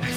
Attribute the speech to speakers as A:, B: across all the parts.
A: Ik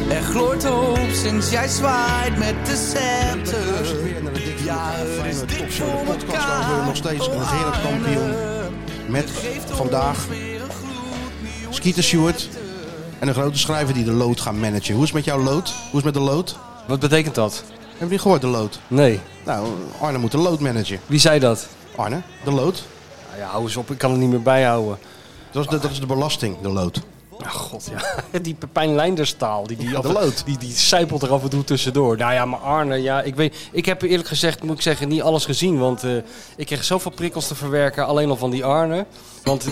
B: er gloort hoop sinds jij zwaait met de scepter.
C: Luister weer naar de Dik
B: Ja, er is dik
C: Topshow, de
B: voor
C: podcast
B: elkaar.
C: over nog steeds
B: Oh,
C: regerend kampioen.
B: Arne,
C: Met
B: geeft ons
C: vandaag
B: weer een gloednieuwe
C: Skeeter Stewart en een grote schrijver die de lood gaan managen. Hoe is het met jouw lood? Hoe is het met de lood?
D: Wat betekent dat?
C: Hebben jullie gehoord, de lood?
D: Nee.
C: Nou, Arne moet de lood managen.
D: Wie zei dat?
C: Arne, de lood?
D: Nou ja, hou eens op, ik kan het niet meer bijhouden.
C: Dat is de, dat is de belasting, de lood.
D: Ach god, ja. Die Pepijn Leinderstaal, die, die,
C: Ja,
D: af-
C: de lood.
D: die, die zijpelt er af en toe tussendoor. Nou ja, maar Arne, ja, ik, weet, ik heb eerlijk gezegd, moet ik zeggen, niet alles gezien. Want eh, ik kreeg zoveel prikkels te verwerken, alleen al van die Arne. Want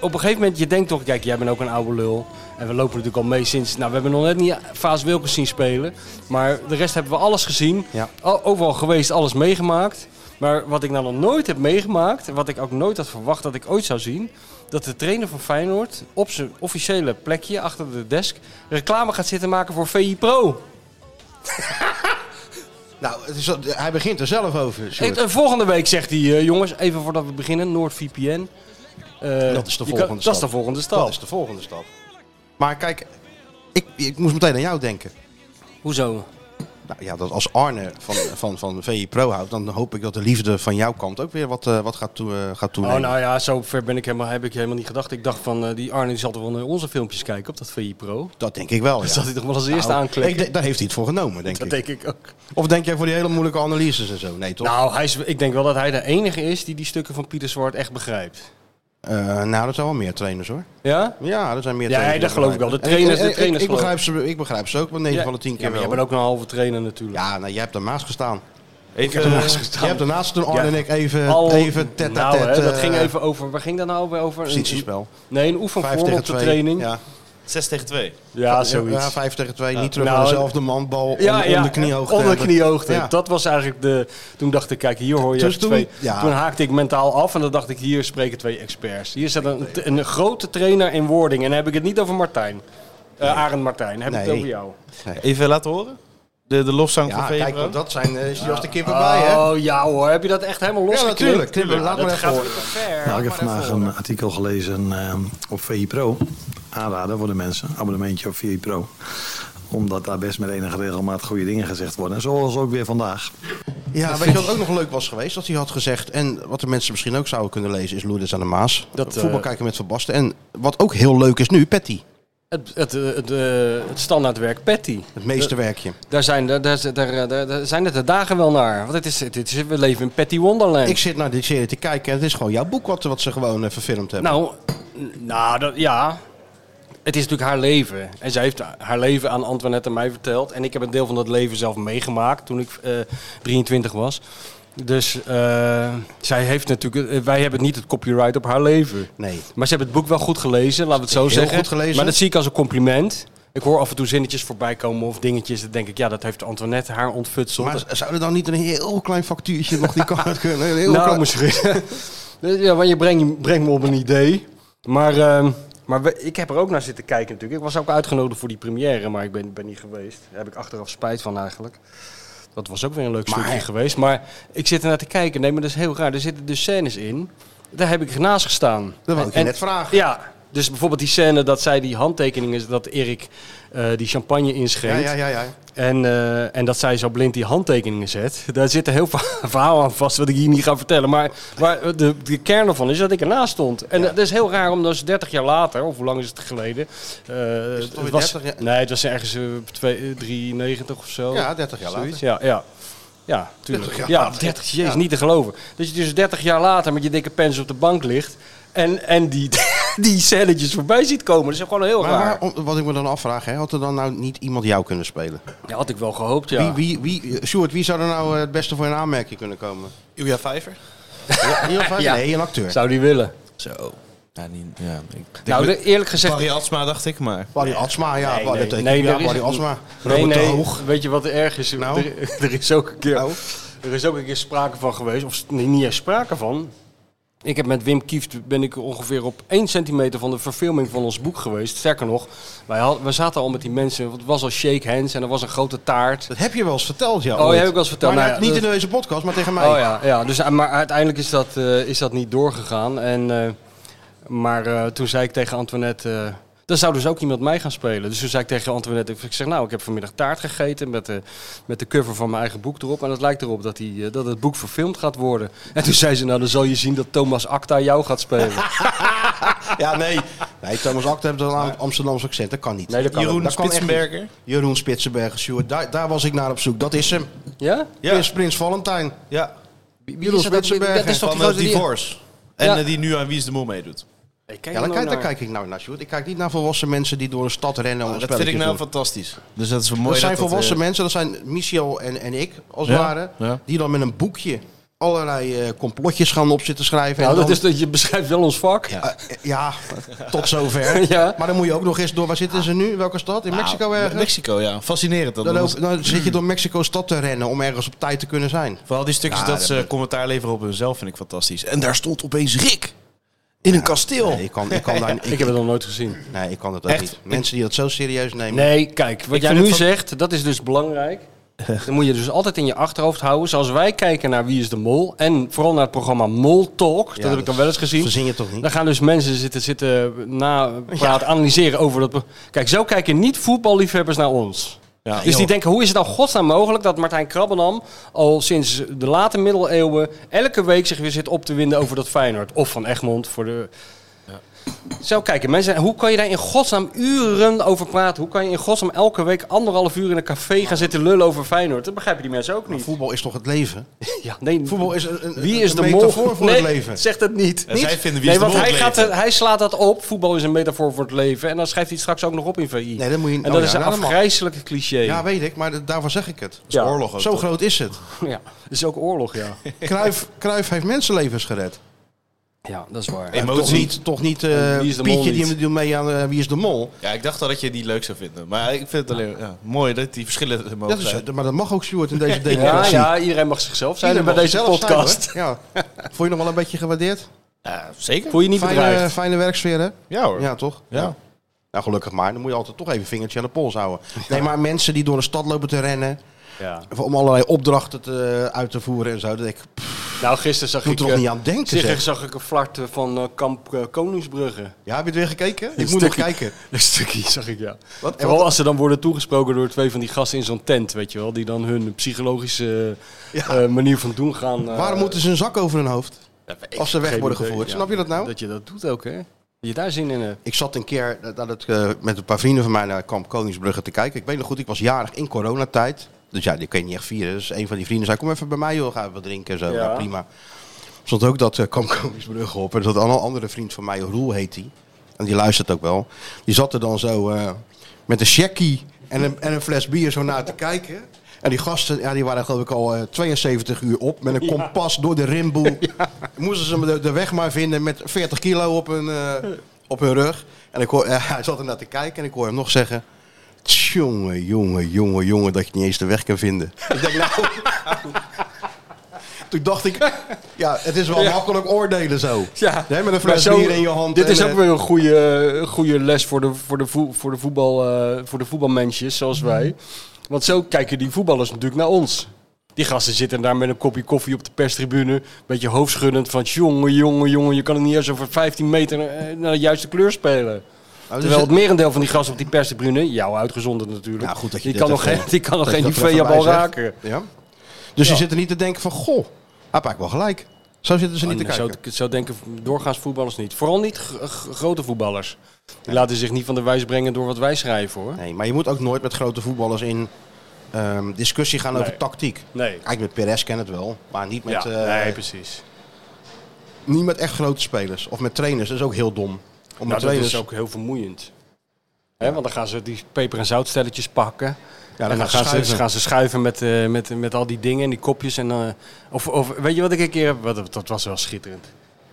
D: op een gegeven moment, je denkt toch, kijk, jij bent ook een oude lul. En we lopen natuurlijk al mee sinds, nou, we hebben nog net niet Faas Wilkens zien spelen. Maar de rest hebben we alles gezien.
C: Ja.
D: Al- Overal geweest, alles meegemaakt. Maar wat ik nou nog nooit heb meegemaakt, en wat ik ook nooit had verwacht dat ik ooit zou zien, dat de trainer van Feyenoord op zijn officiële plekje achter de desk reclame gaat zitten maken voor VI Pro.
C: Nou, het is, zo- hij begint er zelf over. Sjoerd.
D: En, en volgende week zegt hij, eh, jongens, even voordat we beginnen, NoordVPN. Eh,
C: Dat is de
D: je
C: volgende
D: dat
C: stap.
D: is de volgende stap.
C: Dat is de volgende stap. Maar kijk, ik, ik moest meteen aan jou denken.
D: Hoezo?
C: Nou ja, dat als Arne van, van, van VI Pro houdt, dan hoop ik dat de liefde van jouw kant ook weer wat, eh, wat gaat, toe, eh, gaat
D: Oh,
C: toenemen.
D: nou ja, zo ver ben ik helemaal, heb ik helemaal niet gedacht. Ik dacht van, eh, die Arne die zal toch wel naar onze filmpjes kijken op dat VI Pro.
C: Dat denk ik wel.
D: Dus Dat
C: ja.
D: zal hij toch wel als eerste
C: Nou,
D: aanklikken.
C: ik denk- daar heeft hij het voor genomen, denk
D: dat
C: ik.
D: denk ik ook.
C: Of denk jij voor die hele moeilijke analyses en zo? Nee, toch?
D: Nou, hij is, ik denk wel dat hij de enige is die die stukken van Pieter Zwart echt begrijpt.
C: Eh, nou, dat zijn wel meer trainers hoor.
D: Ja?
C: Ja, dat zijn meer
D: Ja,
C: trainers.
D: dat geloof ik wel. De trainers- de
C: En- en- en-
D: trainers
C: ik,
D: geloof
C: begrijp ze, ik begrijp ze ook, want 9
D: ja.
C: van de 10
D: Ja,
C: keer
D: maar
C: wel.
D: jij bent ook een halve trainer natuurlijk.
C: Ja, nou, jij hebt ernaast gestaan.
D: ik eh, heb
C: Je hebt ernaast toen Arne en ik even,
D: Al-
C: even tet
D: nou,
C: tet
D: hè, dat ging even over. Waar ging dat nou over? over? Een-
C: Positiespel.
D: Nee, een
C: 5
D: oefenvorm
C: tegen
D: op de
C: 2.
D: training. Ja,
C: Ja,
E: 6 tegen 2.
D: zoiets.
C: Ja, 5 tegen 2. Niet terug
D: Nou,
C: naar dezelfde man. Bal
D: Ja,
C: onder,
D: ja,
C: onder kniehoogte.
D: onder
C: hebben.
D: kniehoogte.
C: Ja.
D: Dat was eigenlijk de. Toen dacht ik, kijk, hier hoor je
C: Dus
D: echt
C: toen-
D: twee.
C: ja.
D: Toen haakte ik mentaal af en dan dacht ik, hier spreken twee experts. Hier zit een, een grote trainer in wording. En dan heb ik het niet over Martijn. Eh Arend Martijn, heb ik het
C: Nee.
D: over jou.
E: Even laten horen. De, de lofzang
C: Ja,
E: van
C: kijk, want
E: Vebro.
C: dat zijn eh, is als de kippen bij, hè?
D: Oh ja hoor, heb je dat echt helemaal los?
C: natuurlijk, tuurlijk. Laat maar
D: dat
C: even
D: gaat
C: horen.
D: te ver.
F: Nou, ik heb vandaag een artikel gelezen ehm, op VI Pro. Aanraden voor de mensen, abonnementje op VI Pro. Omdat daar best met enige regelmaat goede dingen gezegd worden. Zoals ook weer vandaag.
C: Ja, weet je wat ook nog leuk was geweest? Dat hij had gezegd, en wat de mensen misschien ook zouden kunnen lezen, is Lourdes aan de Maas.
D: Dat, eh,
C: Voetbal kijken met Verbasten. En wat ook heel leuk is nu, Patty.
D: Het, het, eh, het, eh, het standaardwerk Patty.
C: Het meesterwerkje.
D: Daar zijn, daar, daar, daar, daar- daar zijn het de dagen wel naar. Want het is, het is, we leven in Patty Wonderland.
C: Ik zit naar dit serie te kijken en het is gewoon jouw boek wat, wat ze gewoon eh, verfilmd hebben.
D: Nou, n- nou dat, ja. Het is natuurlijk haar leven. En zij heeft haar leven aan Antoinette en mij verteld. En ik heb een deel van dat leven zelf meegemaakt toen ik eh, 23 was. Dus eh, zij heeft natuurlijk, eh, wij hebben niet het copyright op haar leven.
C: nee.
D: Maar ze hebben het boek wel goed gelezen, laten we het zo
C: Heel
D: zeggen.
C: goed gelezen.
D: Maar dat zie ik als een compliment. Ik hoor af en toe zinnetjes voorbij komen of dingetjes. Dan denk ik, ja, dat heeft Antoinette haar ontfutseld.
C: Maar z- zou er dan niet een heel klein factuurtje nog die kant kunnen? Een heel
D: nou,
C: klein-
D: misschien. ja, want je brengt, brengt me op een idee. Maar, ehm, maar we- ik heb er ook naar zitten kijken natuurlijk. Ik was ook uitgenodigd voor die première, maar ik ben, ben niet geweest. Daar heb ik achteraf spijt van eigenlijk. Dat was ook weer een leuk
C: Maar-
D: stukje geweest. Maar ik zit er naar te kijken. Nee, maar dat is heel raar. Er zitten dus scènes in. Daar heb ik naast gestaan.
C: Dat wou ik je
D: En-
C: net vragen.
D: Ja. Dus bijvoorbeeld die scène dat zij die handtekening is, dat Erik eh, die champagne
C: Ja,
D: inschenkt.
C: ja, ja, ja.
D: En, eh, en dat zij zo blind die handtekeningen zet. Daar zit een heel verha- verhaal aan vast wat ik hier niet ga vertellen. Maar waar de, de kern ervan is dat ik ernaast stond. En dat is heel raar, omdat ze 30 jaar later, of hoe lang is het geleden? eh,
C: het alweer 30 jaar?
D: Nee, het was ergens eh, twee- eh, 93 of zo.
C: Ja, 30 jaar
D: Zoiets,
C: later.
D: ja, ja. Ja, tuurlijk.
C: 30 jaar
D: ja,
C: later.
D: 30, jezus,
C: Ja.
D: niet te geloven. Dat je dus 30 jaar later met je dikke pens op de bank ligt en, en die, die celletjes voorbij ziet komen. Dat is gewoon heel
C: Maar
D: raar.
C: waarom- wat ik me dan afvraag, hè, had er dan nou niet iemand jou kunnen spelen?
D: Ja, had ik wel gehoopt, ja.
C: Wie, wie, wie, Sjoerd, wie zou er nou eh, het beste voor in aanmerking kunnen komen?
E: Uja Vijver?
C: Ja, in ieder geval-
D: Ja.
C: Nee, een acteur.
D: Zou die willen?
E: Zo. Ja, niet, ja, ik
D: Nou,
E: denk-
D: de- eerlijk gezegd...
E: Barry Atsma Oh dacht ik, maar...
C: Barry Atsma, ja.
D: Nee,
C: Barry-
D: nee,
C: dat-
D: nee,
C: ja,
D: er is-
C: Barry Atsma.
D: Nee,
C: Robert de
D: nee,
C: Hoog.
D: weet je wat er erg is?
C: Nou?
D: Er, er is ook een keer,
C: Nou?
D: er is ook een keer sprake van geweest, of s- nee, niet eens sprake van. Ik heb met Wim Kieft ben ik ongeveer op 1 centimeter van de verfilming van ons boek geweest. Sterker nog, wij, had, wij zaten al met die mensen, want het was al shake hands en er was een grote taart.
C: Dat heb je wel eens verteld, ja.
D: Oh,
C: ooit.
D: heb ik wel eens verteld.
C: Maar
D: Nou ja,
C: niet
D: dat-
C: in deze podcast, maar tegen mij.
D: Oh ja, ja dus, eh, maar uiteindelijk is dat, eh, is dat niet doorgegaan. En, eh, maar eh, toen zei ik tegen Antoinette, eh dan zou dus ook iemand mij gaan spelen. Dus toen zei ik tegen Antoinette, ik zeg nou, ik heb vanmiddag taart gegeten met de, met de cover van mijn eigen boek erop. En het lijkt erop dat, die, eh, dat het boek verfilmd gaat worden. En toen zei ze, nou dan zal je zien dat Thomas Acta jou gaat spelen.
C: Ja, nee. Nee, Thomas Akte heeft een Am- Amsterdamse accent. Dat kan niet.
D: Nou Nee, dat kan
C: Jeroen
E: Jeroen
C: dat kan echt niet.
E: Spitsenberger?
C: Jeroen Spitsenberger, Sjoerd. Daar, daar was ik naar op zoek. Dat is hem.
D: ja?
E: Ja.
C: Prins, Prins Valentijn.
E: Ja.
C: Jeroen Spitsenberger.
D: Dat is toch
E: Van
D: die
E: eh,
D: grote die...
E: Divorce. En
D: Ja.
E: eh, die nu aan Wie is de Mol meedoet.
C: Ja, daar kijk, daar kijk ik nou naar, Sjoerd. Ik kijk niet naar volwassen mensen die door een stad rennen om een
E: dat vind ik
C: spelletje te
E: nou
C: doen.
E: fantastisch. Dus dat is wel mooi.
C: Dat zijn
E: dat
C: volwassen
E: eh,
C: mensen. Dat zijn Michiel en, en ik, als het
E: Ja,
C: ware.
E: ja.
C: Die dan met een boekje allerlei eh, complotjes gaan op zitten schrijven.
D: Nou,
C: en
D: dat
C: dan,
D: is dat je beschrijft wel ons vak.
C: Eh, eh, ja, tot zover.
D: Ja.
C: Maar dan moet je ook nog eens door. Waar zitten ze nu? Welke stad? In
E: nou,
C: Mexico ergens?
E: Mexico, ja. Fascinerend. Dat
C: Dan,
E: dat-
C: loop- dan zit je door Mexico stad te rennen om ergens op tijd te kunnen zijn.
E: Vooral die stukjes
C: Ja,
E: dat
C: dat
E: ze commentaar leveren op hunzelf vind ik fantastisch. En daar stond opeens Rick. In een kasteel.
C: Nee, ik kan, ik kan, daar, ik,
D: Ik heb het nog nooit gezien.
C: nee, ik kan dat ook
E: Echt?
C: niet. Mensen die dat zo serieus nemen.
D: Nee, kijk, wat
E: Ik
D: jij
E: vind
D: nu
E: het van-
D: zegt, dat is dus belangrijk. Dat moet je dus altijd in je achterhoofd houden. Zoals wij kijken naar Wie is de Mol. En vooral naar het programma Mol Talk. dat
C: Ja,
D: heb ik dan wel eens gezien.
C: Verzin je toch niet?
D: Dan gaan dus mensen zitten, zitten na praat analyseren over dat. pro- Kijk, zo kijken niet voetballiefhebbers naar ons. dus die denken, hoe is het nou godsnaam mogelijk dat Martijn Krabbenam al sinds de late middeleeuwen elke week zich weer zit op te winden over dat Feyenoord? Of van Egmond voor de... Zo kijken mensen, hoe kan je daar in godsnaam uren over praten? Hoe kan je in godsnaam elke week anderhalf uur in een café gaan zitten lullen over Feyenoord? Dat begrijpen die mensen ook
C: Maar
D: niet.
C: voetbal is toch het leven?
D: Ja, nee,
C: Voetbal is een, een-
D: wie is
C: een
D: de mol?
C: metafoor voor het
D: Nee,
C: leven.
D: Zegt het niet.
E: En zij vinden Wie
D: Nee,
E: is de
D: want
E: Mol
D: hij,
E: het
D: gaat,
E: leven.
D: er- hij slaat dat op. Voetbal is een metafoor voor het leven. En dan schrijft hij het straks ook nog op in VI.
C: Nee, dat moet je-
D: en dat
C: oh ja,
D: is een
C: nou, dat mag.
D: afgrijzelijke cliché.
C: Ja, weet ik, maar d- daarvoor zeg ik het.
D: Ja.
E: Oorlog ook
C: Zo
E: toch?
C: groot is het.
D: Ja, dat is ook oorlog, ja.
C: Cruijff, Cruijff heeft mensenlevens gered.
D: Ja, dat is waar.
E: Emotie.
C: Toch niet, toch niet eh,
D: En Wie is de Mol
C: Pietje die
D: niet.
C: hem doet mee aan eh, Wie is de Mol.
E: Ja, ik dacht al dat je die leuk zou vinden. Maar ik vind het alleen ja, mooi dat die verschillen er mogen
C: Dat is, eh,
E: zijn.
C: maar dat mag ook, Stuart, in deze
D: ja,
C: democratie.
D: ja, iedereen mag zichzelf zijn
C: Iedereen
D: bij
C: mag
D: deze
C: zichzelf zijn,
D: podcast.
C: hoor. ja. Vond je nog wel een beetje gewaardeerd?
E: Ja, zeker.
D: Voel je niet
C: Fijne,
D: bedreigd?
C: fijne werksfeer, hè?
E: Ja hoor.
C: Ja, toch?
E: Ja.
C: Nou, gelukkig maar. Dan moet je altijd toch even vingertje aan de pols houden. Nee, maar mensen die door de stad lopen te rennen...
D: Ja.
C: om allerlei opdrachten te, eh, uit te voeren en zo... Dat ik pff,
D: Nou, gisteren zag
C: moet
D: ik...
C: er toch
D: eh,
C: niet aan denken, zeg.
D: Gisteren zag ik een flart eh, van eh, kamp eh, Koningsbrugge.
C: Ja, heb je het weer gekeken? Ik
D: Een
C: moet nog
D: stukje.
C: kijken.
D: Een stukje zag ik, ja.
C: Wat? En
D: Vooral
C: wat-
D: als ze dan worden toegesproken door twee van die gasten in zo'n tent, weet je wel. Die dan hun psychologische eh,
C: Ja.
D: eh, manier van doen gaan... eh,
C: Waarom moeten ze een zak over hun hoofd? Als ze weg
D: Geen
C: worden
D: idee,
C: gevoerd.
D: ja.
C: Snap je dat nou?
D: Dat je dat doet ook, hè? Dat je daar zin in hebt.
C: Ik zat een keer eh, dat het, eh, met een paar vrienden van mij naar kamp Koningsbrugge te kijken. Ik weet nog goed, ik was jarig in coronatijd. Dus ja, die kun je niet echt vieren. Dus een van die vrienden zei, kom even bij mij joh, gaan we wat drinken en zo.
D: Ja.
C: Ja, prima. Stond ook dat eh, kamp Koningsbrugge op. En er zat een andere vriend van mij, Roel heet die. En die luistert ook wel. Die zat er dan zo eh, met een checkie en een, en een fles bier zo naar te kijken. En die gasten, ja, die waren geloof ik al eh, 72 uur op met een kompas door de rimboe. Moesten ze de, de weg maar vinden met 40 kilo op hun, eh, op hun rug. En ik hoor, eh, hij zat er naar te kijken en ik hoor hem nog zeggen... Tjonge, jonge, jonge, jonge, dat je niet eens de weg kan vinden. ik denk, nou... Toen dacht ik, ja, het is wel makkelijk oordelen zo. Nee, met een fles
D: Maar zo-
C: bier in je hand.
D: Dit
C: en,
D: is ook
C: eh,
D: weer een goede, een goede les voor de, voor de, voe- voor de,
C: Mhm.
D: voetbal, eh, voor de voetbalmensjes zoals wij. Want zo kijken die voetballers natuurlijk naar ons. Die gasten zitten daar met een kopje koffie op de perstribune. Beetje hoofdschuddend van jongen, jongen, jongen. Je kan het niet eens over 15 meter eh, naar de juiste kleur spelen.
C: Oh, dus
D: Terwijl het merendeel van die gasten op die perstribune, jou uitgezonderd natuurlijk,
C: Ja, goed dat je
D: die,
C: dit
D: kan nog
C: even-
D: geen, die kan nog
C: dat je
D: geen
C: dat er even
D: Nivea-bal
C: bij zegt.
D: raken.
C: Ja? Dus je zit er niet te denken van, goh, hij pakt wel gelijk. Oh, Zo zitten ze niet te
D: En zo,
C: kijken.
D: zo denken doorgaans voetballers niet. Vooral niet g- g- grote voetballers. Die laten zich niet van de wijs brengen door wat wij schrijven hoor.
C: Nee, maar je moet ook nooit met grote voetballers in ehm, discussie gaan over
D: Nee.
C: tactiek.
D: Nee.
C: Kijk, met Perez ken het wel, maar niet met,
D: ja,
C: eh,
D: nee, precies.
C: niet met echt grote spelers. Of met trainers, dat is ook heel dom. Om met
D: Nou, dat
C: trainers...
D: is ook heel vermoeiend. Hè, want dan gaan ze die peper- en zoutstelletjes pakken.
C: Ja,
D: en dan gaan ze,
C: schuiven.
D: gaan ze schuiven met, eh, met, met al die dingen en die kopjes. En, eh, of, of weet je wat ik een keer heb? Wat, dat was wel schitterend.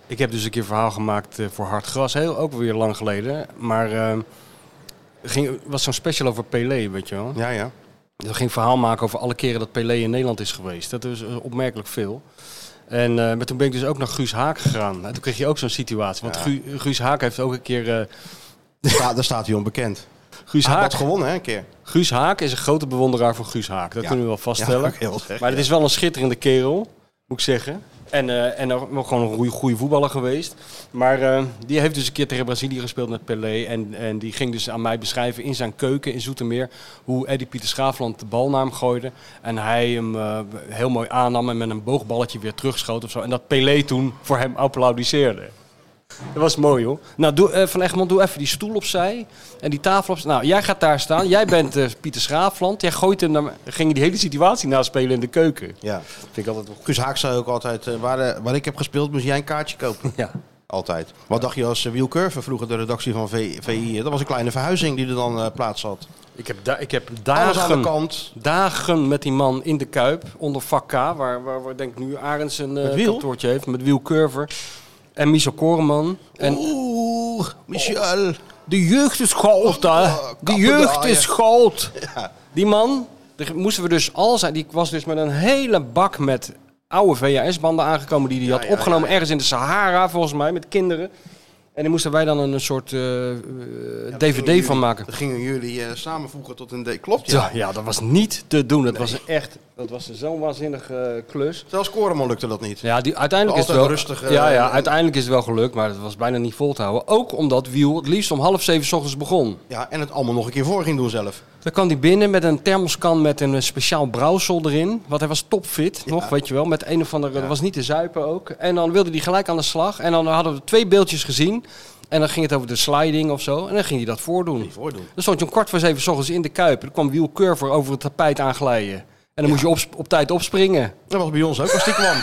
D: Ik heb dus een keer een verhaal gemaakt eh, voor Hard Gras. Heel, ook weer lang geleden. Maar eh, ging, was zo'n special over Pelé, weet je wel.
C: Ja, ja.
D: Dus we gingen een verhaal maken over alle keren dat Pelé in Nederland is geweest. Dat is eh, opmerkelijk veel. En eh, maar toen ben ik dus ook naar Guus Haak gegaan. En toen kreeg je ook zo'n situatie. Want
C: Ja.
D: Gu- Guus Haak heeft ook een keer... eh,
C: Daar staat- daar staat hij onbekend.
D: Guus,
C: Hij had
D: Haak,
C: dat gewonnen, hè, een keer.
D: Guus Haak is een grote bewonderaar van Guus Haak. Dat
C: Ja.
D: kunnen we wel vaststellen.
C: Ja, heel erg,
D: maar het is wel een schitterende kerel, moet ik zeggen. En, eh en ook wel gewoon een goeie- goede voetballer geweest. Maar eh, die heeft dus een keer tegen Brazilië gespeeld met Pelé. En, en die ging dus aan mij beschrijven in zijn keuken in Zoetermeer... hoe Eddie Pieter Schaafland de bal naar hem gooide. En hij hem eh, heel mooi aannam en met een boogballetje weer terugschoot of zo. En dat Pelé toen voor hem applaudisseerde. Dat was mooi, hoor. Nou, doe, eh, Van Egmond, doe even die stoel opzij en die tafel opzij. Nou, jij gaat daar staan. Jij bent eh, Pieter Schaafland. Jij gooit hem naar me- ging je die hele situatie naspelen in de keuken.
C: Ja.
D: Vind ik altijd wel goed.
C: Guus Haak zei ook altijd, eh, waar, eh, waar ik heb gespeeld moest jij een kaartje kopen.
D: Ja.
C: Altijd. Wat dacht je als eh, Wiel Curve vroeger de redactie van V- VI? Dat was een kleine verhuizing die er dan eh, plaats had.
D: Ik heb, da- ik heb
C: Alles aan de
D: dagen,
C: kant.
D: dagen met die man in de Kuip, onder vak K, waar, waar, waar denk ik nu Arends een eh,
C: Met Wiel?
D: kantoortje heeft, met Wiel Curver en Michel Koreman. En
C: Oeh, Michel.
D: de jeugd is goud, hè. De
C: Oh, eh, kappen
D: jeugd
C: draaien.
D: is goud. Die man, daar moesten we dus al zijn. Die was dus met een hele bak met oude VHS-banden aangekomen. die hij had opgenomen ergens in de Sahara, volgens mij, met kinderen. En daar moesten wij dan een soort eh, eh, DVD van maken.
C: Dat gingen jullie eh, samenvoegen tot een D. Klopt, ja.
D: Ja, ja, dat was niet te doen. Dat was een echt, dat was een zo'n waanzinnige eh, klus.
C: Zelfs Koreman lukte dat niet.
D: Ja, die, uiteindelijk is het wel
C: Altijd rustig, eh,
D: ja, ja,
C: en-
D: uiteindelijk is het wel gelukt, maar het was bijna niet vol te houden. Ook omdat Wiel het liefst om half zeven 's ochtends begon.
C: Ja, en het allemaal nog een keer voor ging doen zelf.
D: Dan kwam hij binnen met een thermoskan met een eh, speciaal brouwsel erin. Want hij was topfit nog, weet je wel. Met een of andere, dat was niet te zuipen ook. En dan wilde hij gelijk aan de slag. En dan hadden we twee beeldjes gezien. En dan ging het over de sliding of zo. En dan ging hij dat voordoen.
C: Voordoen.
D: Dan stond je om kwart voor zeven 's ochtends in de kuip. En dan kwam Wiel Curver over het tapijt aanglijden. En dan moest je op, op tijd opspringen.
C: Dat was bij ons ook als die kwam.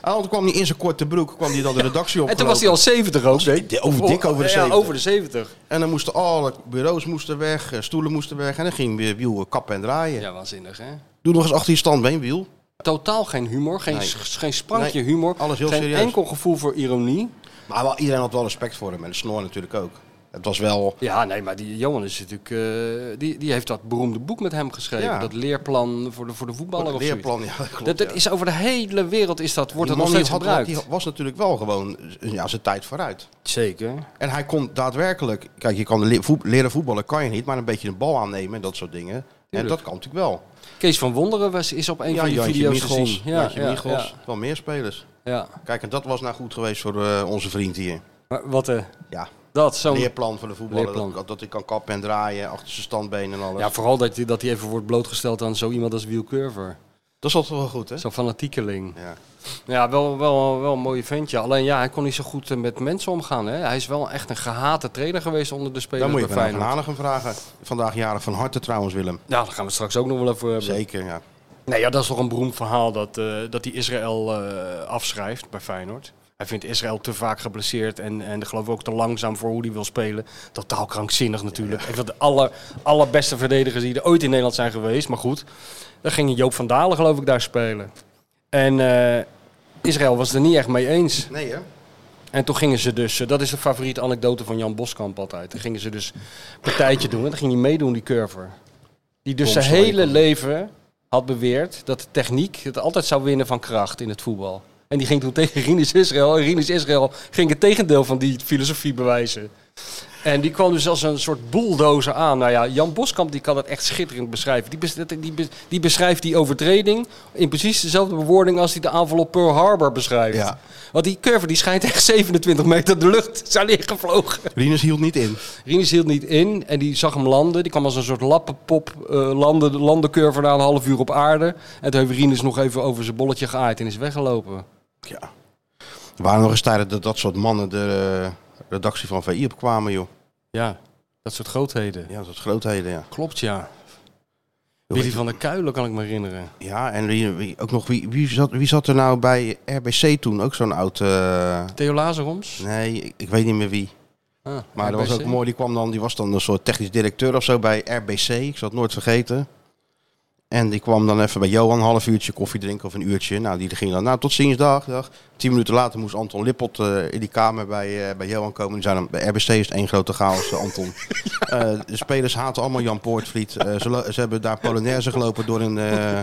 C: Ah, want kwam hij in zijn korte broek, kwam hij dan de redactie op.
D: En toen was hij al 70 ook.
C: hij over, dik over de
D: Ja,
C: 70.
D: over de 70.
C: En dan moesten alle bureaus moesten weg, eh, stoelen moesten weg. En dan ging weer wiel eh, kappen en draaien.
D: Ja, waanzinnig hè.
C: Doe nog eens achter je standbeen, wiel.
D: Totaal geen humor, geen,
C: Nee.
D: s- geen sprankje
C: Nee,
D: humor.
C: alles heel
D: geen
C: serieus.
D: enkel gevoel voor ironie.
C: Maar wel, iedereen had wel respect voor hem. En de snor natuurlijk ook. Het was wel...
D: Ja, nee, maar die Johan is natuurlijk. eh, die, die heeft dat beroemde boek met hem geschreven.
C: Ja.
D: Dat leerplan voor de, voor de voetballer
C: het
D: of zoiets.
C: leerplan, ja, dat klopt.
D: Dat, dat
C: ja.
D: is over de hele wereld is dat, wordt
C: Die
D: dat nog
C: man die
D: steeds
C: had-
D: gebruikt.
C: Die was natuurlijk wel gewoon eh, ja, zijn tijd vooruit.
D: Zeker.
C: En hij kon daadwerkelijk, kijk, je kan le- voet- leren voetballen kan je niet, maar een beetje een bal aannemen en dat soort dingen. En dat kan natuurlijk wel.
D: Kees van Wonderen was, is op een van die video's te zien.
C: ja, Jantje
D: ja,
C: Michels, wel meer spelers.
D: ja, ja.
C: Kijk, en dat was nou goed geweest voor eh, onze vriend hier.
D: Maar wat eh,
C: Ja,
D: dat zo'n.
C: leerplan voor de voetballer,
D: Leerplan.
C: dat, dat hij kan kappen en draaien achter zijn standbeen en alles.
D: Ja, vooral dat hij dat hij even wordt blootgesteld aan zo iemand als Wiel Curver.
C: dat is altijd wel goed, hè?
D: Zo'n fanatiekeling.
C: Ja.
D: Ja, wel, wel, wel een mooie ventje. Alleen ja, hij kon niet zo goed eh, met mensen omgaan. Hè. Hij is wel echt een gehate trainer geweest onder de spelers
C: Dan moet je
D: bij
C: van Van
D: Feyenoord.
C: Hanegem vragen. Vandaag jaren van harte trouwens, Willem.
D: Nou, daar gaan we het straks ook nog wel over hebben.
C: Zeker, ja.
D: Nou ja, dat is toch een beroemd verhaal dat, eh, dat hij Israël eh, afschrijft bij Feyenoord. Hij vindt Israël te vaak geblesseerd en, en geloof ik ook te langzaam voor hoe hij wil spelen. Totaal krankzinnig natuurlijk. Een van de aller, allerbeste verdedigers die er ooit in Nederland zijn geweest. Maar goed, dan ging Joop van Dalen geloof ik daar spelen. En eh, Israël was het er niet echt mee eens.
C: Nee, hè?
D: En toen gingen ze dus, eh, dat is de favoriete anekdote van Jan Boskamp altijd. Toen gingen ze dus een partijtje doen en dan ging hij meedoen, die curver. Die dus zijn hele leven had beweerd dat de techniek het altijd zou winnen van kracht in het voetbal. En die ging toen tegen Rinus Israël. En Rinus Israël ging het tegendeel van die filosofie bewijzen. En die kwam dus als een soort bulldozer aan. Nou ja, Jan Boskamp die kan het echt schitterend beschrijven. Die, bes- die, bes- die beschrijft die overtreding in precies dezelfde bewoording als hij de aanval op Pearl Harbor beschrijft.
C: Ja.
D: Want die curve die schijnt echt 27 meter de lucht zijn ingevlogen.
C: Rinus hield niet in.
D: Rinus hield niet in en die zag hem landen. Die kwam als een soort lappenpop eh, landen, landencurve na een half uur op aarde. En toen heeft Rinus nog even over zijn bolletje geaaid en is weggelopen.
C: Ja. Er waren nog eens tijden dat dat soort mannen de eh, redactie van VI opkwamen, joh.
D: Ja, dat soort grootheden.
C: Ja, dat soort grootheden, ja.
D: Klopt, ja.
C: Willy
D: Willy van der Kuilen kan ik me herinneren.
C: Ja, en wie, wie- ook nog, wie, wie, zat, wie zat er nou bij RBC toen? Ook zo'n oud... eh,
D: Theo Lazaroms?
C: nee, ik, ik weet niet meer wie.
D: Ah,
C: Maar dat was
D: RBC.
C: ook mooi. Die kwam dan, die was dan een soort technisch directeur of zo bij RBC. Ik zal het nooit vergeten. En die kwam dan even bij Johan, een half uurtje koffie drinken of een uurtje. Nou, die ging dan, nou, tot ziens, dag, dag. Tien minuten later moest Anton Lippot eh, in die kamer bij, eh, bij Johan komen. Die zei dan, bij RBC is het één grote chaos, eh, Anton. Eh, de spelers haten allemaal Jan Poortvliet. Eh, ze, lo- ze hebben daar Polonaise gelopen door een, eh,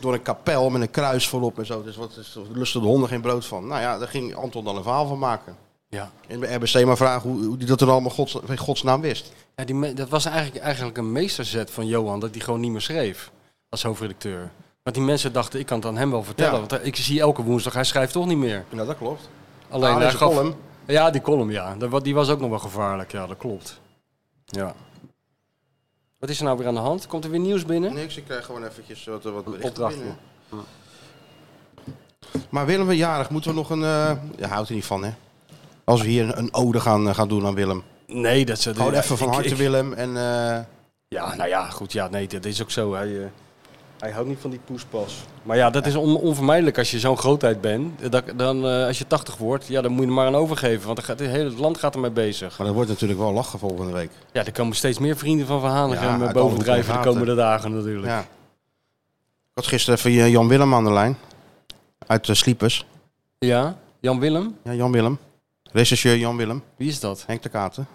C: door een kapel met een kruis voorop en zo. Dus wat is, lusten de honden geen brood van? Nou ja, daar ging Anton dan een verhaal van maken.
D: Ja.
C: En bij RBC maar vragen hoe, hoe die dat er allemaal gods, in godsnaam wist.
D: Ja, die me- dat was eigenlijk, eigenlijk een meesterzet van Johan, dat hij gewoon niet meer schreef als hoofdredacteur. Want die mensen dachten, ik kan het aan hem wel vertellen.
C: Ja.
D: Want hij- ik zie elke woensdag, hij schrijft toch niet meer.
C: Nou, dat klopt.
D: Alleen
C: Ah,
D: hij
C: deze
D: gaf...
C: column.
D: Ja, die column, ja. Dat wa- Die was ook nog wel gevaarlijk, ja, dat klopt. Ja. Wat is er nou weer aan de hand? Komt er weer nieuws binnen?
C: Niks, ik krijg gewoon eventjes wat, wat berichten
D: opdrachtje.
C: binnen. Maar Willem we jarig, moeten we nog een... eh ja, houdt er niet van, hè? Als we hier een, een ode gaan, eh, gaan doen aan Willem.
D: Nee, dat zou...
C: Gewoon
D: ja,
C: even van
D: ik-
C: harte
D: ik-
C: Willem. En, eh,
D: Ja, nou ja, goed. Ja, nee, dat is ook zo. Hij, eh, hij houdt niet van die poespas. Maar ja, dat is on- onvermijdelijk als je zo'n grootheid bent. Eh, dat- dan, eh, als je 80 wordt, ja, dan moet je er maar aan overgeven. Want dan gaat, het hele land gaat ermee bezig.
C: maar dat wordt natuurlijk wel lachen volgende week.
D: Ja, er komen steeds meer vrienden van Verhanigem
C: Ja,
D: eh,
C: uit alle
D: bovendrijven de
C: hoeken en
D: komende dagen natuurlijk.
C: Ja. Ik had gisteren even eh, Jan Willem aan de lijn. Uit eh, Sliepers.
D: Ja? Jan Willem?
C: Ja, Jan Willem. Rechercheur Jan Willem.
D: Wie is dat?
C: Henk de Katen.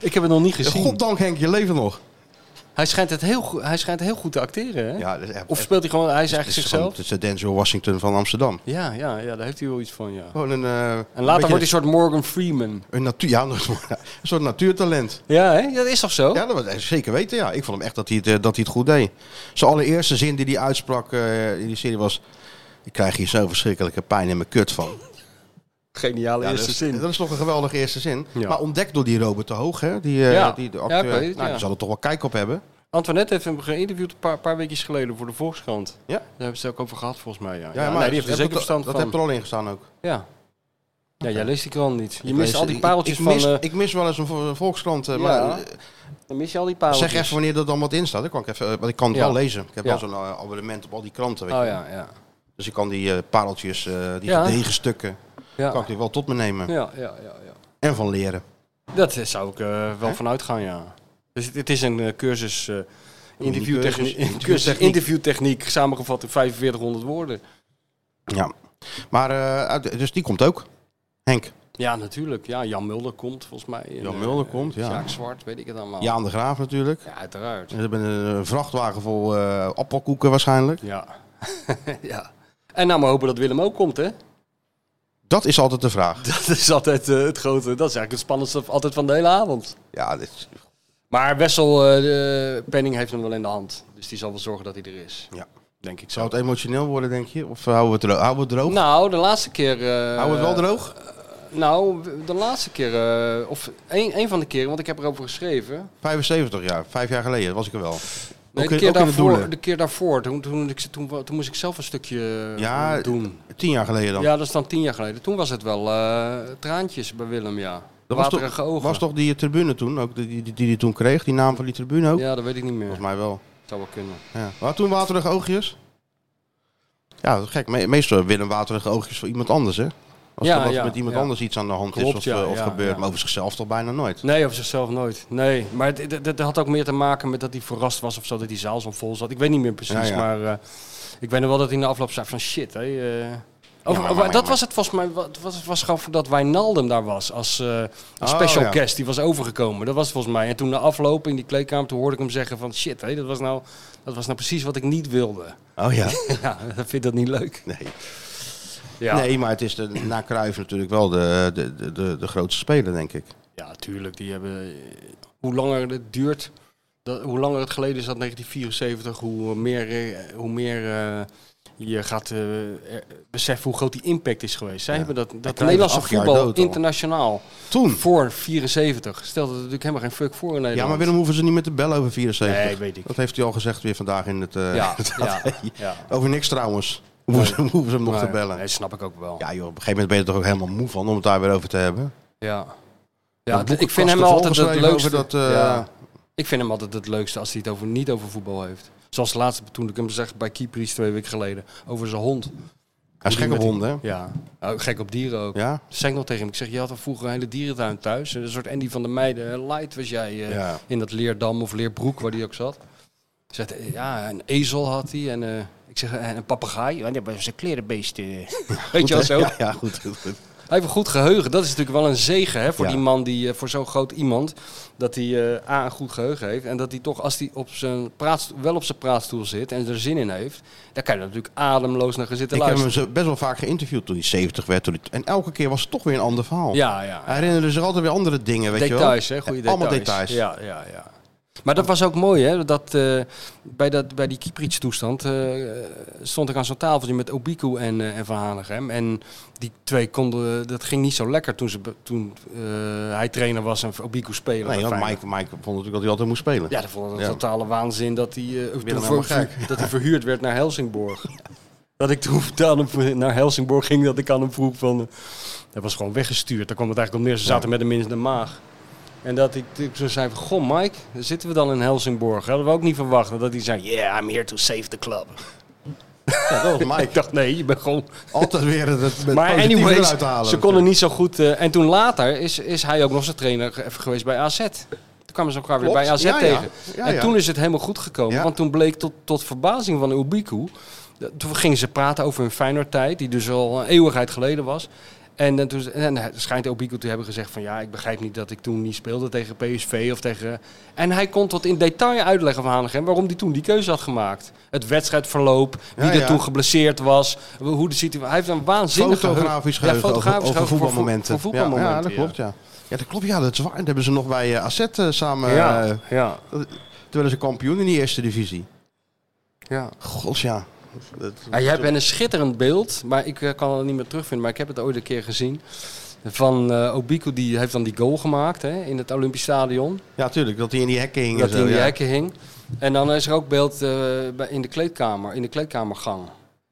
D: Ik heb het nog niet gezien.
C: Goddank Henk, je leeft nog.
D: Hij, schijnt het heel goed, hij schijnt heel goed te acteren, hè?
C: Ja, dat is echt-
D: Of speelt hij gewoon, hij is
C: Het
D: eigenlijk
C: is gewoon-
D: zichzelf?
C: het is de Denzel Washington van Amsterdam.
D: Ja, ja, ja, daar heeft hij wel iets van, ja.
C: Gewoon een, eh,
D: En
C: een beetje
D: later wordt hij een soort Morgan Freeman.
C: een, natuur, ja, een soort- een soort natuurtalent.
D: Ja, hè? Ja, dat is toch zo?
C: Ja, dat was echt zeker weten. Ja. Ik vond hem echt dat hij het, eh, dat hij het goed deed. Zijn allereerste zin die hij uitsprak eh, in die serie was... Ik krijg hier zo verschrikkelijke pijn in mijn kut van.
D: Geniale
C: Ja, dus
D: eerste
C: dat, is,
D: zin.
C: dat is toch een geweldige eerste zin.
D: Ja.
C: Maar ontdekt door die Robert de Hoog, hè? Die, eh,
D: Ja.
C: die de
D: Ja,
C: acteur,
D: ik weet het,
C: nou,
D: ja.
C: die zal er toch wel kijk op hebben.
D: Antoinette heeft hem geïnterviewd een paar, paar weekjes geleden voor de Volkskrant.
C: Ja.
D: Daar hebben ze het ook over gehad volgens mij. Ja, ja,
C: Ja, maar
D: nee, die heeft er
C: dat-
D: zeker
C: dat-
D: verstand
C: Dat
D: van.
C: heb er al in gestaan ook.
D: Ja. Ja, jij leest die krant niet. Je
C: Ik
D: mist
C: lees-
D: al die
C: ik-
D: pareltjes
C: ik, mis,
D: van... eh,
C: ik mis wel eens een vo- Volkskrant, eh,
D: Ja.
C: maar
D: dan mis je al die pareltjes.
C: Zeg even wanneer er dan wat in staat. hè? Kan Ik, even, eh, want ik kan het
D: Ja.
C: wel lezen. Ik heb
D: Ja.
C: wel zo'n eh, abonnement op al die kranten. Weet
D: Oh
C: je.
D: ja, ja.
C: Dus ik kan die eh, pareltjes, eh, die
D: Ja.
C: gedegen stukken, kan
D: Ja,
C: ik die wel tot me nemen.
D: ja, ja. ja, ja.
C: En van leren.
D: Dat eh, zou ik eh, wel vanuit gaan, ja. Dus het, het is een eh, cursus... eh interviewtechniek,
C: cursus,
D: cursus
C: interviewtechniek.
D: interviewtechniek, samengevat in 4500 woorden.
C: Ja. Maar, eh, uit- dus die komt ook. Henk.
D: Ja, natuurlijk. Ja, Jan Mulder komt volgens mij. En,
C: Jan
D: eh,
C: Mulder komt, ja.
D: Sjaak Zwart, weet ik het allemaal.
C: Jaan de Graaf natuurlijk.
D: ja uiteraard.
C: Ze hebben een vrachtwagen vol eh, appelkoeken waarschijnlijk.
D: Ja. ja. En nou maar hopen dat Willem ook komt, hè?
C: Dat is altijd de vraag.
D: Dat is altijd eh, het grote, dat is eigenlijk het spannendste v- altijd van de hele avond.
C: Ja, dit is-
D: Maar Wessel eh, de Penning heeft hem wel in de hand. Dus die zal wel zorgen dat hij er is.
C: Ja.
D: Denk ik zo.
C: zou het emotioneel worden, denk je? Of eh, houden we het, dro- houden we het droog?
D: Nou, de laatste keer... eh,
C: houden we het wel droog?
D: Nou, de laatste keer, eh, of één één van de keren, want ik heb erover geschreven.
C: 75 jaar, vijf jaar geleden, was ik er wel.
D: Nee,
C: Ook
D: de,
C: in- ook
D: keer
C: in de
D: daarvoor,
C: doelen.
D: de keer daarvoor, toen, toen, ik, toen, toen moest ik zelf een stukje eh,
C: Ja,
D: doen.
C: Tien jaar geleden dan.
D: Ja, dat is dan tien jaar geleden. Toen was het wel eh, traantjes bij Willem, ja.
C: Dat was
D: Waterige
C: toch,
D: ogen.
C: was toch die eh, tribune toen, ook die, die, die die toen kreeg, die naam van die tribune ook?
D: Ja, dat weet ik niet meer.
C: Volgens mij wel.
D: Zou wel kunnen.
C: Ja. Maar toen waterige oogjes? Ja, dat is gek. Me- Meestal willen waterige oogjes voor iemand anders, hè? Als
D: Ja,
C: er wat
D: ja,
C: met iemand
D: ja.
C: anders iets aan de hand is
D: Klopt,
C: of,
D: ja,
C: eh, of
D: ja,
C: gebeurt,
D: ja.
C: maar over zichzelf toch bijna nooit.
D: Nee, over zichzelf nooit. Nee, maar het- het- dat had ook meer te maken met dat hij verrast was of zo, dat die zaal zo vol zat. Ik weet niet meer precies,
C: Ja, ja.
D: maar eh, ik weet nog wel dat hij in de afloop zei van shit, hé. eh. Over-
C: maar, maar,
D: over-
C: maar,
D: dat
C: maar.
D: was het volgens mij, wa- het was, het was gewoon dat Wijnaldum daar was als, eh, als
C: Oh,
D: special
C: ja.
D: guest. Die was overgekomen, dat was het volgens mij. En toen na afloop in die kleedkamer, toen hoorde ik hem zeggen van shit, hé, dat, was nou, dat was nou precies wat ik niet wilde.
C: Oh ja.
D: ja, dat vind ik dat niet leuk.
C: nee.
D: Ja,
C: Nee, maar het is de, na Cruijff natuurlijk wel de, de, de- de, de grootste speler, denk ik.
D: ja tuurlijk. Die hebben, eh, hoe langer het duurt, dat, hoe langer het geleden is dat 1974, hoe meer, eh, hoe meer eh, je gaat eh, er- beseffen hoe groot die impact is geweest. Zij
C: Ja.
D: hebben dat, dat
C: Cruijff
D: Nederlandse
C: acht jaar
D: voetbal
C: dood al.
D: internationaal
C: Toen?
D: voor 74 stelde er natuurlijk helemaal geen fuck voor in Nederland.
C: Ja, maar Willem hoeven ze niet met de bel over 74.
D: Nee, weet ik.
C: Dat heeft hij al gezegd weer vandaag in het... eh,
D: Ja,
C: het
D: ja,
C: AD.
D: ja.
C: Over niks trouwens. Hoeven ze, hoeven ze hem nog te bellen.
D: Nee, snap ik ook wel.
C: Ja joh, op een gegeven moment ben je er toch ook helemaal moe van om het daar weer over te hebben.
D: Ja.
C: De
D: Ja, d- ik
C: boekenkast
D: vind hem
C: ervoor
D: altijd het
C: geschreven
D: leukste.
C: over dat, eh,
D: ja. Ik vind hem altijd het leukste als hij het over, niet over voetbal heeft. Zoals laatst toen ik hem zag bij Kypris twee weken geleden. Over zijn hond.
C: Hij is gek op honden, hè?
D: Ja. Nou, gek op dieren ook.
C: Ja?
D: Dat zei ik nog tegen hem. Ik zeg, je had al vroeger een hele dierentuin thuis. Een soort Andy van der Meijden. eh, Light was jij eh,
C: Ja.
D: in dat Leerdam of Leerbroek waar die ook zat. Zegt, eh, ja, een ezel had hij. En eh, ik zeg, en een papegaai. Ja, dat was een klerenbeest. eh. Weet je wel zo?
C: Ja, ja, goed, goed, goed.
D: Hij heeft een goed geheugen. Dat is natuurlijk wel een zegen hè, voor
C: Ja.
D: die man, die, eh, voor zo'n groot iemand. Dat hij eh, A, een goed geheugen heeft. En dat hij toch, als hij op zijn praat, wel op zijn praatstoel zit en er zin in heeft. Dan kan je er natuurlijk ademloos naar gaan zitten
C: Ik heb hem
D: luisteren.
C: zo best wel vaak geïnterviewd toen hij 70 werd. Toen hij- en elke keer was het toch weer een ander verhaal.
D: Ja, ja.
C: Hij herinnerde zich altijd weer andere dingen, weet
D: details,
C: je wel.
D: hè? Goede
C: Eh,
D: details.
C: Allemaal details.
D: Ja, ja, ja. Maar dat was ook mooi, hè? Dat, eh, bij, dat, bij die Kieprits-toestand eh, stond ik aan zo'n tafeltje met Obiku en, eh, en Van Hanegem. En die twee konden... Dat ging niet zo lekker toen, ze, be- toen eh, hij trainer was en Obiku speler. bij
C: Nee, want
D: Feyenoord.
C: Mike, Mike vond natuurlijk dat hij altijd moest spelen.
D: Ja, dat vond ik een
C: Ja.
D: totale waanzin dat hij, eh, toen
C: helemaal
D: ver-
C: gek.
D: ver- dat hij verhuurd werd naar Helsingborg. Dat ik toen aan hem naar Helsingborg ging, dat ik aan hem vroeg van... eh, Hij was gewoon weggestuurd, daar kwam het eigenlijk op neer. Ze zaten met hem in de maag. En dat ik, ik zo zei van, goh Mike, daar zitten we dan in Helsingborg. Hadden we ook niet verwacht. En dat hij zei, yeah, I'm here to save the club.
C: Ja, dat was
D: Ik dacht, nee, je bent gewoon...
C: Altijd weer het, het
D: Maar
C: positieve
D: anyways,
C: eruit halen.
D: ze konden niet zo goed... eh, en toen later is, is hij ook nog zijn trainer ge- even geweest bij AZ. Toen kwamen ze elkaar weer
C: Klopt.
D: bij AZ
C: Ja, ja.
D: tegen.
C: Ja,
D: en
C: ja.
D: toen is het helemaal goed gekomen.
C: Ja.
D: Want toen bleek tot, tot verbazing van Ubiku... dat- Toen gingen ze praten over hun Feyenoord-tijd... die dus al een eeuwigheid geleden was... En, eh, toen, en hij- schijnt Obiku te hebben gezegd van ja, ik begrijp niet dat ik toen niet speelde tegen PSV of tegen... En hij kon tot in detail uitleggen van Hanegem waarom hij toen die keuze had gemaakt. Het wedstrijdverloop, wie
C: Ja,
D: er
C: ja.
D: toen geblesseerd was, hoe de situatie... Hij heeft een waanzinnig
C: Fotografisch geheugen
D: ja, fotografisch
C: over, over
D: geheugen voor
C: voetbalmomenten.
D: vo- Voor, voetbalmomenten.
C: Ja, ja, dat klopt, ja. Ja, dat klopt, ja, dat is waar. Dat hebben ze nog bij eh, AZ eh, samen...
D: Ja,
C: eh,
D: ja, ja.
C: toen werden ze kampioen in die eerste divisie.
D: ja.
C: God, ja. Dat,
D: Ja, jij bent een schitterend beeld, maar ik eh, kan het niet meer terugvinden. Maar ik heb het ooit een keer gezien. Van eh Obiku, die heeft dan die goal gemaakt hè, in het Olympisch Stadion.
C: ja, tuurlijk, dat hij in die hekken hing.
D: Dat
C: en
D: hij
C: zo,
D: in die
C: ja.
D: hekken hing. En dan is er ook beeld eh, bij- in de kleedkamer, in de kleedkamergang.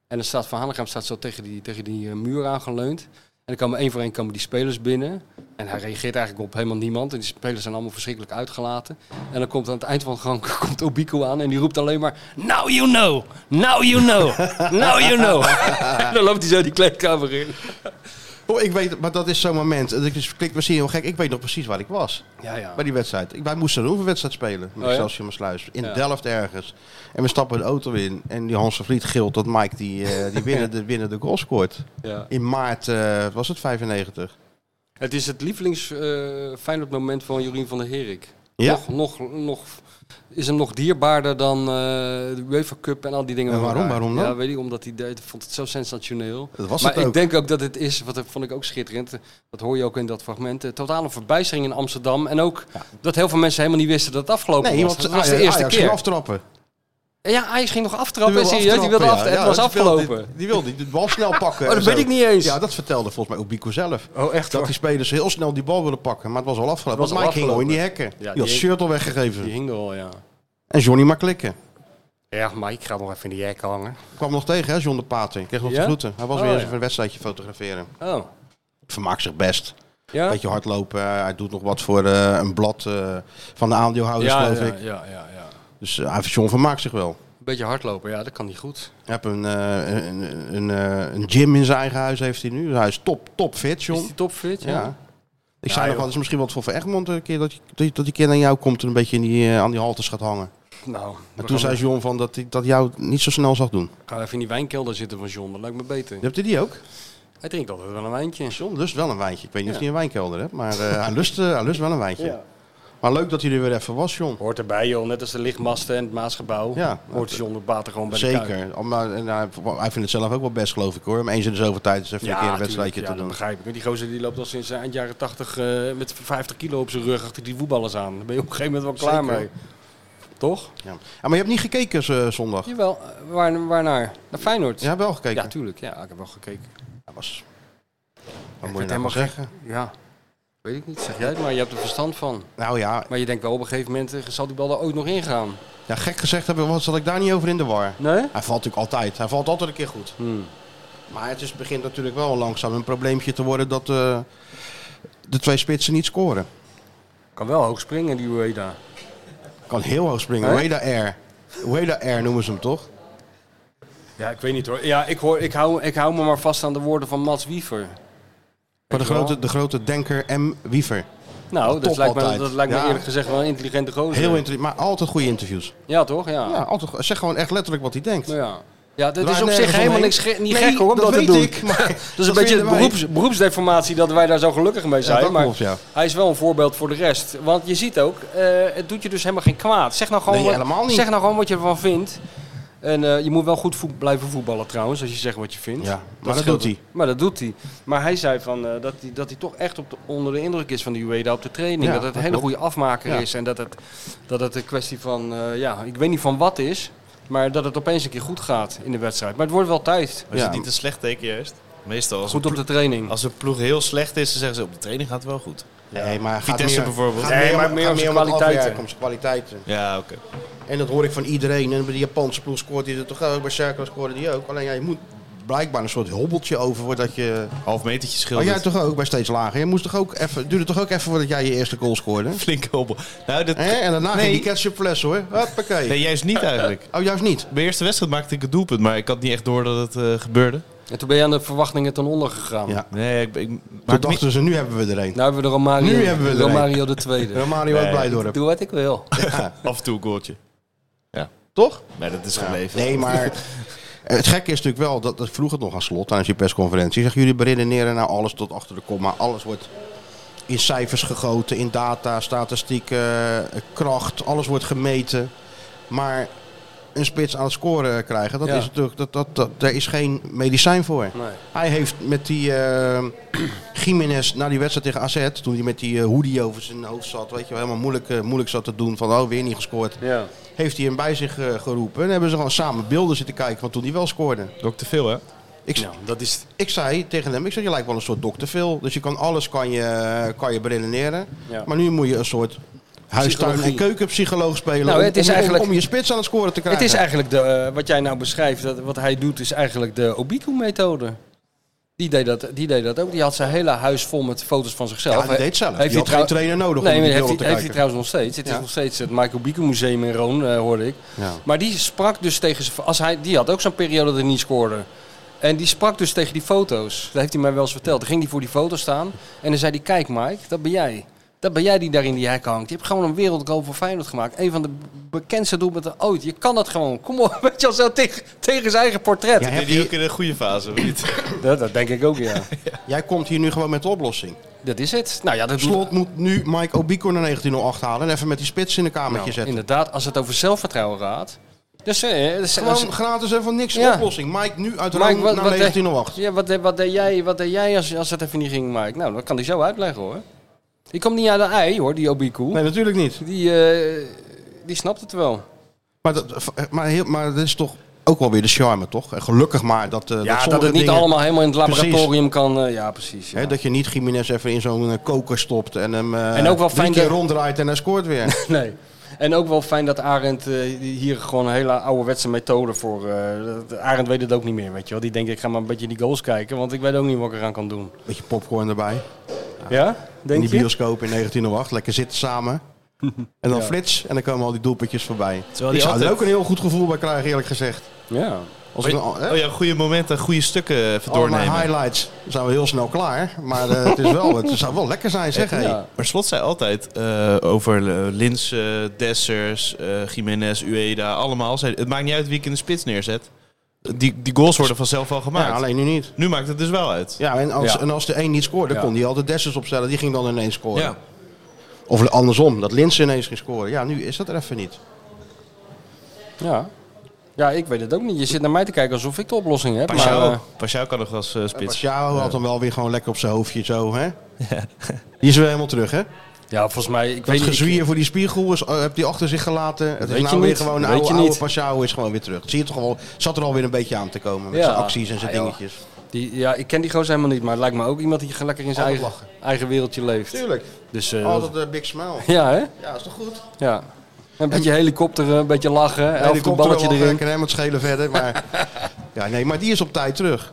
D: En dan staat Van Hanegem staat zo tegen die, tegen die eh, muur aangeleund. En dan komen één voor één komen die spelers binnen. En hij reageert eigenlijk op helemaal niemand. En die spelers zijn allemaal verschrikkelijk uitgelaten. En dan komt aan het eind van de gang komt Obiku aan en die roept alleen maar... Now you know! Now you know! Now you know! en dan loopt hij zo die kleedkamer in.
C: Oh, ik weet, maar dat is zo'n moment. Dat is- klinkt misschien heel gek. Ik weet nog precies waar ik was.
D: Ja, ja.
C: Bij die wedstrijd. Ik, wij moesten een oefenwedstrijd spelen. Met
D: Oh, ja?
C: Excelsior Sluis. In
D: Ja.
C: Delft ergens. En we stappen de auto in. En die Hans van Vliet gilt dat Mike die, eh, die binnen, de, binnen de goal scoort.
D: Ja.
C: In maart eh, was het 95.
D: Het is het lievelings eh Feyenoord moment van Jorien van der Herik.
C: Ja?
D: Nog, nog, nog, is hem nog dierbaarder dan eh, de UEFA Cup en al die dingen.
C: En
D: bij
C: waarom?
D: elkaar.
C: Waarom dan?
D: Ja, weet ik, omdat hij deed, vond het zo sensationeel.
C: Dat was
D: maar
C: het ook.
D: ik denk ook dat het is, wat vond ik ook schitterend, eh, dat hoor je ook in dat fragment, de totale verbijstering in Amsterdam. En ook dat heel veel mensen helemaal niet wisten dat het afgelopen
C: Nee,
D: was.
C: want
D: Dat was de
C: Ajax-
D: eerste
C: Ajax
D: keer.
C: ging aftrappen.
D: Ja, Ajax ging nog
C: Die
D: aftrappen.
C: wilde
D: serieus, die wilde
C: aftrappen,
D: aftrappen.
C: ja.
D: het was
C: Ja, die wilde-
D: afgelopen.
C: Die, die wilde die bal snel pakken.
D: Oh, dat
C: en zo.
D: weet ik niet eens.
C: Ja, dat vertelde volgens mij Obico zelf.
D: Oh, echt
C: Dat
D: hoor.
C: die spelers heel snel die bal willen pakken. Maar het was al afgelopen.
D: Het was
C: Want Mike ging
D: al
C: al in die
D: afgelopen.
C: hekken. die
D: die
C: had het
D: hing-
C: shirt al
D: Die
C: weggegeven.
D: hing er al, ja.
C: En Johnny maar klikken.
D: Ja, maar ik ga nog even in die hek hangen.
C: Ik kwam nog tegen, hè, John de Pater. Ik kreeg nog
D: Ja?
C: te groeten. Hij was
D: Oh,
C: weer
D: ja.
C: eens een wedstrijdje fotograferen.
D: Oh,
C: Vermaakt zich best.
D: ja?
C: Beetje hardlopen. eh, Hij doet nog wat voor eh, een blad eh, van de aandeelhouders,
D: ja,
C: geloof
D: ja,
C: ik.
D: ja, ja, ja.
C: Dus eh, hij- John vermaakt zich wel.
D: Een beetje hardlopen, ja, dat kan niet goed.
C: Hij heeft een, eh, een, een, een, eh, een gym in zijn eigen huis heeft hij nu. Dus hij is top, top fit,
D: Is
C: John.
D: die topfit? Ja.
C: Ja. Ik zei nog
D: joh.
C: wel, het is misschien wat voor Van Egmond een keer dat, je, dat, je- dat die keer naar jou komt en een beetje in die, eh, aan die halters gaat hangen.
D: Nou,
C: En toen zei John van dat hij dat jou niet zo snel zag doen.
D: Ga even in die wijnkelder zitten van John, dat lijkt me beter.
C: Hebt u die ook?
D: Hij drinkt altijd wel een wijntje.
C: John lust wel een wijntje. Ik weet niet
D: Ja.
C: of hij een wijnkelder hebt, maar eh, hij, lust, eh, hij lust wel een wijntje. Maar leuk dat hij er weer even was, John.
D: Hoort erbij, joh. Net als de lichtmasten en het Maasgebouw.
C: Ja.
D: hoort John de Bater gewoon bij de Kuip.
C: Zeker. Maar, en hij, hij vindt het zelf ook wel best, geloof ik hoor. Om eens in de zoveel tijd eens even een keer een
D: tuurlijk.
C: wedstrijdje
D: ja,
C: te
D: dat
C: doen.
D: begrijp ik. Die gozer die loopt al sinds eind jaren 80 eh, met 50 kilo op zijn rug achter die voetballers aan. Daar ben je op een gegeven moment wel klaar
C: Zeker.
D: mee. Toch?
C: Ja. Ah, maar je hebt niet gekeken eh, zondag?
D: Jawel. eh, Waar, waarnaar? Naar Feyenoord.
C: Je hebt wel gekeken?
D: Ja, tuurlijk. Ja, ik heb wel gekeken.
C: Dat was...
D: Ik
C: Wat moet je
D: vind
C: nou
D: helemaal
C: zeggen?
D: Ja. Weet ik niet. Zeg jij het maar. Je hebt er verstand van.
C: Nou ja,
D: Maar je denkt wel op een gegeven moment eh, zal die bal er ooit nog ingaan.
C: ja, gek gezegd hebben, wat zat ik daar niet over in de war.
D: Nee?
C: Hij valt natuurlijk altijd. Hij valt altijd een keer goed.
D: Hmm.
C: Maar het is, begint natuurlijk wel langzaam een probleempje te worden dat eh, de twee spitsen niet scoren.
D: Kan wel hoog springen die Ueda.
C: Kan heel hoog springen.
D: Hè?
C: Ueda Air. Ueda Air noemen ze hem toch?
D: Ja, ik weet niet hoor. Ja, ik, hoor, ik, hou, ik hou me maar vast aan de woorden van Mats Wiever.
C: Maar de
D: je wel?
C: grote, de grote denker M. Wiever.
D: Nou, dat
C: Top
D: lijkt, me,
C: altijd.
D: dat lijkt me
C: Ja.
D: eerlijk gezegd wel een intelligente gozer.
C: Heel interessant, maar altijd goede interviews.
D: Ja, toch? Ja.
C: Ja, altijd, go- zeg gewoon echt letterlijk wat hij denkt.
D: Nou ja. Ja, dat is
C: Draait
D: op zich
C: nergens
D: helemaal
C: omheen.
D: niks ge- niet
C: Nee,
D: gek hoor, om dat,
C: dat
D: te
C: weet
D: doen.
C: ik, maar
D: dat is
C: dat
D: een
C: vinden
D: beetje de
C: wij.
D: beroeps, beroepsdeformatie dat wij daar zo gelukkig mee zijn.
C: dat
D: maar
C: klopt, ja.
D: hij is wel een voorbeeld voor de rest. Want je ziet ook, eh, het doet je dus helemaal geen kwaad. Zeg nou gewoon,
C: Nee,
D: wat,
C: helemaal niet.
D: Zeg nou gewoon wat je ervan vindt. En eh, je moet wel goed voet- blijven voetballen trouwens, als je zegt wat je vindt.
C: Ja, maar dat
D: scheelt
C: doet
D: wel.
C: hij.
D: Maar dat doet hij. Maar hij zei van, eh, dat hij dat hij toch echt op de, onder de indruk is van die Ueda op de training.
C: Ja,
D: dat het een
C: dat
D: hele
C: klopt.
D: goede afmaker
C: Ja.
D: is. En dat het, dat het een kwestie van, eh, ja, ik weet niet van wat is. Maar dat het opeens een keer goed gaat in de wedstrijd. Maar het wordt wel tijd. Dus
E: Maar is
C: Ja.
E: het niet een slecht teken juist? Meestal als,
D: Goed
E: een
D: op de training.
E: plo- als een ploeg heel slecht is, dan zeggen ze op de training gaat het wel goed.
C: Nee, maar gaat
E: Vitesse
C: meer-
E: bijvoorbeeld.
C: Gaat
D: Nee,
C: meer,
D: maar
C: om-
D: meer
C: gaat
D: om zijn
C: om het
D: kwaliteiten.
C: afwerken, om zijn kwaliteiten.
E: Ja, oké.
C: En dat hoor ik van iedereen. En bij de Japanse ploeg scoort hij er toch ook. Bij Cercle scoorde die ook. Alleen ja, je moet blijkbaar een soort hobbeltje over voordat je...
E: Half metertje schil.
C: Maar Oh, jij toch ook bij steeds lager. Je moest toch ook even, duurde toch ook even voordat jij je eerste goal scoorde?
E: Flink hobbel. Nou, dat...
C: Hè? En daarna
E: Nee.
C: ging die ketchupfles hoor. Hoppakee.
E: Nee, juist niet eigenlijk.
C: Oh, juist niet.
E: Bij de eerste wedstrijd maakte ik een doelpunt, maar ik had niet echt door dat het eh, gebeurde.
D: En toen ben je aan de verwachtingen ten onder gegaan.
C: Ja.
E: Nee, ik, ik
C: Toen
E: maak niet-
C: dachten ze, nu hebben we er een.
D: Nu hebben we de Romario,
C: Nu hebben we er een.
D: Romario de tweede.
C: Romario uit
E: Nee.
C: Blijdorp.
D: Doe wat ik wil.
E: af en toe een goaltje.
C: Toch?
E: Maar dat is gebleven.
C: Nee, maar het gekke is natuurlijk wel, dat, dat vroeg het nog aan slot tijdens je persconferentie. Zeg, jullie beredeneren nou alles tot achter de komma. Alles wordt in cijfers gegoten, in data, statistieken, eh, kracht. Alles wordt gemeten. Maar een spits aan het scoren krijgen, dat
D: Ja.
C: is natuurlijk, dat, dat, dat, daar is geen medicijn voor.
D: Nee.
C: Hij heeft met die eh Jiménez na die wedstrijd tegen AZ, toen hij met die eh, hoodie over zijn hoofd zat, weet je wel, helemaal moeilijk, eh, moeilijk zat te doen van, oh, weer niet gescoord
D: Ja.
C: heeft hij hem bij zich eh, geroepen. En hebben ze gewoon samen beelden zitten kijken van toen hij wel scoorde.
E: Ook te veel, hè?
C: Ik,
D: dat is...
C: ik zei tegen hem, ik zei, je lijkt wel een soort dokter Phil. Dus je kan alles kan je, eh, kan je beredeneren.
D: Ja.
C: Maar nu moet je een soort huistuin- en
D: Psychologie.
C: keukenpsycholoog spelen.
D: Nou,
C: om-
D: het is
C: om, om-
D: eigenlijk-
C: om, je spits aan het scoren te
D: Het
C: krijgen.
D: is eigenlijk, de, eh, wat jij nou beschrijft, dat, wat hij doet, is eigenlijk de Obiku-methode. Die deed, dat, die deed dat ook. Die had zijn hele huis vol met foto's van zichzelf.
C: Ja, hij deed het zelf. Die had geen
D: trouw-
C: trainer nodig
D: Nee,
C: om
D: maar
C: die
D: heeft,
C: beelden
D: hij,
C: te
D: heeft hij
C: kijken.
D: trouwens nog steeds. Het
C: Ja.
D: is nog steeds het Michael Bieke Museum in Roon, eh, hoorde ik.
C: Ja.
D: Maar die sprak dus tegen zijn... Als hij, die had ook zo'n periode dat hij niet scoorde. En die sprak dus tegen die foto's. Dat heeft hij mij wel eens verteld. Dan ging hij voor die foto staan. En dan zei hij, kijk Mike, dat ben jij. Dat ben jij die daar in die hek hangt. Je hebt gewoon een wereldgoal voor Feyenoord gemaakt. Een van de bekendste doelpunten ooit. Je kan dat gewoon. Kom op, weet je al zo tegen, tegen zijn eigen portret.
C: Jij,
E: Heb
C: hebt
E: je
C: hier-
E: ook in een goede fase, of niet?
D: Dat, dat denk ik ook, ja.
C: jij komt hier nu gewoon met de oplossing.
D: dat is het. Nou ja, dat doet-
C: Slot moet nu Mike Obiko naar 1908 halen en even met die spits in een kamertje
D: Nou,
C: zetten.
D: Inderdaad, als het over zelfvertrouwen gaat. Dus, eh, dus- als-
C: Gewoon gratis en van niks de
D: Ja.
C: oplossing. Mike nu uit
D: Mike,
C: Rome
D: wat-
C: naar
D: wat deed-
C: 1908.
D: Ja, wat, deed- wat deed jij, wat deed jij als, als het even niet ging, Mike? Nou, dat kan hij zo uitleggen, hoor. Die komt niet uit de ei, hoor, die Obiku.
C: Nee, natuurlijk niet.
D: Die, eh, die snapt het wel.
C: Maar dat, eh, maar, heel, maar dat is toch ook wel weer de charme, toch? En Gelukkig maar dat, eh
D: Ja, dat,
C: sommige
D: het niet
C: dingen,
D: allemaal helemaal in het
C: Precies.
D: laboratorium kan... eh, ja, precies. ja.
C: Hè, dat je niet Jiménez even in zo'n eh, koker stopt en hem eh
D: En ook wel
C: drie
D: fijn
C: keer
D: dat-
C: ronddraait en hij scoort weer.
D: Nee. En ook wel fijn dat Arend eh, hier gewoon een hele ouderwetse methode voor... eh, dat- Arend weet het ook niet meer, weet je wel. Die denkt, ik ga maar een beetje die goals kijken, want ik weet ook niet wat ik eraan kan doen.
C: Beetje popcorn erbij.
D: Ja?
C: In
D: Denk
C: die
D: je?
C: bioscoop in 1908. Lekker zitten samen. En dan flits en dan komen al die doelpuntjes voorbij.
E: Terwijl
C: ik
E: die
C: zou
E: altijd-
C: er ook een heel goed gevoel bij krijgen, eerlijk gezegd.
D: Ja.
C: Als ik een- hè?
E: Oh ja, goede momenten, goede stukken eh, even
C: Al mijn
E: doornemen.
C: highlights zijn we heel snel klaar. Maar eh, het, is wel, het zou wel lekker zijn, zeg. hé.
D: Ja.
E: Maar Slot zei altijd eh, over eh, Lins, eh, Dessers, eh Jiménez, Ueda, allemaal. Zei, het maakt niet uit wie ik in de spits neerzet. Die, die goals worden vanzelf al gemaakt.
C: Ja, alleen nu niet.
E: Nu maakt het dus wel uit.
C: Ja, en als,
D: Ja.
C: En als de één niet scoorde,
D: Ja.
C: kon hij altijd Dessers opstellen. Die ging dan ineens scoren. Of andersom, dat Linse ineens ging scoren. Ja, nu is dat er even niet.
D: Ja. ja, ik weet het ook niet. Je zit naar mij te kijken alsof ik de oplossing heb. Maar,
E: Pashao
D: eh,
E: Pashao kan nog wel eens eh, spits.
C: Pashao had hem wel weer gewoon lekker op zijn hoofdje zo, hè? Die is weer helemaal terug, hè?
D: ja, volgens mij... Ik
C: Dat
D: weet niet, ik-
C: gezwier voor die spiegel is, eh, heb hij achter zich gelaten. Het
D: Weet
C: is
D: je
C: nou weer
D: niet,
C: gewoon
D: weet
C: oude,
D: je
C: oude
D: niet.
C: Pashao is gewoon weer terug. Zie je toch al, zat er alweer een beetje aan te komen met
D: Ja.
C: zijn acties en zijn
D: Ah, joh.
C: dingetjes.
D: Die, ja, ik ken die gozer helemaal niet, maar het lijkt me ook iemand die gewoon lekker in zijn
C: Altijd
D: eigen, eigen wereldje leeft.
C: Tuurlijk,
D: Dus, eh, dat-
C: altijd een big smile.
D: ja, hè?
C: Ja, is toch goed?
D: Ja. Een beetje helikopteren, een beetje lachen, elf een balletje
C: Ik
D: erin.
C: kan hem het schelen verder, maar... ja, nee, maar die is op tijd terug.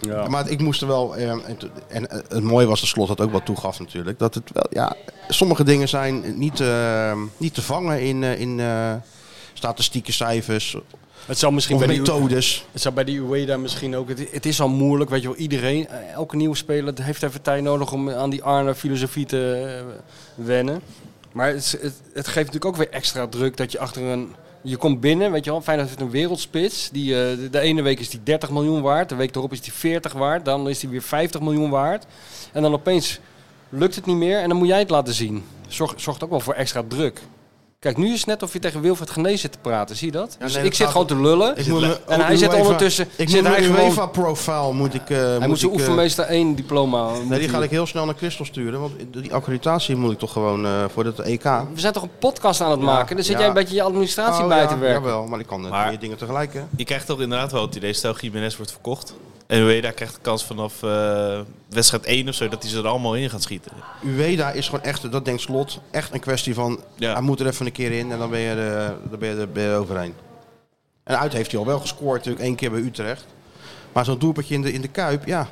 D: Ja.
C: Maar ik moest er wel... eh, en, to- en eh, het mooie was de slot dat ook wel toegaf natuurlijk. Dat het wel, ja, sommige dingen zijn niet, eh, niet te vangen in, eh, in eh, statistieke cijfers
D: Het zou misschien
C: of
D: bij die,
C: methodes.
D: het zou bij die Ueda misschien ook... Het, het is al moeilijk, weet je wel. Iedereen, eh, elke nieuwe speler heeft even tijd nodig om aan die Arne filosofie te eh, wennen. Maar het, is- het, het geeft natuurlijk ook weer extra druk dat je achter een... Je komt binnen, weet je wel, Feyenoord heeft een wereldspits. Die, eh, de, de ene week is die 30 miljoen waard, de week erop is die 40 waard, dan is die weer 50 miljoen waard. En dan opeens lukt het niet meer en dan moet jij het laten zien. Zorgt, zorgt ook wel voor extra druk. Kijk, nu is het net of je tegen Wilfred Genees zit te praten, zie je dat?
C: Ja,
D: dus
C: nee,
D: ik
C: dat
D: zit
C: gaat-
D: gewoon te lullen.
C: Ik moet me-
D: En hij
C: op
D: zit
C: UEFA
D: ondertussen-
C: Ik
D: zit
C: moet
D: hij
C: mijn
D: gewoon-
C: UEFA profile moet ik. eh,
D: Hij moet zijn
C: ik, eh,
D: oefenmeester 1 diploma. moet
C: Nee, die
D: hij-
C: ga ik heel snel naar Christel sturen, want die accreditatie moet ik toch gewoon eh, voor dat EK.
D: We zijn toch een podcast aan het maken? Dan zit
C: ja.
D: jij een beetje je administratie
C: Oh,
D: bij
C: ja,
D: te werken.
C: Jawel, maar ik kan eh,
E: Maar-
C: twee dingen tegelijk. Hè.
E: Je krijgt toch inderdaad wel het idee, stel Jiménez wordt verkocht. En Ueda krijgt de kans vanaf eh, wedstrijd 1 of zo, dat hij ze er allemaal in gaat schieten.
C: Ueda is gewoon echt, dat denkt Slot, echt een kwestie van.
E: Ja.
C: Hij moet er even een keer in en dan ben je, eh, dan ben je, er- ben je er overheen. En uit heeft hij al wel gescoord, natuurlijk één keer bij Utrecht. Maar zo'n doelpuntje in de, in de kuip, ja.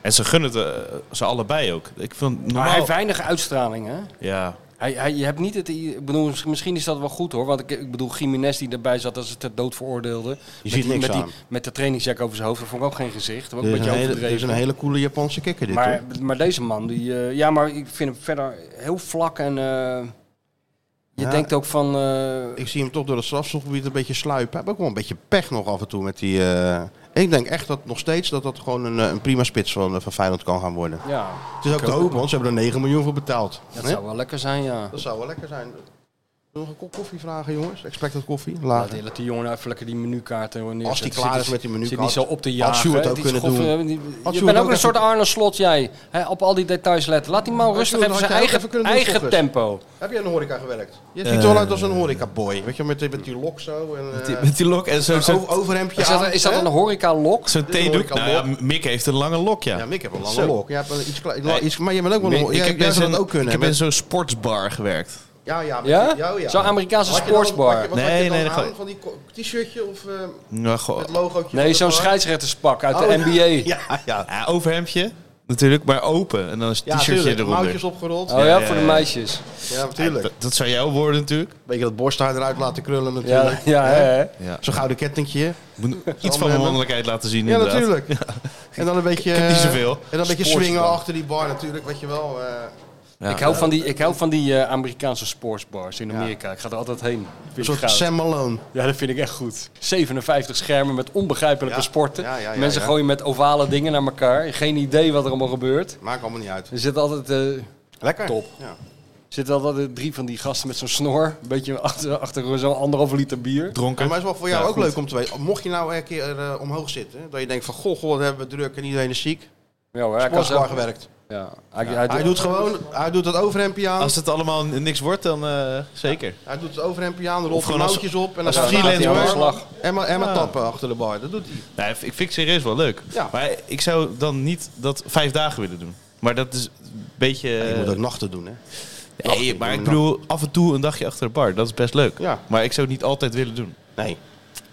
E: En ze gunnen het eh, ze allebei ook. Ik vind normaal...
D: Maar hij heeft weinig uitstraling, hè?
E: Ja,
D: Hij, hij, je hebt niet het... i- Ik bedoel, misschien- misschien is dat wel goed, hoor. Want ik, ik bedoel, Jiménez die erbij zat als het ter dood veroordeelde. Je met
C: ziet
D: die,
C: niks
D: met,
C: aan.
D: met de trainingsjack over zijn hoofd. Dat vond ik ook geen gezicht. Dat was
C: Dit is,
D: ook een
C: een
D: beetje
C: hele, dit is
D: overdreven.
C: een hele coole Japanse kikker dit.
D: maar,
C: hoor.
D: maar deze man, die... eh, ja, maar ik vind hem verder heel vlak en... eh, je
C: Ja.
D: denkt ook van... eh,
C: Ik zie hem toch door het strafschopgebied een beetje sluipen. Hij heeft ook wel een beetje pech nog af en toe met die... eh, Ik denk echt dat nog steeds dat dat gewoon een, eh, een prima spits van, eh, van Feyenoord kan gaan worden.
D: ja,
C: Het is ook te hopen, want ze hebben er 9 miljoen voor betaald.
D: dat
C: Hè?
D: zou wel lekker zijn, ja.
C: dat zou wel lekker zijn. Zullen we Nog een kop koffie vragen, jongens? Expected koffie?
D: Ja,
C: Laat.
D: die- laat die jongen even lekker die menukaart eh, neerzetten.
C: Als die klaar
D: Zit-
C: is met die
D: Zit
C: menukaart,
D: niet zo op te
C: had
D: jagen.
C: Sjoerd
D: hè.
C: ook
D: Die
C: kunnen
D: schof-
C: doen.
D: eh, die-
C: Sjoerd
D: Je bent
C: ook
D: ook een soort
C: even-
D: Arne Slot, jij. Hè, op al die details letten. Laat die man
C: Had
D: rustig
C: Sjoerd
D: even
C: ook
D: zijn
C: even
D: eigen,
C: kunnen doen,
D: eigen
C: volgens.
D: tempo.
C: Heb jij in de horeca gewerkt? Je ziet er wel uit als een horeca-boy. Weet je, met, die- met die lok zo. En,
E: met
C: eh,
E: die, met die lok en zo-
C: een
E: zo'n
C: o- overhemdje
D: Is dat,
C: aan,
D: is dat
C: hè?
D: een horeca-lok?
E: zo
C: is een
E: theedoek. Nou ja,
C: horeca
E: Mick heeft een lange lok, ja.
C: Ja, Mick heeft een lange
E: Zo.
C: lok. Jij hebt wel iets klein,
E: Nee.
C: iets, maar jij bent ook wel
E: Mick-
C: een jij-
E: ik
C: jij
E: heb
C: zou dat
E: in-
C: ook kunnen.
E: ik heb
C: met-
E: in zo'n sportsbar gewerkt.
C: Ja, ja. met-
D: Ja?
C: ja, ja.
D: Zo'n Amerikaanse
C: Had je dan-
D: sportsbar.
C: had je- wat
E: Nee,
C: had je dan
E: nee, Oh. dat
C: aan?
E: ga-
C: Van die ko- t-shirtje of eh
E: Ja, Nou, goh.
C: het logootje?
D: Nee,
C: van
D: zo'n
C: de bar?
D: scheidsrechterspak uit de
C: Oh, ja.
D: NBA.
C: Ja, ja.
E: Ja, overhemdje natuurlijk, maar open. En dan is het
C: Ja,
E: t-shirtje
C: tuurlijk.
E: eronder.
C: Mouwtjes opgerold.
D: Oh
E: Ja,
D: ja,
E: ja,
D: voor de
E: ja.
D: meisjes.
C: Ja, natuurlijk.
E: Dat, dat zou jouw worden natuurlijk.
C: Beetje dat borsthaar eruit laten krullen
D: Ja,
C: natuurlijk.
D: ja, hè, hè.
E: Ja.
C: Zo'n gouden kettingje.
E: Moet iets van
C: hebben.
E: mannelijkheid laten zien
C: eh, Ja,
E: inderdaad.
C: natuurlijk. En dan een beetje...
E: heb niet
C: eh,
E: zoveel.
C: En dan een beetje
D: Sportsbar.
C: swingen achter die bar natuurlijk, weet je wel. eh.
E: Ja.
D: Ik hou van die, ik hou van die eh, Amerikaanse sportsbars in Amerika. Ik ga er altijd heen. Vind
C: Een
D: ik
C: soort
D: goud.
C: Sam Malone.
D: Ja, dat vind ik echt goed. 57 schermen met onbegrijpelijke
C: Ja,
D: sporten.
C: ja, ja, ja,
D: Mensen
C: ja.
D: gooien met ovale dingen naar elkaar. Geen idee wat er allemaal gebeurt.
C: Maakt allemaal niet uit.
D: Er zitten altijd, eh,
C: Lekker.
D: Top.
C: Ja.
D: zitten altijd eh, drie van die gasten met zo'n snor. Een beetje achter, achter zo'n anderhalf liter bier.
E: Dronken.
C: Ja, maar het is wel voor jou
E: Ja,
C: ook
E: goed.
C: leuk om te weten. Mocht je nou een keer eh, omhoog zitten, hè, dat je denkt van goh, goh, wat hebben we druk en iedereen is ziek.
D: Ja, hoor, hij kan
C: Sportsbar
D: zelf-
C: gewerkt.
D: Ja, hij, hij
C: Hij doet gewoon, hij doet dat overhemdje aan.
E: Als het allemaal niks wordt, dan eh, zeker.
C: Hij doet het overhemdje aan, rolt de
E: gewoon als-
C: mouwtjes op en dan
E: als
C: gaat hij aan
E: freelancer
C: de bar.
D: slag.
C: En maar, en maar
E: Ja.
C: tappen achter de bar. Dat doet hij.
E: Nou, ik vind het serieus wel leuk.
C: Ja.
E: Maar ik zou dan niet dat vijf dagen willen doen. Maar dat is een beetje...
D: Eh.
C: je moet ook nachten doen, hè?
E: nee, maar ik bedoel, af en toe een dagje achter de bar. Dat is best leuk.
C: Ja.
E: Maar ik zou het niet altijd willen doen.
C: Nee.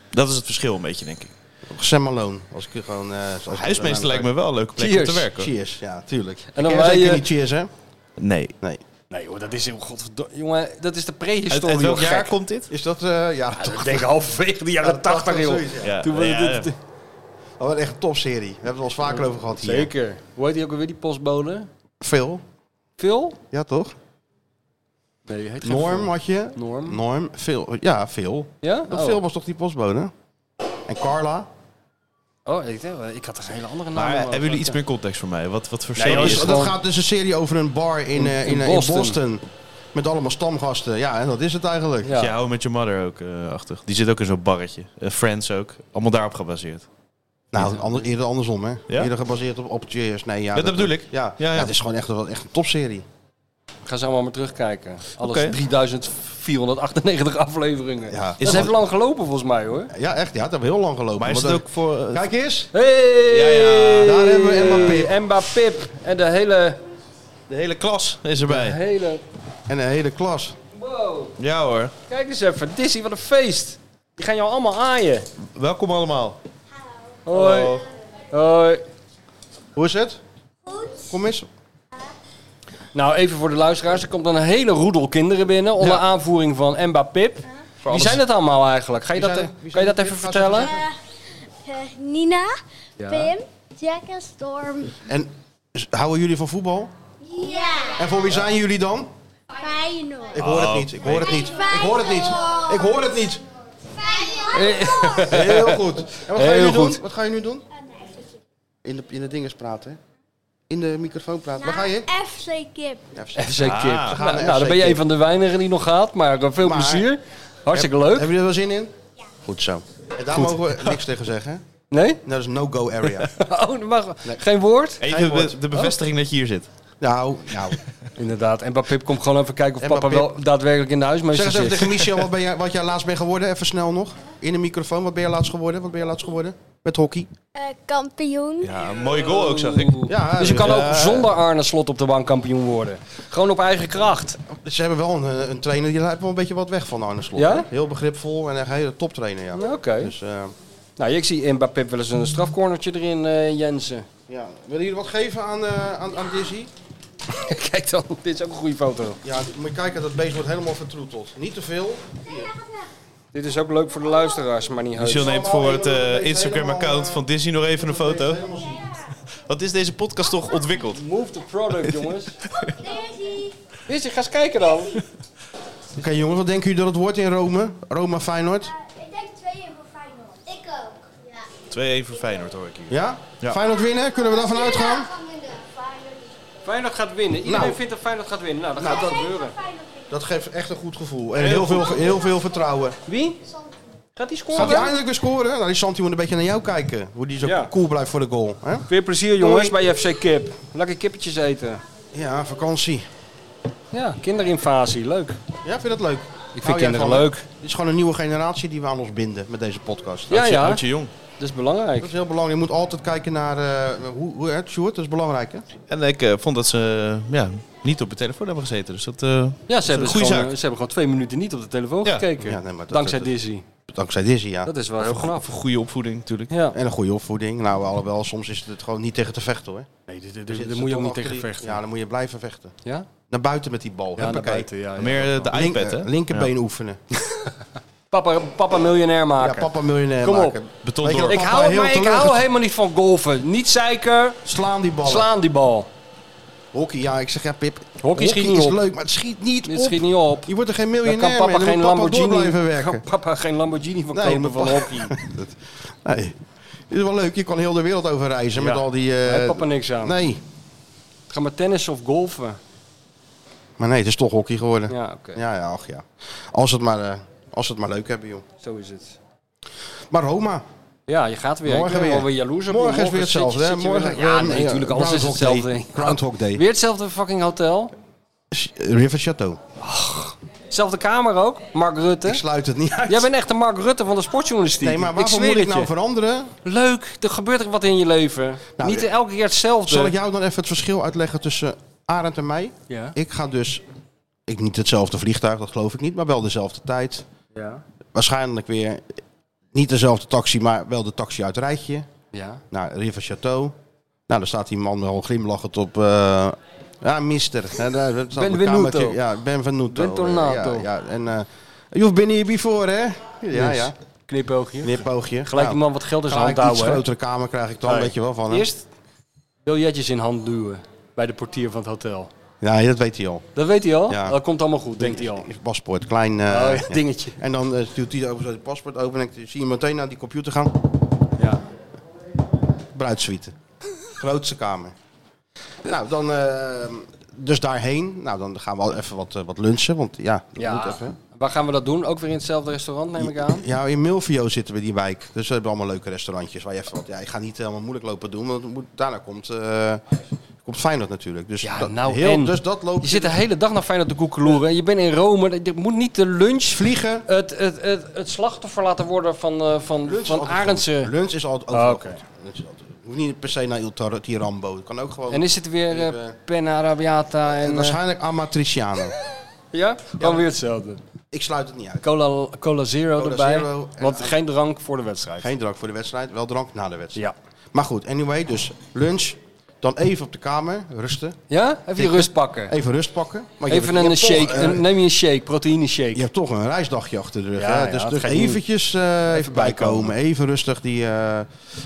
E: Dat is het verschil een beetje, denk ik.
C: Sam Malone. Als ik gewoon... eh, als ik-
E: Huismeester lijkt me wel een leuke plek
D: Cheers.
E: om te werken. hoor.
C: Cheers, ja, tuurlijk.
D: dan
C: En dan
D: wij,
C: wij... Zeker
D: eh,
C: niet cheers, hè?
E: Nee.
C: Nee.
D: Nee hoor, dat is heel godverdomme. Jongen, dat is de
E: Uit,
D: prehistorie.
E: uit welk
D: joh,
E: jaar
D: gek.
E: komt dit?
C: Is dat... eh, ja, toch.
D: Ik denk halverwege de jaren 80, joh.
C: zoiets, ja.
E: Ja.
D: Toen we-
E: ja,
D: dit-
E: ja.
C: Oh, wat echt een topserie. We hebben het al eens vaker over gehad hier.
D: Zeker. Hoe heet die ook alweer, die postbode?
C: Veel.
D: Phil?
C: Ja, toch?
D: Nee, die heet geen
C: Norm
D: Phil.
C: had je.
D: Norm.
C: Norm. Veel. Ja, veel.
D: Ja?
C: Dat
D: Oh.
C: veel was toch die postbode? En Carla?
D: Oh, ik, eh, ik had er een hele andere naam.
E: Maar
D: in mijn
E: hebben jullie
D: hoofd.
E: iets meer context voor mij? Wat, wat voor
D: Nee,
E: serie
D: joh,
E: is
C: Dus
D: is
E: het?
C: dat
D: gewoon-
C: gaat dus een serie over een bar in, eh, in,
D: in
C: eh, in Boston.
D: Boston.
C: Met allemaal stamgasten. Ja, en dat is het eigenlijk.
D: Ja.
E: Ja, How I Met Your Mother ook eh, achtig. Die zit ook in zo'n barretje. Eh, Friends ook. Allemaal daarop gebaseerd.
C: Nou, ander- eerder andersom, hè?
E: Ja?
C: Eerder gebaseerd op, op Cheers. Nee, ja,
E: Ja, dat bedoel ik.
C: Ja, ja,
E: Ja, ja.
C: het is gewoon echt, een- echt een topserie.
D: Ga zo maar maar terugkijken. Alles
E: Oké.
D: 3498 afleveringen.
C: Ja.
D: Dat
E: Is
D: heeft
E: het-
D: lang gelopen volgens mij hoor.
C: Ja, echt. Ja, het heeft heel lang gelopen.
E: Maar is
C: Want,
E: het ook voor... eh,
C: eh, Kijk eens.
D: Hey!
E: Ja, ja.
C: Daar hebben we Emma Pip.
D: Emma Pip. En de hele...
E: de hele klas is
D: De
E: erbij.
D: hele...
C: En de hele klas.
D: Wow.
E: Ja hoor.
D: Kijk eens even. Disney, wat een feest. Die gaan jou allemaal aaien.
E: Welkom allemaal.
D: Hoi.
C: Oh.
E: Hallo.
D: Hoi.
C: Hoe is het? Kom eens.
D: Nou, even voor de luisteraars. Er komt een hele roedel kinderen binnen. Onder
C: Ja.
D: aanvoering van Emma Pip. Wie zijn het allemaal eigenlijk? Ga je
C: Wie
D: dat,
C: zijn-
D: eh,
C: wie zijn
D: kan je dat
C: het?
D: even
C: Wie gaan ze
D: vertellen?
G: Eh, Nina,
D: Ja.
G: Pim, Jack en Storm.
C: En s- houden jullie van voetbal?
G: Ja.
C: En voor wie zijn jullie dan?
G: Feyenoord.
C: Ik hoor het niet. Ik hoor het niet. Ik hoor het niet. Ik hoor het niet. Heel goed. En wat ga je
D: Heel
C: nu doen?
D: goed.
C: Wat ga je nu doen? In de, in de dinges praten. hè? In de microfoon praten.
H: Nou,
C: Waar ga je?
H: eh,
G: FC Kip.
C: Ja, FC.
D: FC Kip.
E: Ah,
C: gaan naar
D: nou, nou, dan
C: FC
D: ben je
C: Kip.
D: een van de weinigen die nog gaat. Maar eh, veel
C: Maar-
D: plezier. Hartstikke leuk.
C: Hebben jullie er wel zin in? Goed zo. En daar mogen we niks tegen zeggen. hè?
D: Nee?
C: Dat is no-go area.
D: Oh, dat mag. Geen woord?
E: Even de, de bevestiging dat je hier zit.
C: nou, nou.
D: Inderdaad. En Pip komt gewoon even kijken of
C: Emma
D: papa
C: Pip.
D: wel daadwerkelijk in de
C: Zeg
D: huismeester
C: eens even
D: zit.
C: tegen Michel wat, ben jij, wat jij laatst bent geworden. Even snel nog. In de microfoon. Wat ben jij laatst geworden? Wat ben jij laatst geworden? Met hockey.
G: Eh, kampioen.
E: Ja, een mooie goal ook zag ik.
C: Ja,
D: dus je kan
C: eh,
D: ook zonder Arne Slot op de bank kampioen worden. Gewoon op eigen kracht.
C: Ze hebben wel een, eh, een trainer die lijkt wel een beetje wat weg van Arne Slot.
D: Ja?
C: hè? Heel begripvol en echt een hele toptrainer, ja.
D: Oké.
C: Dus, eh,
D: Nou, ik zie Mbappé Pip wel eens een strafcornertje erin, eh, Jensen.
C: ja. Willen jullie wat geven aan, eh, aan, aan Dizzy?
D: Kijk dan, dit is ook een goede foto.
C: Ja, moet je kijken, dat beest wordt helemaal vertroeteld. Niet te veel.
D: Dit is ook leuk voor de luisteraars, maar niet heus.
E: Michel neemt voor het eh, Instagram-account van Disney nog even een foto. Wat is deze podcast toch ontwikkeld?
D: Move the product, jongens. Wist je, ga eens kijken dan.
C: Oké jongens, wat denken jullie dat het wordt in Rome? Roma Feyenoord?
G: eh, Ik denk tweeën voor Feyenoord. Ik ook. Ja.
E: 2-1 voor Feyenoord hoor ik hier.
C: Ja?
E: Ja.
C: Feyenoord winnen? Kunnen we daarvan uitgaan?
D: Feyenoord gaat winnen. Iedereen
C: Nou.
D: vindt dat Feyenoord gaat winnen. Nou, dat gaat ook gebeuren.
C: Dat geeft echt een goed gevoel. En heel veel, heel veel vertrouwen.
D: Wie? Gaat die
C: Gaat hij
D: scoren?
C: eindelijk weer scoren? Nou, die Santi moet een beetje naar jou kijken. Hoe die zo
D: Ja.
C: cool blijft voor de goal. Hè?
D: Weer plezier, jongens, bij FC Kip. Lekker kippetjes eten.
C: Ja, vakantie.
D: Ja, kinderinvasie. Leuk.
C: Ja, vind je dat leuk?
D: Ik vind
C: Hou jij
D: kinderen
C: van-
D: leuk.
C: Het is gewoon een nieuwe generatie die we aan ons binden met deze podcast.
D: Ja,
E: Houd je-
D: ja.
E: houd je jong.
D: Dat is belangrijk.
C: Dat is heel belangrijk. Je moet altijd kijken naar eh, hoe, hoe het Sjoerd, dat is belangrijk hè?
E: En ik eh, vond dat ze eh, ja, niet op de telefoon hebben gezeten. Dus dat, eh,
D: Ja, ze hebben,
E: een
D: gewoon,
E: goede zaak.
D: eh, ze hebben gewoon twee minuten niet op de telefoon
E: Ja.
D: gekeken.
C: Ja, nee, maar dat-
D: Dankzij
C: dat-
D: Dizzy.
C: Dankzij Dizzy, ja.
D: Dat is wel heel knap.
E: voor goede opvoeding natuurlijk.
D: Ja.
C: En een goede opvoeding. Nou, alhoewel, soms is het gewoon niet tegen te vechten hoor.
D: Nee, daar
C: Er zitten
D: moet je
C: toch
D: ook niet
C: achter
D: tegen
C: die-
D: vechten.
C: Ja, dan moet je blijven vechten.
D: Ja?
C: Naar buiten met die bal. Huppakee.
D: ja.
E: Meer eh, de
C: Link-
E: iPad hè?
C: eh, linkerbeen oefenen.
D: Papa, papa miljonair
C: Ja,
D: maken.
C: papa miljonair
D: Kom op.
C: maken.
E: Beton
C: Weet je
E: door.
C: wat
D: Ik
C: papa
D: hou,
C: heel
D: maar ik
C: teleurgesteld-
D: hou helemaal niet van golven. Niet zeiken,
C: Slaan die ballen.
D: slaan die bal.
C: Hockey, ja, ik zeg ja Pip. Hockey,
D: schiet niet
C: is
D: op.
C: leuk, maar het schiet niet
D: Dit
C: op.
D: schiet niet op.
C: Je wordt er geen
D: Dan
C: miljonair
D: kan
C: meer.
D: papa
C: Dan
D: geen
C: moet papa door
D: Lamborghini
C: blijven
D: kan
C: werken.
D: papa geen Lamborghini van
C: Nee, maar
D: kopen van
C: papa-
D: hockey.
C: Nee. Het is wel leuk, je kan heel de wereld over reizen met
D: Ja.
C: al die... eh,
D: Daar heeft papa niks aan.
C: Nee,
D: Ga maar tennissen of golfen.
C: maar nee, het is toch hockey geworden. Ja,
D: Ja, oké.
C: ja, ach ja. Als het maar, eh, als het maar leuk hebben, joh.
D: Zo is het.
C: Maar Roma,
D: Ja, je gaat weer.
C: Morgen
D: ik ben
C: weer.
D: wel weer jaloers op je.
C: morgen is weer
D: zit je-
C: hetzelfde. hè?
D: zit je weer-
C: Morgen,
D: Ja,
C: eh,
D: nee, natuurlijk. Alles is
C: Groundhog Day.
D: hetzelfde.
C: Groundhog Day.
D: Weer hetzelfde fucking hotel.
C: River Chateau.
D: Zelfde kamer ook. Mark
C: Ik
D: Rutte.
C: sluit het niet uit.
D: Jij bent echt de Mark Rutte van de sportjournalistiek.
C: Nee, maar
D: ik
C: waarvoor
D: zweer
C: moet ik
D: het
C: nou
D: je.
C: veranderen?
D: Leuk, er gebeurt er wat in je leven.
C: Nou,
D: Niet
C: ja.
D: elke keer hetzelfde.
C: Zal ik jou dan even het verschil uitleggen tussen Arend en mij?
D: Ja.
C: Ik ga dus... Ik niet hetzelfde vliegtuig, dat geloof ik niet, maar wel dezelfde tijd.
D: Ja.
C: Waarschijnlijk weer niet dezelfde taxi, maar wel de taxi uit Rijtje.
D: Ja.
C: Naar River Chateau. Nou, daar staat die man al glimlachend op... eh, ja, mister. Ja, daar staat een
D: Benvenuto.
C: kamertje. Ja, Benvenuto.
D: Bentornato.
C: Ja, ja, en... eh, je hoeft binnen hier before, hè? Ja,
D: Yes.
C: ja.
D: Knipoogje.
C: Knipoogje.
D: Dus Gelijk
C: Nou,
D: iemand wat geld in zijn hand
C: gelijk iets
D: houden. hè.
C: grotere kamer krijg ik dan,
D: Nee.
C: weet je wel, van hem.
D: Eerst biljetjes in hand duwen bij de portier van het hotel.
C: Ja, dat weet hij al.
D: Dat weet hij al.
C: Ja.
D: Dat komt allemaal goed, denkt hij al.
C: Is paspoort, klein... eh,
D: Oh,
C: ja.
D: ja, dingetje.
C: En dan eh, stuurt hij over zo het paspoort open en ik zie je meteen naar die computer gaan.
D: Ja.
C: bruidsuite. Grootste kamer. Nou, dan eh, dus daarheen. Nou, dan gaan we al even wat, eh, wat lunchen, want ja, dat
D: Ja.
C: moet even.
D: Waar gaan we dat doen? Ook weer in hetzelfde restaurant, neem ik aan.
C: Ja, in Milvio zitten we die wijk. Dus we hebben allemaal leuke restaurantjes. Waar je even wat, ja, ik ga niet helemaal moeilijk lopen doen, want het moet- daarna komt, eh komt Feyenoord natuurlijk. Dus,
D: Ja,
C: dat,
D: nou
C: heel,
D: en?
C: dus dat loopt...
D: Je zit de hele dag naar Feyenoord te koekeloeren. En je bent in Rome. Je moet niet de lunch
C: Vliegen.
D: het, het, het, het slachtoffer laten worden van, eh, van,
C: Lunch is
D: van
C: altijd goed.
D: Arendse.
C: Lunch is altijd overal
D: Oh, oké.
C: goed. Lunch is altijd goed. Hoeft niet per se naar Il Tor- Tirambo. Het kan ook gewoon...
D: En is het weer
C: Ik,
D: eh,
C: eh,
D: Penna Arabiata en... eh,
C: waarschijnlijk Amatriciano.
D: ja? Gewoon weer hetzelfde.
C: ik sluit het niet uit.
D: Cola, cola Zero
C: Cola
D: erbij.
C: Zero en-
D: want geen drank voor de wedstrijd.
C: Geen drank voor de wedstrijd, wel drank na de wedstrijd.
D: Ja.
C: Maar goed, anyway, dus lunch. Dan even op de kamer, rusten.
D: Ja? Even je rust pakken.
C: Even rust pakken. Maar je
D: Even
C: hebt- je
D: een
C: hebt toch,
D: shake.
C: eh,
D: een- neem je een shake, proteïne shake.
C: je hebt toch een reisdagje achter de rug.
D: Ja,
C: hè?
D: ja,
C: dus
D: dat
C: dus
D: ga je doen.
C: eventjes eh, even bijkomen.
D: bijkomen.
C: Even rustig die eh,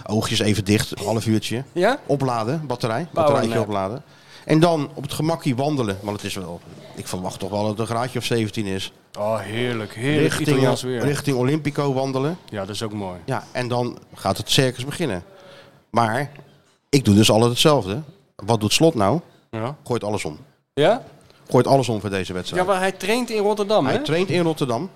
C: oogjes even dicht. Een half uurtje.
D: Ja?
C: Opladen, batterij.
D: Power
C: Batterijtje
D: nap.
C: opladen. En dan op het gemakkie wandelen. Want het is wel... Ik verwacht toch wel dat het een graadje of 17 is.
D: Oh, heerlijk. Heerlijk
C: Richting,
D: Italiaans weer.
C: richting Olympico wandelen.
D: Ja, dat is ook mooi.
C: Ja, en dan gaat het circus beginnen. Maar ik doe dus altijd hetzelfde. Wat doet Slot nou?
D: Ja?
C: Gooit alles om.
D: Ja?
C: Gooit alles om voor deze wedstrijd.
D: Ja, maar hij traint in Rotterdam,
C: Hij
D: hè?
C: traint in Rotterdam.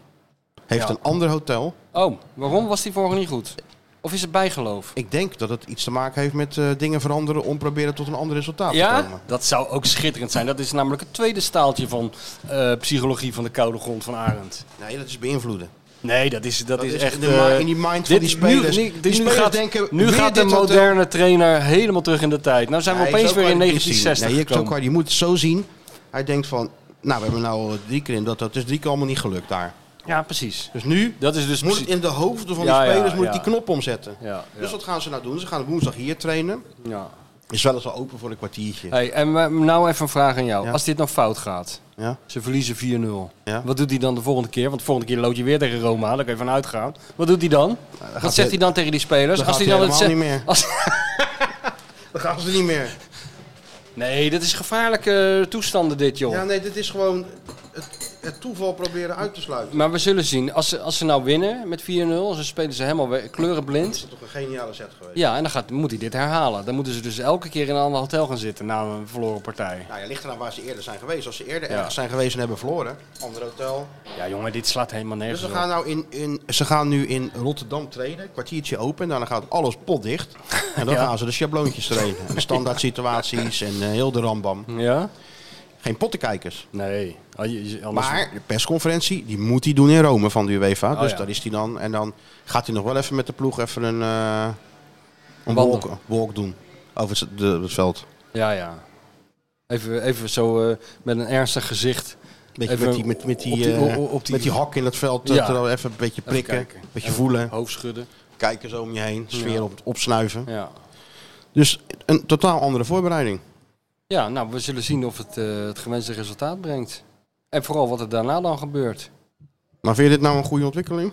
C: Heeft
D: Ja.
C: een ander hotel.
D: Oh, waarom was die vorige niet goed? Of is het bijgeloof?
C: Ik denk dat het iets te maken heeft met eh, dingen veranderen om proberen tot een ander resultaat te
D: Ja,
C: komen.
D: dat zou ook schitterend zijn. Dat is namelijk het tweede staaltje van eh, psychologie van de koude grond van Arend.
C: Nee, dat is beïnvloeden.
D: Nee, dat is, dat is
C: is
D: echt...
C: in de ma-
D: eh,
C: in die mind van
D: dit-
C: die spelers.
D: Nu, nu-
C: Die
D: nu
C: spelers
D: gaat,
C: denken,
D: nu
C: weer
D: gaat de
C: dit hotel.
D: moderne trainer helemaal terug in de tijd. Nou zijn we
C: Hij is
D: opeens
C: ook
D: weer in
C: qua- die zien.
D: 1960
C: Nee, je, zo
D: gekomen.
C: qua- je moet het zo zien. Hij denkt van, nou we hebben nou drie keer in dat, dat is drie keer allemaal niet gelukt daar.
D: Ja, precies.
C: Dus nu
D: Dat is dus...
C: moet
D: precies-
C: het in de hoofden van
D: Ja,
C: de
D: ja,
C: spelers moet het
D: ja.
C: die knop omzetten.
D: Ja,
C: Dus
D: ja,
C: wat gaan ze nou doen? Ze gaan woensdag hier trainen.
D: ja.
C: Is wel eens wel open voor een kwartiertje.
D: Hey, en eh, nou even een vraag aan jou.
C: Ja.
D: Als dit nou fout gaat,
C: Ja.
D: ze verliezen 4-0.
C: Ja.
D: Wat doet hij dan de volgende keer? Want de volgende keer lood je weer tegen Roma, daar kan je van uitgaan. Wat doet hij dan? Wat zegt hij dan tegen die spelers?
C: Dan gaat
D: hij
C: hij
D: dan
C: helemaal
D: zegt-
C: niet meer.
D: als-
C: Dan gaan ze niet meer.
D: Nee, dat is gevaarlijke toestanden dit, joh.
C: Ja, nee, dit is gewoon het, het toeval proberen uit te sluiten.
D: Maar we zullen zien. Als ze, als ze nou winnen met 4-0, dan spelen ze helemaal we- kleurenblind.
C: Dat is toch een geniale set geweest.
D: Ja, en dan gaat, moet hij dit herhalen. Dan moeten ze dus elke keer in een ander hotel gaan zitten na een verloren partij.
C: Nou ja, ligt eraan waar ze eerder zijn geweest. Als ze eerder
D: Ja.
C: ergens zijn geweest en hebben verloren. Ander hotel.
D: Ja, jongen, dit slaat helemaal
C: Dus
D: nergens
C: ze
D: op.
C: gaan, nou in, in, ze gaan nu in Rotterdam trainen. Kwartiertje open. Daarna gaat alles potdicht. En dan
D: Ja.
C: gaan ze de schabloontjes trainen. En de standaard situaties en eh, heel de rambam.
D: Ja?
C: Geen pottenkijkers.
D: Nee. Ah, je- je- anders-
C: Maar de persconferentie, die moet hij doen in Rome van de UEFA.
D: Oh,
C: dus
D: ja.
C: daar is hij dan. En dan gaat hij nog wel even met de ploeg even een, eh, een
D: Wandel.
C: walk, walk doen. Over het, de- het veld.
D: Ja, ja. Even, even zo eh, met een ernstig gezicht.
C: Beetje
D: Even
C: met die, met, met die,
D: op die-
C: eh,
D: op- op die-
C: met die hak in het veld. eh,
D: Ja.
C: terwijl even een beetje prikken.
D: kijken.
C: Een beetje voelen.
D: Hoofd schudden.
C: Kijken zo om je heen. Sfeer
D: Ja.
C: op, opsnuiven.
D: Ja.
C: Dus een totaal andere voorbereiding.
D: Ja, nou, we zullen zien of het eh, het gewenste resultaat brengt. En vooral wat er daarna dan gebeurt.
C: Maar vind je dit nou een goede ontwikkeling?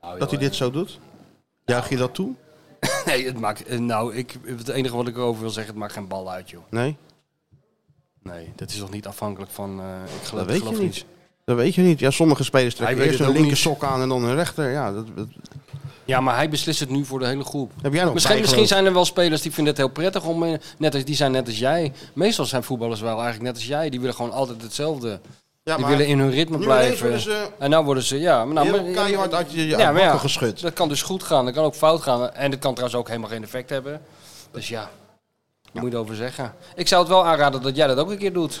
D: Nou,
C: dat hij dit zo doet? Juich je dat toe?
D: Nee, het maakt. eh, Nou, ik, het enige wat ik erover wil zeggen, het maakt geen bal uit, joh.
C: Nee?
D: Nee, dat is toch niet afhankelijk van. eh, ik geloof,
C: Dat weet
D: ik geloof
C: je niet. Dat weet je niet. Ja, sommige spelers trekken
D: weet
C: eerst
D: het
C: een
D: ook
C: linker
D: niet.
C: sok aan en dan een rechter. Ja, dat, dat-
D: Ja, maar hij beslist het nu voor de hele groep.
C: heb jij nog
D: Misschien,
C: bijgeloof?
D: misschien zijn er wel spelers die vinden het heel prettig om. eh, Net als, die zijn net als jij. Meestal zijn voetballers wel eigenlijk net als jij. Die willen gewoon altijd hetzelfde.
C: Ja,
D: die
C: maar
D: willen in hun ritme
C: nu
D: blijven.
C: ineens worden ze-
D: En nou worden ze. Ja, maar nou,
C: heel
D: maar-
C: keihard uit je, je
D: Ja, maar ja,
C: geschud.
D: Dat kan dus goed gaan, dat kan ook fout gaan. En dat kan trouwens ook helemaal geen effect hebben. Dus ja, daar moet je het over zeggen. Ik zou het wel aanraden dat jij dat ook een keer doet.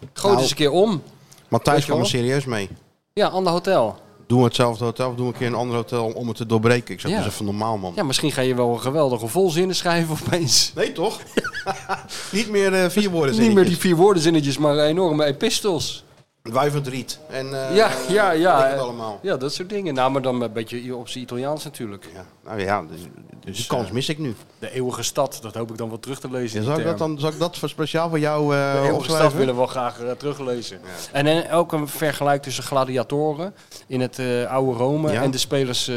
D: Gooi het
C: Nou.
D: eens een keer om.
C: Maar
D: Weet
C: Thijs
D: je
C: kwam er
D: wel?
C: serieus mee.
D: Ja, ander hotel.
C: Doen we hetzelfde hotel of doen we een keer een ander hotel om het te doorbreken? Ik zeg,
D: Ja.
C: dat is even normaal, man.
D: Ja, misschien ga je wel een geweldige volzinnen schrijven opeens.
C: Nee, toch? Niet meer eh, vier woorden
D: Niet meer die vier woordenzinnetjes, maar enorme epistels.
C: Wuivend riet. En, eh,
D: ja, ja,
C: weet
D: ja. eh.
C: ik het allemaal.
D: Ja, dat soort dingen. Nou, maar dan een beetje op zijn Italiaans natuurlijk.
C: Ja. Nou ja, dus, dus die kans mis ik nu.
D: De eeuwige stad, dat hoop ik dan wel terug te lezen.
C: Ja,
D: in
C: zal,
D: die
C: ik dat
D: termen.
C: dan, zal ik dat voor speciaal voor jou eh
D: De eeuwige stad
C: opschrijven?
D: willen we wel graag eh, teruglezen. En, eh, ook een vergelijk tussen gladiatoren in het eh, oude Rome
C: Ja.
D: en de spelers. eh,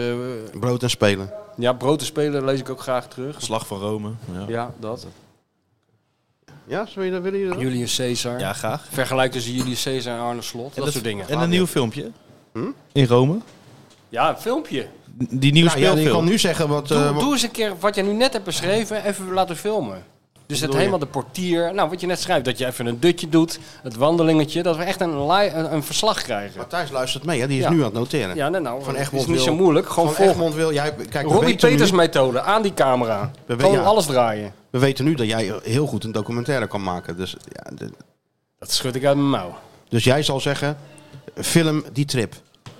C: Brood en spelen.
D: ja, brood spelen lees ik ook graag terug.
E: Slag van Rome. Ja,
D: Ja, dat.
C: Ja, zou je dat willen? Jullie...
D: Julius Caesar.
E: ja graag.
D: Vergelijk tussen Julius Ah, Caesar en Arne Slot. Dat, soort dingen.
C: Hm?
E: En een nieuw filmpje. In Rome.
D: Ja, een filmpje.
E: die nieuwe
C: Nou, ja, ik
E: speelfilm.
C: kan nu zeggen wat...
D: Doe,
C: eh, wat-
D: doe eens een keer wat jij nu net hebt beschreven, even laten filmen. Dus het
C: bedoel
D: helemaal de portier, nou wat je net schrijft, dat je even een dutje doet, het wandelingetje, dat we echt een, li- een, een verslag krijgen.
C: Matthijs luistert mee, hè? die is
D: Ja.
C: nu aan het noteren.
D: Ja, nou, nou
C: Van
D: het
C: Egmond
D: is niet
C: wil-
D: zo moeilijk, gewoon
C: Van
D: volgen.
C: Egmond wil jij... Kijk, we
D: Robbie
C: weten nu-
D: Peters methode, aan die camera.
C: We
D: Gewoon
C: we- ja.
D: alles draaien.
C: We weten nu dat jij heel goed een documentaire kan maken. Dus, ja, de-
D: Dat schud ik uit mijn mouw.
C: dus jij zal zeggen, film die trip.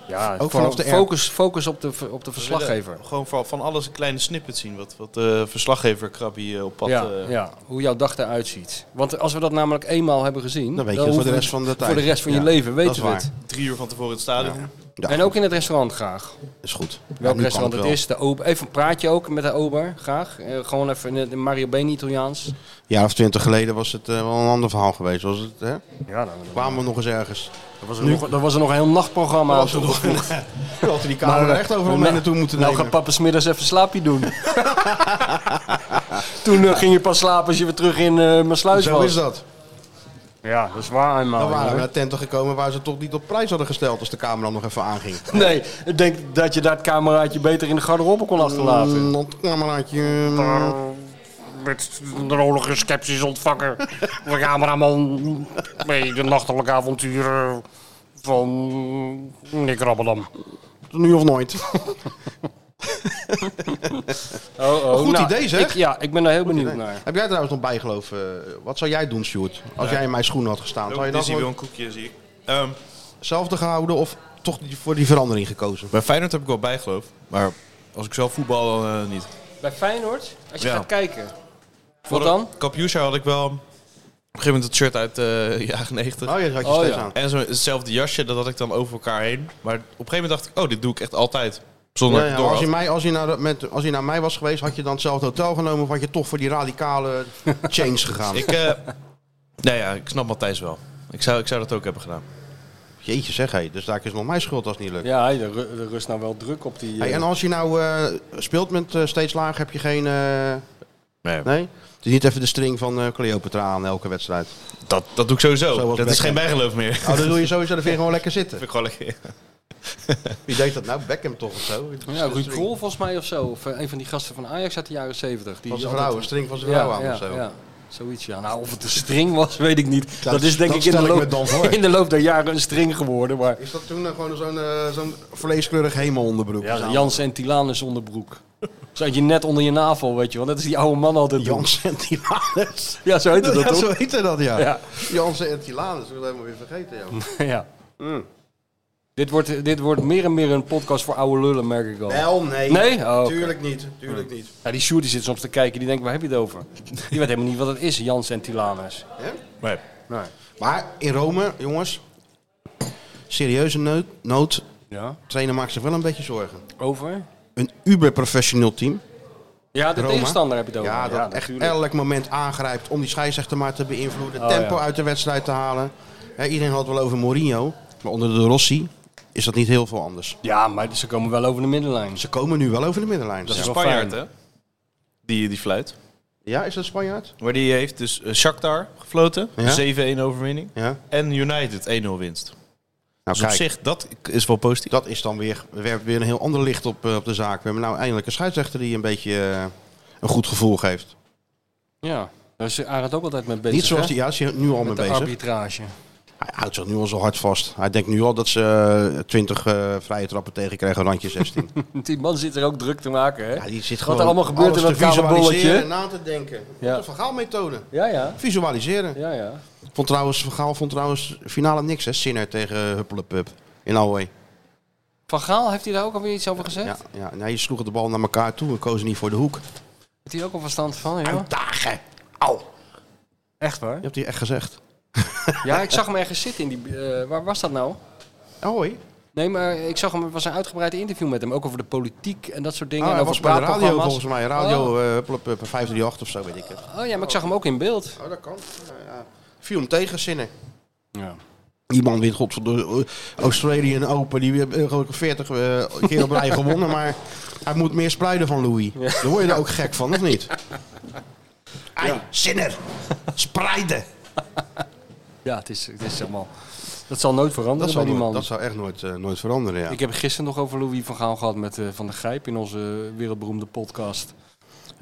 D: Ja,
C: Ook
D: ook
C: vanaf
D: vanaf
C: de
D: focus, focus op de, ver- op de verslaggever.
E: Gewoon van, van alles een kleine snippet zien. Wat, wat de verslaggever Krabby eh, op pad...
D: ja,
E: eh,
D: ja, hoe jouw dag eruit ziet. Want als we dat namelijk eenmaal hebben gezien,
C: Dan weet je het voor
D: hoeven
C: de
D: we-
C: rest van de tijd.
D: Voor de rest van je
C: Ja,
D: leven
C: dat is
D: weten we
C: waar.
D: het.
E: Drie uur van tevoren in het stadion. Oh,
C: Ja,
D: En ook in het restaurant graag.
C: is goed. Nou,
D: Welk restaurant het is, de ober. Even een praatje ook met de ober, graag. Eh, gewoon even in het in Mario Been Italiaans.
C: Een jaar of twintig geleden was het eh, wel een ander verhaal geweest. Was het, hè?
D: Ja, nou,
C: Kwamen we nog eens ergens.
D: dat, was er nog, dat was er nog een heel nachtprogramma.
C: was er nog- Dan had hij die camera echt overal mee naartoe moeten
D: Nou
C: nemen.
D: gaat papa smiddags even slaapje doen. Toen eh, ging je pas slapen als je weer terug in eh mijn sluis
C: Zo
D: was.
C: is dat.
D: Ja, dat is waar eenmaal.
C: Dan waren we
D: Oh, jongen.
C: naar tenten gekomen waar ze toch niet op prijs hadden gesteld als de camera nog even aanging.
D: Nee, ik denk dat je dat cameraatje beter in de garderobe kon achterlaten.
C: Mm, Dat cameraatje... mm,
D: Met de nodige sceptisch ontvangen. De cameraman bij de nachtelijke avonturen van Nick Rabbelam.
C: Nu of nooit.
D: Oh, oh.
C: Goed idee, zeg.
D: Ik, ja, ik ben daar heel benieuwd naar.
C: Heb jij trouwens nog bijgeloof? eh, wat zou jij doen, Stuart? Als jij in mijn schoenen had gestaan. Zou je
E: Ook
C: dat
E: Disney wil
C: wel
E: een koekje, zie ik. Ehm,
C: hetzelfde gehouden of toch die- voor die verandering gekozen?
E: bij Feyenoord heb ik wel bijgeloof. Maar als ik zelf voetbal, dan eh, niet.
D: Bij Feyenoord, als je
E: Ja.
D: gaat kijken. Wat dan?
E: Kampioensjaar had ik wel... Op een gegeven moment het shirt uit de jaren 90.
C: Oh, je had je
D: Oh,
C: steeds
D: ja.
C: aan.
E: En zo, hetzelfde jasje, dat had ik dan over elkaar heen. Maar op een gegeven moment dacht ik, oh, dit doe ik echt altijd. Zonder
C: Ja, ja,
E: dat ik het door
C: als, je
E: had.
C: mij, als, je naar, de- met, als je naar mij was geweest, had je dan hetzelfde hotel genomen of had je toch voor die radicale change gegaan?
E: Ik, eh, nou ja, ik snap Matthijs wel. Ik zou, ik zou dat ook hebben gedaan.
C: Jeetje zeg, hé, dus daar is nog mijn schuld als het niet lukt.
D: Ja, de, ru- de rust nou wel druk op die... eh,
C: Hey, en als je nou eh, speelt met eh, steeds laag, heb je geen... eh,
E: Nee,
C: nee? Het is niet even de string van eh, Cleopatra aan elke wedstrijd.
E: dat, dat doe ik sowieso.
C: Zoals
E: dat is
C: Beckham.
E: geen bijgeloof meer.
C: Oh, dan doe je sowieso de veer gewoon lekker zitten.
E: Vind ik gewoon lekker.
C: Wie deed dat nou? Beckham toch of zo?
D: ja, Ruud Krol volgens mij of zo. Of eh, een van die gasten van Ajax uit de jaren zeventig.
C: Van zijn
D: altijd-
C: vrouw, een string van zijn vrouw aan
D: ja,
C: of zo.
D: ja. Zoiets, ja. Nou, of het een string was, weet ik niet. Dat, is denk
C: dat
D: ik, in
C: stel
D: de,
C: ik me
D: loop,
C: dan voor.
D: in de loop der jaren een string geworden. Maar
C: Is dat toen eh, gewoon zo'n eh, zo'n vleeskleurig hemelonderbroek?
D: ja,
C: Zo'n-
D: Jans en Tilanus onderbroek. Zo had je net onder je navel, weet je wel. Dat is die oude man altijd. doen.
C: Jans en Tilanus.
D: Ja, zo heette
C: Ja,
D: dat toch?
C: zo heette dat, ja.
D: Ja.
C: Jans en Tilanus, dat hebben we weer vergeten, ja.
D: ja.
C: Mm.
D: Dit, wordt, dit wordt meer en meer een podcast voor oude lullen, merk ik al.
C: Wel, nee.
D: Nee? Oh, oké. Hmm.
C: Tuurlijk niet, tuurlijk niet.
D: Ja, die Sjoerd die zit soms te kijken, die denkt, waar heb je het over? Die weet helemaal niet wat het is, Jans en Tilanus.
E: Nee.
C: Nee. Maar in Rome, jongens, serieuze nood, nood
D: Ja.
C: trainer maakt zich wel een beetje zorgen.
D: Over?
C: Een uber-professioneel team.
D: Ja, de
C: Roma.
D: tegenstander heb je het over.
C: Ja, dat echt
D: natuurlijk.
C: elk moment aangrijpt om die scheidsrechter maar te beïnvloeden.
D: Oh,
C: tempo
D: ja.
C: uit de wedstrijd te halen. Hè, iedereen had het wel over Mourinho. Maar onder de Rossi is dat niet heel veel anders.
D: Ja, maar ze komen wel over de middenlijn.
C: Ze komen nu wel over de middenlijn.
E: Dat is
C: Ja.
E: een
D: wel
E: Spanjaard, hè?
D: fijn.
E: Die, die fluit.
C: Ja, is dat Spanjaard?
E: Maar die heeft dus eh, Shakhtar gefloten.
C: Ja.
E: 7-1 overwinning.
C: Ja.
E: En United 1-0 winst.
C: Nou
E: Dus op
C: kijk,
E: zich, dat is wel positief.
C: dat is dan weer, werpt weer een heel ander licht op, eh, op de zaak. We hebben nou eindelijk een scheidsrechter die een beetje eh, een goed gevoel geeft.
D: Ja, Dus, daar is Arend ook altijd mee bezig.
C: Niet zoals
D: hè?
C: hij, ja, is hij nu al mee
D: Met de
C: bezig.
D: arbitrage.
C: Hij houdt zich nu al zo hard vast. Hij denkt nu al dat ze eh, twintig vrije trappen tegenkrijgen, randje 16.
D: Die man zit er ook druk te maken, hè?
C: ja, die zit
D: er
C: gewoon
D: allemaal gebeurt
C: alles
D: in dat
C: te visualiseren
D: kamerbolletje.
C: en na te denken.
D: Ja.
C: De verhaalmethode.
D: Ja, ja.
C: Visualiseren.
D: Ja, ja.
C: Vond trouwens, verhaal vond trouwens finale niks, hè? Sinner tegen Huppelepup in Alway.
D: Van Gaal, heeft hij daar ook alweer iets over gezegd?
C: Ja, ja, nee, je sloeg de bal naar elkaar toe en kozen niet voor de hoek.
D: Heeft hij ook al verstand van, ja?
C: Uitdagen! Au!
D: Echt waar?
C: Je hebt die echt gezegd.
D: Ja, ik zag hem ergens zitten in die... eh, waar was dat nou?
C: Alway?
D: Nee, maar ik zag hem, het was een uitgebreid interview met hem. Ook over de politiek en dat soort dingen.
C: Ah,
D: en
C: hij
D: over
C: was bij de radio
D: praatprogramma's.
C: volgens mij. Radio eh Huppelepup, 538 of zo, weet ik het.
D: Oh ja, maar ik zag hem ook in beeld.
C: Oh, dat kan. Ja, ja. Viel hem tegen, Sinner.
D: Ja.
C: Die man wint godverdomme eh, Australian Open. Die heeft eh, geloof ik 40 eh, keer op rij gewonnen. Maar hij moet meer spruiten van Louis. Daar word je er ook gek van, of niet? Ei, zinner. Spreiden.
D: Ja, het is, het is helemaal... Dat zal nooit veranderen
C: Dat zou,
D: bij die
C: nooit-
D: man.
C: dat zou echt nooit, eh, nooit veranderen, ja.
D: Ik heb het gisteren nog over Louis van Gaal gehad met eh, Van der Grijp in onze wereldberoemde podcast.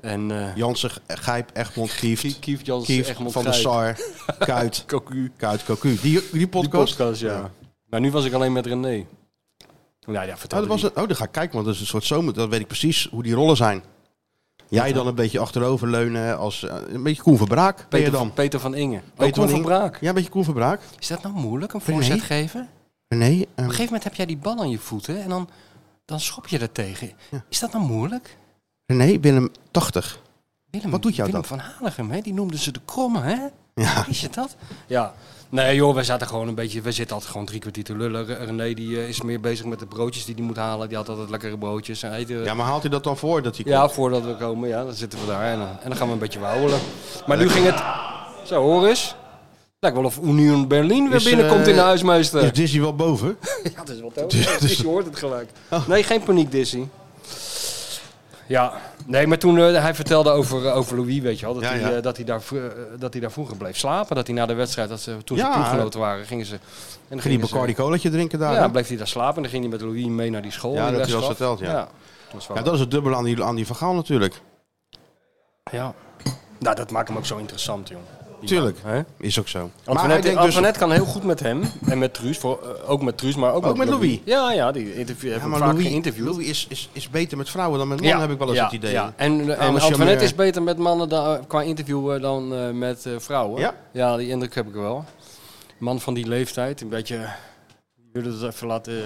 D: En eh
C: Jansen, Gijp, Egmond,
D: Kie-
C: Kieft,
D: Kief Jans
C: Kieft,
D: Egmond
C: Van der
D: Grijp.
C: Sar, Kuit,
D: Cocu.
C: Kuit, Cocu. Die, die
D: Die
C: podcast?
D: podcast, ja.
C: Ja. Oh,
D: Maar nu was ik alleen met René. Nou ja,
C: Oh,
D: vertel
C: dat was het. oh, dan ga ik kijken, want dat is een soort zomer. Dan weet ik precies hoe die rollen zijn. Jij dan een beetje achteroverleunen als eh, een beetje Koen Verbraak. Ben je
D: Peter,
C: dan?
D: Peter van Inge. Peter
C: Peter van
D: van
C: Inge.
D: Braak.
C: Ja, een beetje Koen Verbraak.
D: Is dat nou moeilijk, een
C: René?
D: voorzet geven? Op
C: Nee, ehm,
D: een gegeven moment heb jij die bal aan je voeten en dan, dan schop je er tegen.
C: Ja.
D: Is dat nou moeilijk?
C: René, Willem 80.
D: Willem,
C: Wat doet jou
D: Willem
C: dat?
D: van Hanegem, hè? die noemden ze de kromme, hè?
C: Ja.
D: Is het dat? Ja. Nee joh, wij zaten gewoon een beetje, wij zitten altijd gewoon drie kwartier te lullen. Re- René die eh, is meer bezig met de broodjes die hij moet halen. Die had altijd lekkere broodjes. En eten.
C: ja, maar haalt hij dat dan voor dat hij
D: Ja,
C: komt?
D: voordat we komen, ja, dan zitten we daar en, eh, en dan gaan we een beetje wauwelen. Maar nu ging het, zo hoor eens, lijkt wel of Union Berlin weer
C: Is,
D: binnenkomt
C: eh,
D: in de huismeester.
C: Is Disney wel boven?
D: ja, dat is wel tof.
C: Dus-
D: je hoort het gelijk.
C: Oh.
D: Nee, geen paniek Dizzy. Ja, nee, maar toen eh, hij vertelde over, eh, over Louis, weet je wel, dat,
C: Ja,
D: hij,
C: ja.
D: eh, dat, hij daar, vro- eh, dat hij daar vroeger bleef slapen. Dat hij na de wedstrijd, dat ze, toen
C: Ja,
D: ze ploeggenoten waren, gingen ze... En dan
C: Ging die
D: gingen ze-
C: Bacardi colaatje drinken daar?
D: Ja,
C: hè?
D: dan bleef hij daar slapen en dan ging hij met Louis mee naar die school.
C: Ja,
D: die
C: dat heb je wel eens
D: wedstrijd.
C: verteld, ja.
D: Dat was wel-
C: Ja, dat is het dubbel aan die, aan die van Gaal natuurlijk.
D: Ja. Nou, dat maakt hem ook zo interessant, jong. Die
C: Tuurlijk.
D: man, hè?
C: Is ook zo. maar ik
D: Antoinette,
C: denk dus-
D: Antoinette kan heel goed met hem en met Truus, voor, eh, ook met Truus, maar ook,
C: Ook met Louis.
D: Ja, ja, die interview,
C: Ja,
D: hebben
C: maar
D: vaak
C: Louis,
D: geïnterviewd.
C: Louis is, is, is beter met vrouwen dan met mannen, heb ik wel eens
D: ja,
C: het idee.
D: ja. En, eh, en
C: maar
D: Antoinette
C: charmeur.
D: is beter met mannen dan, qua interview eh, dan eh, met eh, vrouwen.
C: Ja?
D: ja, die indruk heb ik wel. Man van die leeftijd, een beetje... Je wil het even laten, eh,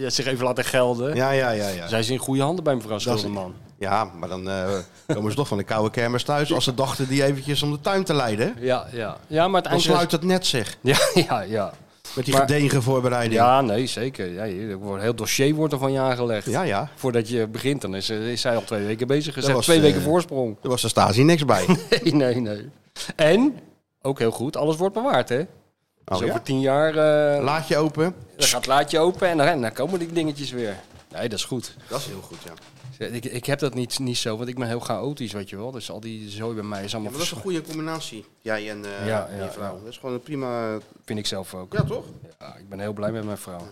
D: ja, zich even laten gelden.
C: Ja, ja, ja. ja.
D: Zij is in goede handen bij mevrouw
C: is-
D: Schilderman.
C: Ja, maar dan eh, komen ze toch van de koude kermis thuis als ze dachten die eventjes om de tuin te leiden.
D: Ja, ja. ja, maar het
C: Dan
D: eindres-
C: sluit het net zeg,
D: Ja, ja, ja.
C: met die
D: Maar-
C: gedegen voorbereiding.
D: Ja, nee, zeker. Ja, hier wordt- een heel dossier wordt er van je aangelegd.
C: ja. ja.
D: Voordat je begint, dan is, eh, is zij al twee weken bezig. Ze
C: Dat
D: heeft
C: was,
D: twee
C: eh,
D: weken voorsprong.
C: Er was de statie niks bij.
D: Nee, nee, nee. En, ook heel goed, alles wordt bewaard, hè?
C: Oh,
D: dus
C: ja?
D: over tien jaar eh,
C: Laadje open.
D: dan gaat het laadje open en dan, en dan komen die dingetjes weer. Nee, dat is goed.
C: Dat is heel goed, ja. Maar
D: Ik, ik heb dat niet, niet zo, want ik ben heel chaotisch, weet je wel. Dus al die zooi bij mij is allemaal...
C: dat is een
D: vers-
C: goede combinatie, jij en eh,
D: Ja,
C: en
D: ja,
C: je vrouw.
D: ja.
C: Dat is gewoon een prima...
D: Vind ik zelf ook.
C: Ja, toch?
D: Ja, ik ben heel blij met mijn vrouw.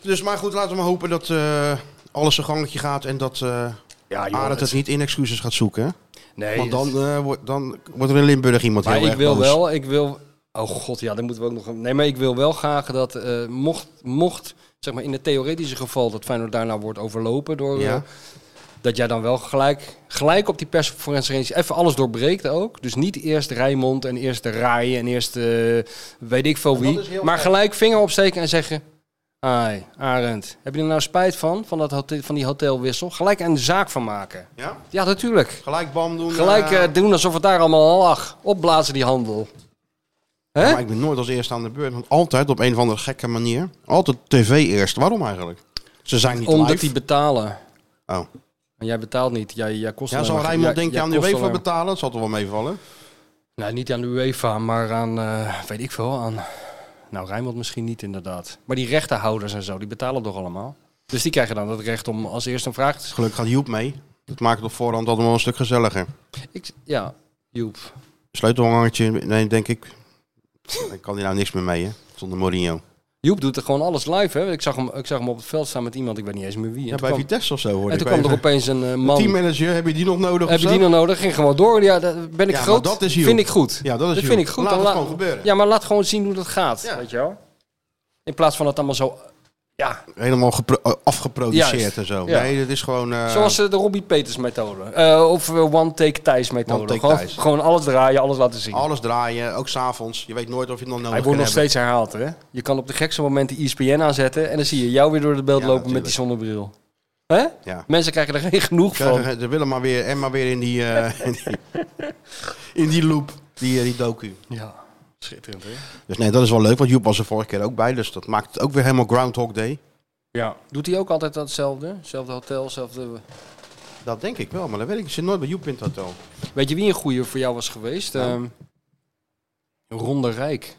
C: Dus, maar goed, laten we maar hopen dat eh, alles een gangetje gaat en dat eh
D: Ja,
C: Arend het niet in excuses gaat zoeken. hè?
D: Ah, Nee,
C: Want
D: het-
C: dan, eh, wordt, dan wordt er in Limburg iemand
D: Maar
C: heel
D: ik
C: erg
D: wil
C: boos.
D: wel, ik wil. Oh god, ja, dan moeten we ook nog. een- Nee, maar ik wil wel graag dat eh, mocht, mocht, zeg maar in het theoretische geval dat Feyenoord daarna wordt overlopen door.
C: Ja.
D: eh, dat jij dan wel gelijk, gelijk op die persconferentie even alles doorbreekt ook. Dus niet eerst Rijmond en eerst de Raaien en eerst eh, weet ik veel wie.
C: is heel
D: Maar
C: erg.
D: gelijk vinger opsteken en zeggen... Ai, Arend, heb je er nou spijt van, van, dat hotel, van die hotelwissel? Gelijk een zaak van maken.
C: Ja?
D: Ja, natuurlijk.
C: Gelijk bam doen.
D: Gelijk
C: eh,
D: eh, doen alsof het daar allemaal al lag. Opblazen die handel. Hè?
C: Maar ik ben nooit als eerste aan de beurt. Want altijd op een of andere gekke manier. Altijd tv eerst. Waarom eigenlijk? Ze zijn niet
D: Omdat
C: live.
D: die betalen.
C: Oh.
D: En jij betaalt niet. Jij, jij kost
C: Ja,
D: alleen
C: zal
D: maar-
C: Rijnmond
D: jij-
C: denk je
D: jij
C: aan de
D: kost
C: UEFA
D: alleen-
C: betalen? Dat zal toch wel meevallen?
D: Nou, niet aan de UEFA, maar aan, eh, weet ik veel, aan... Nou, Rijnmond misschien niet inderdaad. Maar die rechtenhouders en zo, die betalen toch allemaal? Dus die krijgen dan het recht om als eerste een vraag te stellen.
C: Gelukkig gaat Joep mee. Dat maakt het op voorhand allemaal een stuk gezelliger.
D: Ik, ja, Joep.
C: Sleutelhangertje, nee, denk ik. Ik kan hier nou niks meer mee, hè? Zonder Mourinho.
D: Joep doet er gewoon alles live, hè? Ik zag hem, ik zag hem op het veld staan met iemand, ik weet niet eens meer wie. En
C: Ja,
D: toen
C: bij
D: kwam,
C: Vitesse of zo, hoor
D: en
C: ik.
D: toen kwam
C: Even-
D: er opeens een eh, man.
C: Teammanager, heb je die nog nodig?
D: Heb je
C: of
D: die
C: zo?
D: nog nodig? Ging gewoon door. Ja, daar ben ik
C: Ja, maar
D: groot.
C: dat is Joep.
D: vind ik goed.
C: Ja, dat is
D: dat
C: Joep.
D: vind ik goed.
C: Laat
D: Dan
C: het
D: la-
C: gewoon gebeuren.
D: Ja, maar laat gewoon zien hoe dat gaat.
C: Ja.
D: Weet je wel? In plaats van het allemaal zo. Ja,
C: Helemaal gepro- eh, afgeproduceerd
D: Juist,
C: en zo.
D: ja.
C: Nee, dat is gewoon... eh,
D: zoals eh, de Robbie Peters methode. Eh, of eh, One Take Thijs methode.
C: One Take
D: gewoon,
C: Thijs.
D: gewoon alles draaien, alles laten zien.
C: Alles draaien, ook s'avonds. Je weet nooit of je het nog nodig
D: Hij
C: kan
D: wordt nog
C: hebben.
D: steeds herhaald, hè? Je kan op de E gekste momenten ESPN aanzetten en dan zie je jou weer door het beeld
C: Ja,
D: lopen met die zonnebril. Hè?
C: Ja.
D: Mensen krijgen er geen genoeg van.
C: Ze, ze willen maar weer, en maar weer in die, eh, in die, in die loop, die, eh, die docu.
D: Ja, schitterend, hè?
C: Dus nee, dat is wel leuk, want Joep was er vorige keer ook bij. Dus dat maakt het ook weer helemaal Groundhog Day.
D: Ja. Doet hij ook altijd datzelfde? Zelfde hotel, zelfde...
C: Dat denk ik wel, maar dat weet ik. Ik zit nooit bij Joep in het hotel.
D: Weet je wie een goede voor jou was geweest?
C: Nou.
D: Ehm, Ronde Rijk.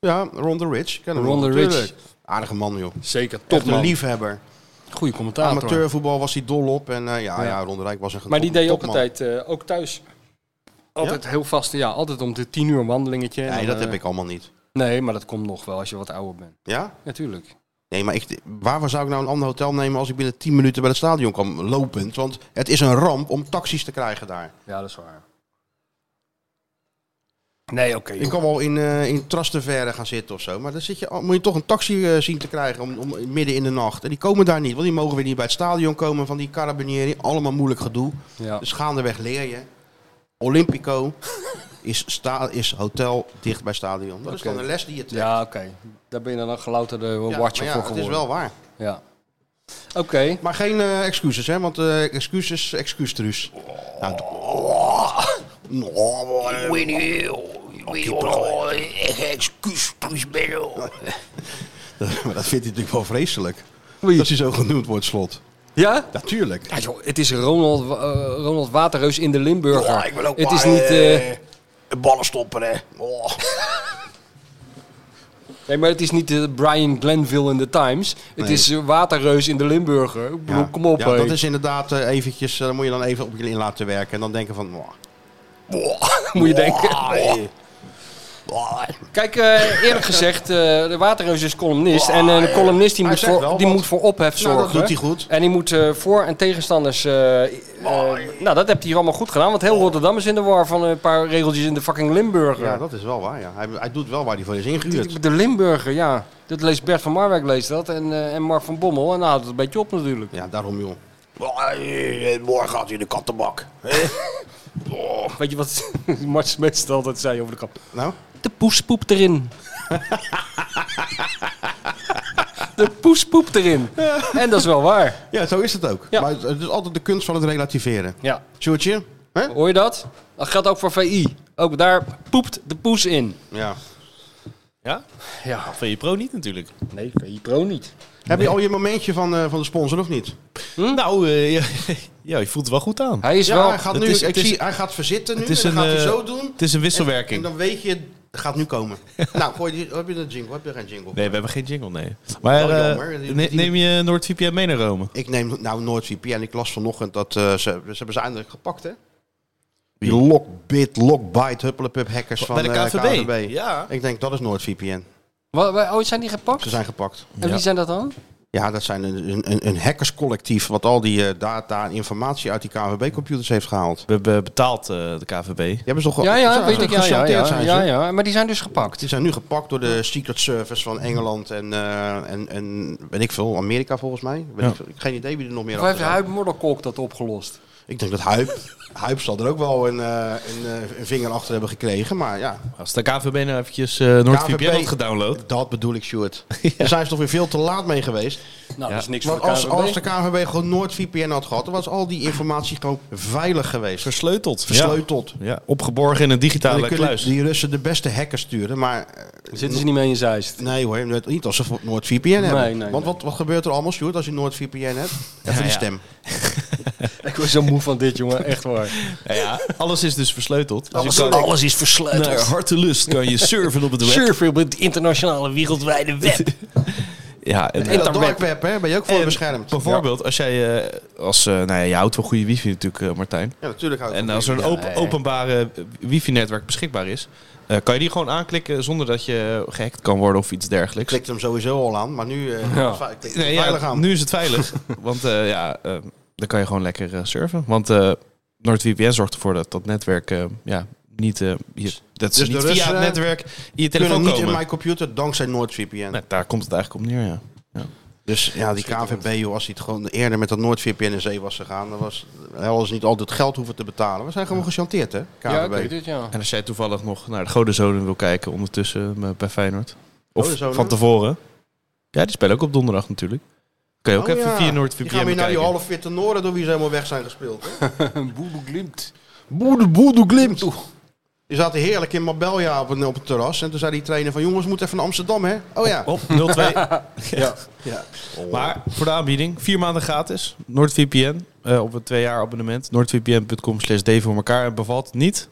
C: Ja, Ron the Rich. Ken hem
D: Ron
C: wel,
D: the Rich.
C: natuurlijk. Aardige man, joh.
D: Zeker,
C: Toch een liefhebber.
D: Goede commentator.
C: Amateurvoetbal was hij dol op. En eh, ja, ja.
D: Ja.
C: Ron de Rijk was een
D: Maar die deed ook
C: topman.
D: altijd, eh, ook thuis. Altijd heel vast, ja, altijd om de tien uur een wandelingetje. En
C: Nee,
D: dan,
C: dat
D: eh,
C: heb ik allemaal niet.
D: Nee, maar dat komt nog wel als je wat ouder bent.
C: Ja?
D: Natuurlijk.
C: Nee, maar ik, waar zou ik nou een ander hotel nemen als ik binnen 10 minuten bij het stadion kwam lopend? Want het is een ramp om taxis te krijgen daar.
D: Ja, dat is waar. Nee, oké.
C: Ik kan wel in, eh in Trastevere gaan zitten of zo. Maar dan zit je, al- moet je toch een taxi eh, zien te krijgen om, om, midden in de nacht. En die komen daar niet, want die mogen weer niet bij het stadion komen van die carabinieri. Allemaal moeilijk gedoe.
D: ja.
C: Dus gaandeweg leer je. Olympico is, sta, is hotel dicht bij stadion. Dat is
D: Oké.
C: dan een les die je trekt.
D: ja, oké. Daar ben je dan een gelouterde
C: Ja,
D: watcher
C: maar ja,
D: voor
C: het
D: geworden.
C: is wel waar.
D: Ja. Oké.
C: Maar geen eh, excuses, hè? Want eh, excuses, excuustruus. Nou, d- maar dat vindt hij natuurlijk wel vreselijk. Dat hij zo genoemd wordt, slot.
D: Ja?
C: Natuurlijk.
D: Ja, joh, het is Ronald, Wa- eh, Ronald Waterreus in de Limburger.
C: Ja, ik ben ook
D: het
C: maar,
D: is niet.
C: eh,
D: eh,
C: Ballen stoppen, hè? Oh.
D: nee, maar het is niet eh, Brian Glenville in de Times. Het
C: Nee.
D: is eh, Waterreus in de Limburger. Ik bedoel, Kom op,
C: Ja,
D: hé.
C: dat is inderdaad eh, eventjes. eh, Dan moet je dan even op je in laten werken. En dan denken van. Oh.
D: moet je denken.
C: Ah,
D: Kijk, eh, eerlijk gezegd, eh, de Waterreus is columnist. En eh, de columnist die
C: Hij
D: moet,
C: zegt
D: voor,
C: wel
D: die
C: wat.
D: moet voor ophef
C: Nou,
D: zorgen.
C: dat doet hij goed.
D: En die moet eh, voor- en tegenstanders... eh, eh, nou, dat hebt hij hier allemaal goed gedaan. Want heel Rotterdam is in de war van een paar regeltjes in de fucking Limburger.
C: Ja, dat is wel waar. Ja. Hij, hij doet wel waar hij voor is ingehuurd.
D: De Limburger, ja. Dat leest Bert van Marwijk leest dat en, eh, en Mark van Bommel. En dan houdt het een beetje op natuurlijk.
C: Ja, daarom joh. Oh, eh, Morgen gaat hij de kattenbak.
D: Weet je wat Mart Smeets altijd zei over de kap?
C: Nou?
D: De poes poept erin. de poes poept erin. En dat is wel waar.
C: Ja, zo is het ook.
D: Ja.
C: Maar het het is altijd de kunst van het relativeren.
D: Ja.
C: Sjoerdje? Hè?
D: Hoor je dat? Dat geldt ook voor VI. Ook daar poept de poes in.
C: Ja.
E: Ja?
D: Ja.
E: Van je pro niet natuurlijk.
D: Nee, VI Pro niet.
C: Heb je al je momentje van, eh, van de sponsor of niet?
E: Nou, eh, ja, ja, je voelt het wel goed aan.
D: Hij is
C: ja,
D: wel...
C: Hm? hij gaat
E: het
C: nu.
E: is-
C: ik
E: het is-
C: zie, hij gaat verzitten nu.
E: het is
C: en dan
E: een,
C: gaat hij
E: eh,
C: zo doen.
E: Het is een
C: En
E: wisselwerking.
C: dan weet je, het gaat nu komen. nou, gooi die, heb je een jingle? Heb je geen jingle?
E: Nee, we hebben geen jingle, nee. Maar
C: Wel
E: eh,
C: Oh, jammer, die-
E: ne-
C: die-
E: neem je NoordVPN mee naar Rome?
C: Ik neem nou NoordVPN. Ik las vanochtend dat eh, ze, ze hebben ze eindelijk gepakt, hè? Die
E: Wie?
C: Lockbit, Lockbite, Huppelepup hackers van
E: Bij de
C: eh,
E: KVB.
C: KVB.
E: Ja.
C: Ik denk dat is NoordVPN.
D: Wa- wa- Oh, zijn die gepakt?
C: Ze zijn gepakt.
D: En wie zijn dat dan?
C: Ja, dat zijn een, een- een, een hackerscollectief wat al die eh, data en informatie uit die KVB-computers heeft gehaald.
E: We hebben betaald eh, de KVB.
C: Die hebben ze toch wel-
D: Ja,
C: ze
D: ja,
C: zijn
D: weet ik. Ja, ja,
C: gesanteerd
D: ja,
C: zijn ze.
D: ja, ja. Maar die zijn dus gepakt.
C: Die zijn nu gepakt door de Secret Service van Engeland en, eh, en, en weet ik veel, Amerika volgens mij. Weet
E: Ja.
C: ik, veel. Ik- geen idee wie er nog meer
D: Hoe heeft
C: achter zat.
D: Huib Modderkolk dat opgelost?
C: Ik denk dat Huip, Huip zal er ook wel een, eh, een, eh, een vinger achter hebben gekregen, maar ja.
E: Als de KVB nou eventjes eh NoordVPN
C: KVB
E: had gedownload.
C: Dat bedoel ik, Stuart. Daar zijn ze toch weer veel te laat mee geweest.
D: Nou, dat is niks
C: Want
D: voor de
C: als,
D: KNVB.
C: als de KVB gewoon NoordVPN had gehad, dan was al die informatie gewoon veilig geweest.
E: Versleuteld.
C: Versleuteld.
E: Ja. Ja, opgeborgen in een digitale
C: Dan kunnen
E: kluis.
C: die Russen de beste hackers sturen, maar... eh,
D: Zitten ze niet mee in Zeist?
C: Nee hoor, net- niet als ze vo- NoordVPN hebben.
D: Nee, nee,
C: Want
D: nee.
C: wat, wat gebeurt er allemaal, Stuart, als je NoordVPN hebt? Even die
E: ja.
C: stem.
D: Ik word zo moe van dit, jongen. Echt waar.
E: Ja, ja, alles is dus versleuteld. Dus
D: Alles-
E: je kan
D: alles is versleuteld.
E: Naar hartelust kan je surfen op het web.
D: Surfen op het internationale wereldwijde web.
E: Ja, en,
C: En dat
D: Dark
C: dark web, hè, ben je ook voor
E: En
C: beschermd.
E: bijvoorbeeld als jij... eh, als, eh, nou ja, je houdt van goede wifi natuurlijk, eh, Martijn.
C: Ja, natuurlijk. hou ik
E: En
C: van
E: als er een
C: dingen.
E: op- openbare wifi-netwerk beschikbaar is... eh, kan je die gewoon aanklikken zonder dat je gehackt kan worden of iets dergelijks.
C: klikt hem sowieso al aan, maar nu eh
D: Ja.
C: va- klikt hem
E: Nee, ja,
C: veilig aan.
E: nu is het veilig. want eh, ja, eh, dan kan je gewoon lekker eh, surfen. Want eh NordVPN zorgt ervoor dat dat netwerk eh, ja, niet, eh, je, dat ze
C: Dus de
E: niet via
C: Russen
E: het netwerk in je
C: kunnen
E: telefoon
C: niet
E: komen.
C: in mijn computer dankzij NoordVPN.
E: Nee, daar komt het eigenlijk op neer, ja.
C: Dus ja, die KVB, joh, als hij het gewoon eerder met dat NoordVPN in zee was gegaan, dan was hadden ze niet altijd geld hoeven te betalen. We zijn gewoon gechanteerd, hè?
D: Ja, ik
C: KVB.
D: weet het, ja.
E: En als jij toevallig nog naar de Godenzonen wil kijken ondertussen eh, bij Feyenoord. Of
C: Godenzonen?
E: van tevoren. Ja, die spelen ook op donderdag natuurlijk. Kun je ook
C: Oh,
E: even
C: ja.
E: via
C: Die gaan
E: NordVPN
C: weer naar die
E: bekijken.
C: half witte Noorden door wie ze helemaal weg zijn gespeeld. Hè?
D: Een boedel glimt.
C: Boede, boede, glimt. Die zaten heerlijk in Marbella op, een- op het terras. En toen zei die trainer van, jongens, we moeten even naar Amsterdam, hè? Oh ja.
E: Op 0-2.
D: Ja.
E: Oh, Maar voor de aanbieding, vier maanden gratis. NoordVPN eh, op een twee jaar abonnement. NoordVPN.com slash D voor elkaar. En bevalt het niet,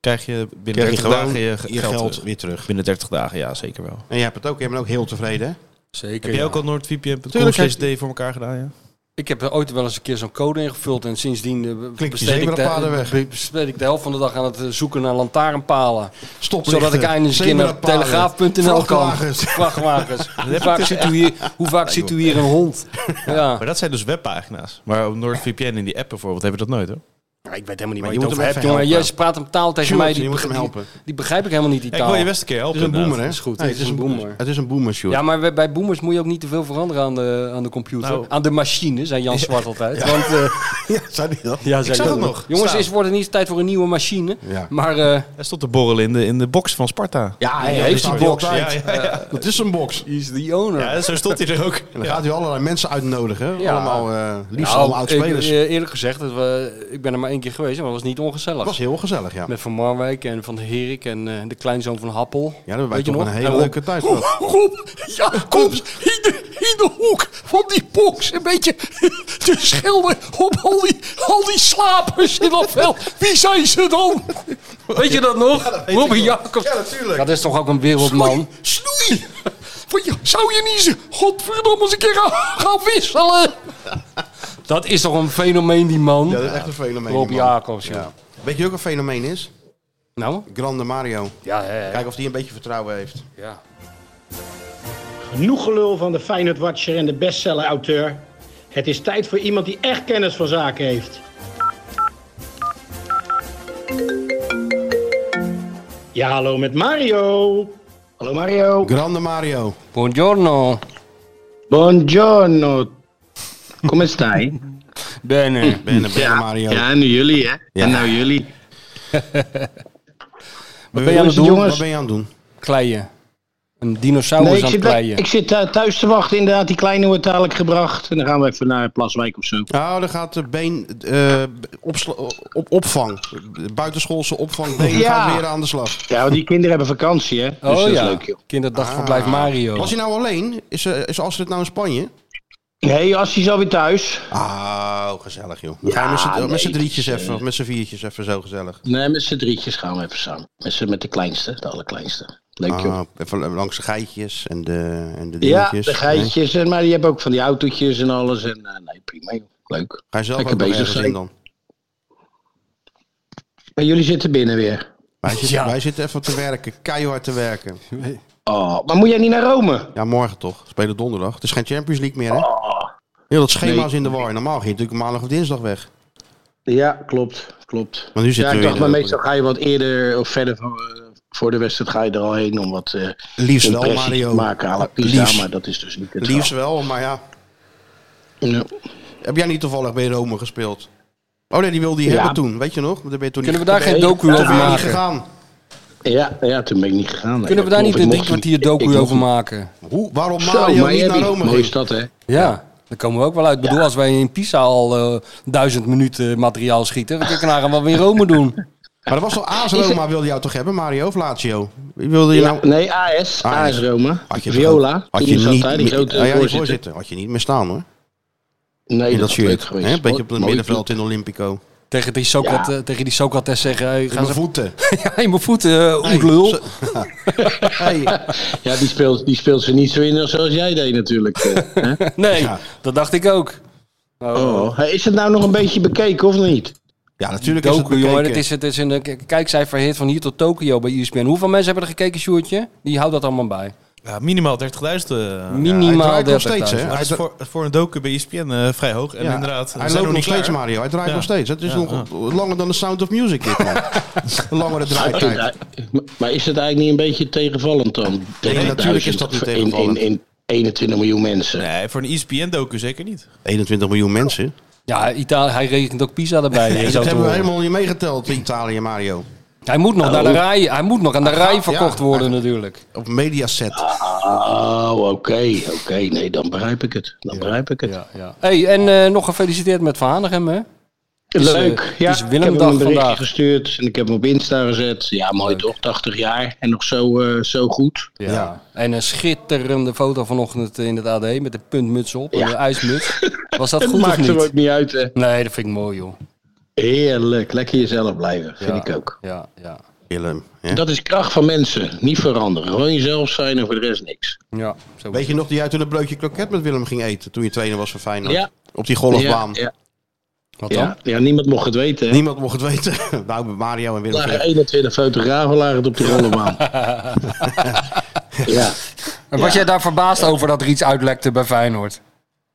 E: krijg je binnen 30 dagen je, ge-
C: je
E: geld,
C: geld,
E: terug.
C: weer terug.
E: Binnen 30 dagen, ja zeker wel.
C: En jij hebt het ook, jij bent ook heel tevreden, hè?
D: Zeker.
E: Heb jij
D: ja.
E: ook al NoordVPN.com
C: Tuurlijk,
E: slash D voor elkaar gedaan, ja?
D: Ik heb er ooit wel eens een keer zo'n code ingevuld en sindsdien eh,
C: je
D: besteed ik,
C: zebrapaden
D: de,
C: weg.
D: be- besteed ik de helft van de dag aan het eh, zoeken naar lantaarnpalen.
C: Stoplichten,
D: Zodat ik eindelijk eens een keer naar
C: zebrapalen,
D: telegraaf.nl kan.
C: vrachtwagens.
D: Vrachtwagens. Hoe vaak zit u hier, hoe vaak zit u hier een hond? Ja.
E: Maar dat zijn dus webpagina's. Maar op NordVPN in die app bijvoorbeeld hebben we dat nooit hoor.
C: ik weet helemaal niet waar
D: Maar
C: je,
D: je moet
C: het over
D: hem helpen,
C: hebt,
D: jongen. Jij praat een taal tegen
C: Sjoerd,
D: mij. Die,
C: je moet hem
D: die-
C: helpen.
D: die begrijp ik helemaal niet, die
E: Ja, ik
D: taal.
E: wil je best een keer helpen.
C: Het is een
E: inderdaad.
C: boomer, hè?
D: is goed.
C: Nee,
D: Het is een boomer.
C: Het is een boomer, Sjoerd.
D: Ja, maar bij- bij boomers moet je ook niet te veel veranderen aan de, aan de computer.
E: Nou.
D: Aan de machine, zei Jan Zwart altijd. Want, eh,
C: Ja, zei die dat?
D: ja,
E: Ik
D: zei
E: zag
D: Jan.
E: het nog
D: Jongens,
E: staan.
D: is, wordt het niet tijd voor een nieuwe machine?
C: Ja.
D: Maar eh,
E: Hij stond te borrelen in de, in de box van Sparta.
C: Ja,
D: hij
C: ja,
D: heeft
C: dat staat
D: een
C: hij
D: box.
C: altijd.
E: ja, ja.
C: Dat is een box.
D: He is the owner.
E: Ja, zo stond hij er ook.
C: En dan gaat hij allerlei mensen uitnodigen.
D: Ja.
C: Allemaal, eh liefst
D: Nou,
C: allemaal oud-spelers.
D: ik- eh, eerlijk gezegd, dat we, ik ben er maar één keer geweest, maar het was niet ongezellig.
C: Dat was heel gezellig, ja.
D: Met Van Marwijk en Van Herik en eh, de kleinzoon van Happel.
C: Ja, dan hebben wij
D: Weet je
C: toch
D: nog?
C: een hele
D: En Rob-
C: leuke tijd gehad.
D: Rob, Rob, Jacobs, in de, in de hoek van die box. Een beetje te schilderen op al die, al die slapers in dat veld. Wie zijn ze dan? Weet je dat nog? Robin Jacobs.
C: Ja, natuurlijk.
D: Dat is toch ook een wereldman? Snoei! Van, ja, Zou je niet ze- godverdomme eens een keer gaan, gaan wisselen? Dat is toch een fenomeen, die man?
C: Ja, dat is echt een fenomeen.
D: Rob
C: die man.
D: Jacobs, ja.
C: Weet je ook een fenomeen is?
D: Nou?
C: Grande Mario.
D: Ja, hè,
C: Kijk of die een beetje vertrouwen heeft.
D: ja.
H: Genoeg gelul van de Feyenoord Watcher en de bestseller-auteur. Het is tijd voor iemand die echt kennis van zaken heeft. Ja, hallo met Mario. Hallo Mario.
C: Grande Mario.
D: Buongiorno.
H: Buongiorno. Come stai?
D: Bene.
C: Benne, benne Mario.
H: Ja, nu jullie hè. En nou jullie.
D: Wat ben je aan het
H: Hoe
D: doen?
H: is het, jongens?
C: Wat ben je aan het doen?
D: Kleien. Een dinosaurus
H: Nee, ik
D: aan het
H: zit, wel-
D: kleien.
H: ik zit eh, thuis te wachten inderdaad. Die kleine wordt dadelijk gebracht. En dan gaan we even naar Plaswijk of zo.
C: Nou, dan gaat de been eh, opsla- op, opvang. De buitenschoolse opvang. Been
H: Ja.
C: gaat weer aan de slag.
H: Ja, want die kinderen hebben vakantie hè. Dus dat
D: oh
H: is
D: ja,
H: leuk joh.
D: kinderdagverblijf Mario.
C: Was hij nou alleen? Is, eh, is Astrid nou in Spanje?
H: Nee, Assie is alweer thuis.
C: Ah, gezellig joh. Dan gaan we met z'n-
H: nee,
C: met z'n drietjes
H: dat is,
C: even, of met z'n viertjes even zo gezellig.
H: Nee, met z'n drietjes gaan we even samen. Met, z'n- met de kleinste, de allerkleinste. Leuk joh.
C: Ah, even langs de geitjes en de, en de
H: ja,
C: dingetjes.
H: de geitjes. en Maar je hebt ook van die autootjes en alles. En, eh, nee, prima joh. Leuk.
C: Ga je zelf
H: Lekker
C: ook nog
H: bezig
C: ergens in
H: zijn.
C: dan?
H: En jullie zitten binnen weer.
C: Wij zitten, wij zitten even te werken, keihard te werken.
H: Oh, maar moet jij niet naar Rome?
C: Ja, morgen toch? Spelen donderdag. Het is geen Champions League meer, hè?
H: Ah.
C: Heel dat schema is in de war. Normaal ging je natuurlijk maandag of dinsdag weg.
H: Ja, klopt. Klopt.
C: Maar nu
H: Ja,
C: zitten
H: ik
C: we
H: dacht,
C: weer
H: maar
C: in de-
H: meestal ga je wat eerder of verder van, eh, voor de wedstrijd ga je er al heen om wat eh
C: Liefst wel,
H: impressies
C: Mario.
H: te maken à la Pisa,
C: Liefst.
H: maar dat is dus niet het
C: Liefst wel, maar ja.
H: geval. Ja.
C: Heb jij niet toevallig bij Rome gespeeld? Oh nee, die wilde je
H: Ja.
C: hebben toen, weet je nog? Maar daar ben je toen
D: Kunnen we
C: niet-
D: daar geen docu
H: Ja,
C: daar
D: over
C: ben je niet
D: maken?
C: gegaan.
H: Ja, ja, toen ben ik niet gegaan. nee,
D: Kunnen we
H: dat
D: daar niet
H: klopt.
D: een
H: Ik
D: drie
H: mocht
D: kwartier
H: niet. Ik
D: docu
H: mocht
D: over
H: niet.
D: maken?
C: Hoe, waarom
H: Zo,
C: Mario niet naar
H: Miami.
C: Rome
H: Mooie
C: ging?
H: stad, hè?
D: Ja, daar komen we ook wel uit. Ik bedoel, als wij in Pisa al eh, duizend minuten materiaal schieten, dan kunnen we wel weer in Rome doen.
C: Maar dat was toch AS Roma wilde jou toch hebben, Mario of Lazio? Wie wilde je
H: Ja,
C: nou...
H: nee, AS. AS Rome.
C: Had je
H: Viola.
C: Had
H: Toen
C: je
H: zat
C: niet,
H: daar, die grote
C: ah, ja, die
H: voorzitter.
C: voorzitter. Had je niet meer staan hoor.
H: Nee,
C: In dat
H: dat is leuk
C: shirt.
H: geweest.
C: Hè, Een beetje op het
H: Mooi
C: middenveld in Olympico.
D: Tegen die, Socrates, tegen die Socrates zeggen, hey,
C: Gaan
D: gaan
C: ze
D: ze
C: voeten.
D: ja, in mijn voeten, eh, ongelul.
C: zo- Hey.
H: doel. Ja, die speelt, die speelt ze niet zo in zoals jij deed natuurlijk. eh, hè?
D: nee, dat dacht ik ook.
H: oh. Hey, is het nou nog een beetje bekeken of niet?
C: Ja, natuurlijk is het
D: Doku, jongen,
C: bekeken.
D: het is, het is een eh, kijkcijfer hit van hier tot Tokio bij E ESPN. Hoeveel mensen hebben er gekeken, Sjoerdje? Die houdt dat allemaal bij.
E: Ja, minimaal 30.000. eh.
C: hij
D: Minimaal
C: draait
D: 30.000.
C: nog steeds, hè?
E: Maar dat is voor, voor een docu bij ESPN eh, vrij hoog. En
C: Ja,
E: inderdaad, we
C: hij
E: zijn
C: loopt nog
E: niet
C: steeds,
E: klaar.
C: Mario. Hij draait
E: Ja.
C: nog steeds. Het is nog langer dan de Sound of Music, dit man. Een langere
H: Ik vind
C: draait.
H: het- maar is het eigenlijk niet een beetje tegenvallend dan?
C: Nee, natuurlijk is dat niet
H: In-
C: tegenvallend.
H: In, in, 21 miljoen mensen.
E: Nee, voor een E ESPN-docu zeker niet.
C: 21 miljoen mensen.
D: Ja, Italië, hij rekent ook Pisa erbij. eh, zo
C: dat
D: te
C: hebben we
D: horen.
C: helemaal niet meegeteld in Italië, Mario.
D: Hij moet nog naar de rij. Hij moet nog aan de rij verkocht
C: ja.
D: worden natuurlijk.
C: Op Mediaset.
H: Oh, oké. oké. Nee, dan begrijp ik het. Dan begrijp ik het.
D: Hey, en eh, nog gefeliciteerd met Van Hanegem, hè? is, eh,
H: Leuk.
D: het
H: ja,
D: is
H: ik heb hem
D: Willemdag
H: een berichtje
D: vandaag.
H: gestuurd en ik heb hem op Insta gezet. Ja, mooi toch? 80 jaar en nog zo, eh, zo goed.
D: Ja. En een schitterende foto vanochtend eh, in het AD met de puntmuts op en
H: Ja.
D: de ijsmuts. Was dat
H: Het
D: goed of
H: maakt er
D: niet?
H: ook niet uit. hè.
D: Nee, dat vind ik mooi, joh.
H: Heerlijk. Lekker jezelf blijven, vind ik ook.
D: Ja, ja.
C: Willem. hè?
H: Dat is kracht van mensen. Niet veranderen. Gewoon jezelf zijn en voor de rest niks.
D: Ja, zo
C: Weet je nog die uit toen een broodje kroket met Willem ging eten? Toen je trainer was van Feyenoord.
H: Ja.
C: Op die golfbaan.
H: Ja,
D: Wat dan?
H: ja, ja, niemand mocht het weten. hè.
C: Niemand mocht het weten. nou, met Mario en
H: Er
C: Willem.
H: lagen 21 fotografen lagen het op de rollenbaan. ja.
D: En was jij daar verbaasd over dat er iets uitlekte bij Feyenoord?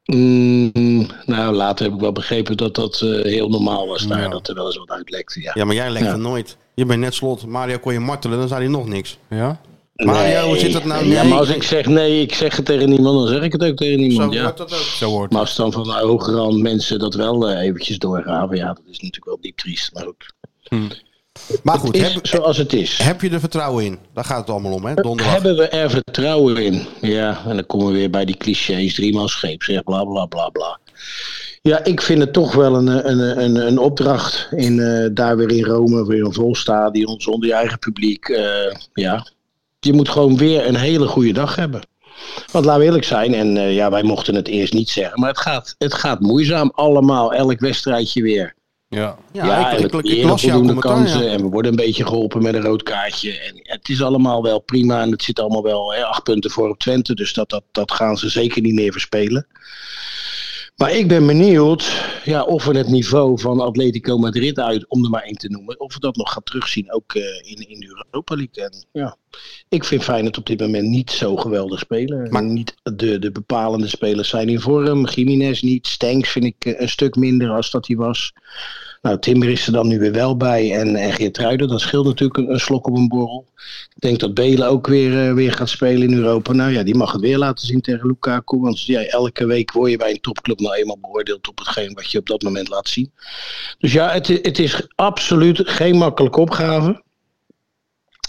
H: Mm, nou, later heb ik wel begrepen dat dat eh, heel normaal was daar. Dat er wel eens wat uitlekte. Ja.
C: Ja, maar jij legt
H: Ja.
C: het nooit. Je bent net slot. Mario kon je martelen, dan zei hij nog niks.
D: Ja?
C: Mario, hoe zit dat nou?
H: Ja,
C: Nee.
H: maar als ik zeg nee, ik zeg het tegen niemand, dan zeg ik het ook tegen
C: Zo
H: niemand.
C: wordt
H: Ja.
C: dat ook.
D: Zo hoort
H: Maar als dan van de hogere hand mensen dat wel eh, eventjes doorgaven, ja, dat is natuurlijk wel diep triest. Maar goed,
C: Maar goed,
H: het is
C: heb,
H: zoals het is.
C: heb je er vertrouwen in? Daar gaat het allemaal om, hè? Donderdag.
H: Hebben we er vertrouwen in? Ja, en dan komen we weer bij die clichés, driemaal scheep, zeg bla bla bla bla. Ja, ik vind het toch wel een, eh, een, een, een opdracht. In, eh, daar weer in Rome, weer een vol stadion, zonder je eigen publiek. eh, ja, je moet gewoon weer een hele goede dag hebben. Want laten we eerlijk zijn, en eh, ja, wij mochten het eerst niet zeggen, maar het gaat, het gaat moeizaam allemaal, elk wedstrijdje weer.
D: Ja.
H: Ja, en we creëren voldoende kansen en we worden een beetje geholpen met een rood kaartje. En het is allemaal wel prima en het zit allemaal wel hè, acht punten voor op Twente, dus dat, dat, dat gaan ze zeker niet meer verspelen. Maar ik ben benieuwd ja, of we het niveau van Atletico Madrid uit, om er maar één te noemen, of we dat nog gaan terugzien ook eh, in, in de Europa League. En, ja. Ik vind Feyenoord op dit moment niet zo geweldig spelen.
C: Maar-
H: Maar niet de, de bepalende spelers zijn in vorm. Jiménez niet, Stenks vind ik eh, een stuk minder als dat hij was. Nou, Timber is er dan nu weer wel bij. En, en Geertruiden, dat scheelt natuurlijk een, een slok op een borrel. Ik denk dat Belen ook weer, eh, weer gaat spelen in Europa. Nou ja, die mag het weer laten zien tegen Lukaku. Want ja, elke week word je bij een topclub nou eenmaal beoordeeld op hetgeen wat je op dat moment laat zien. Dus ja, het, i- het is absoluut geen makkelijke opgave.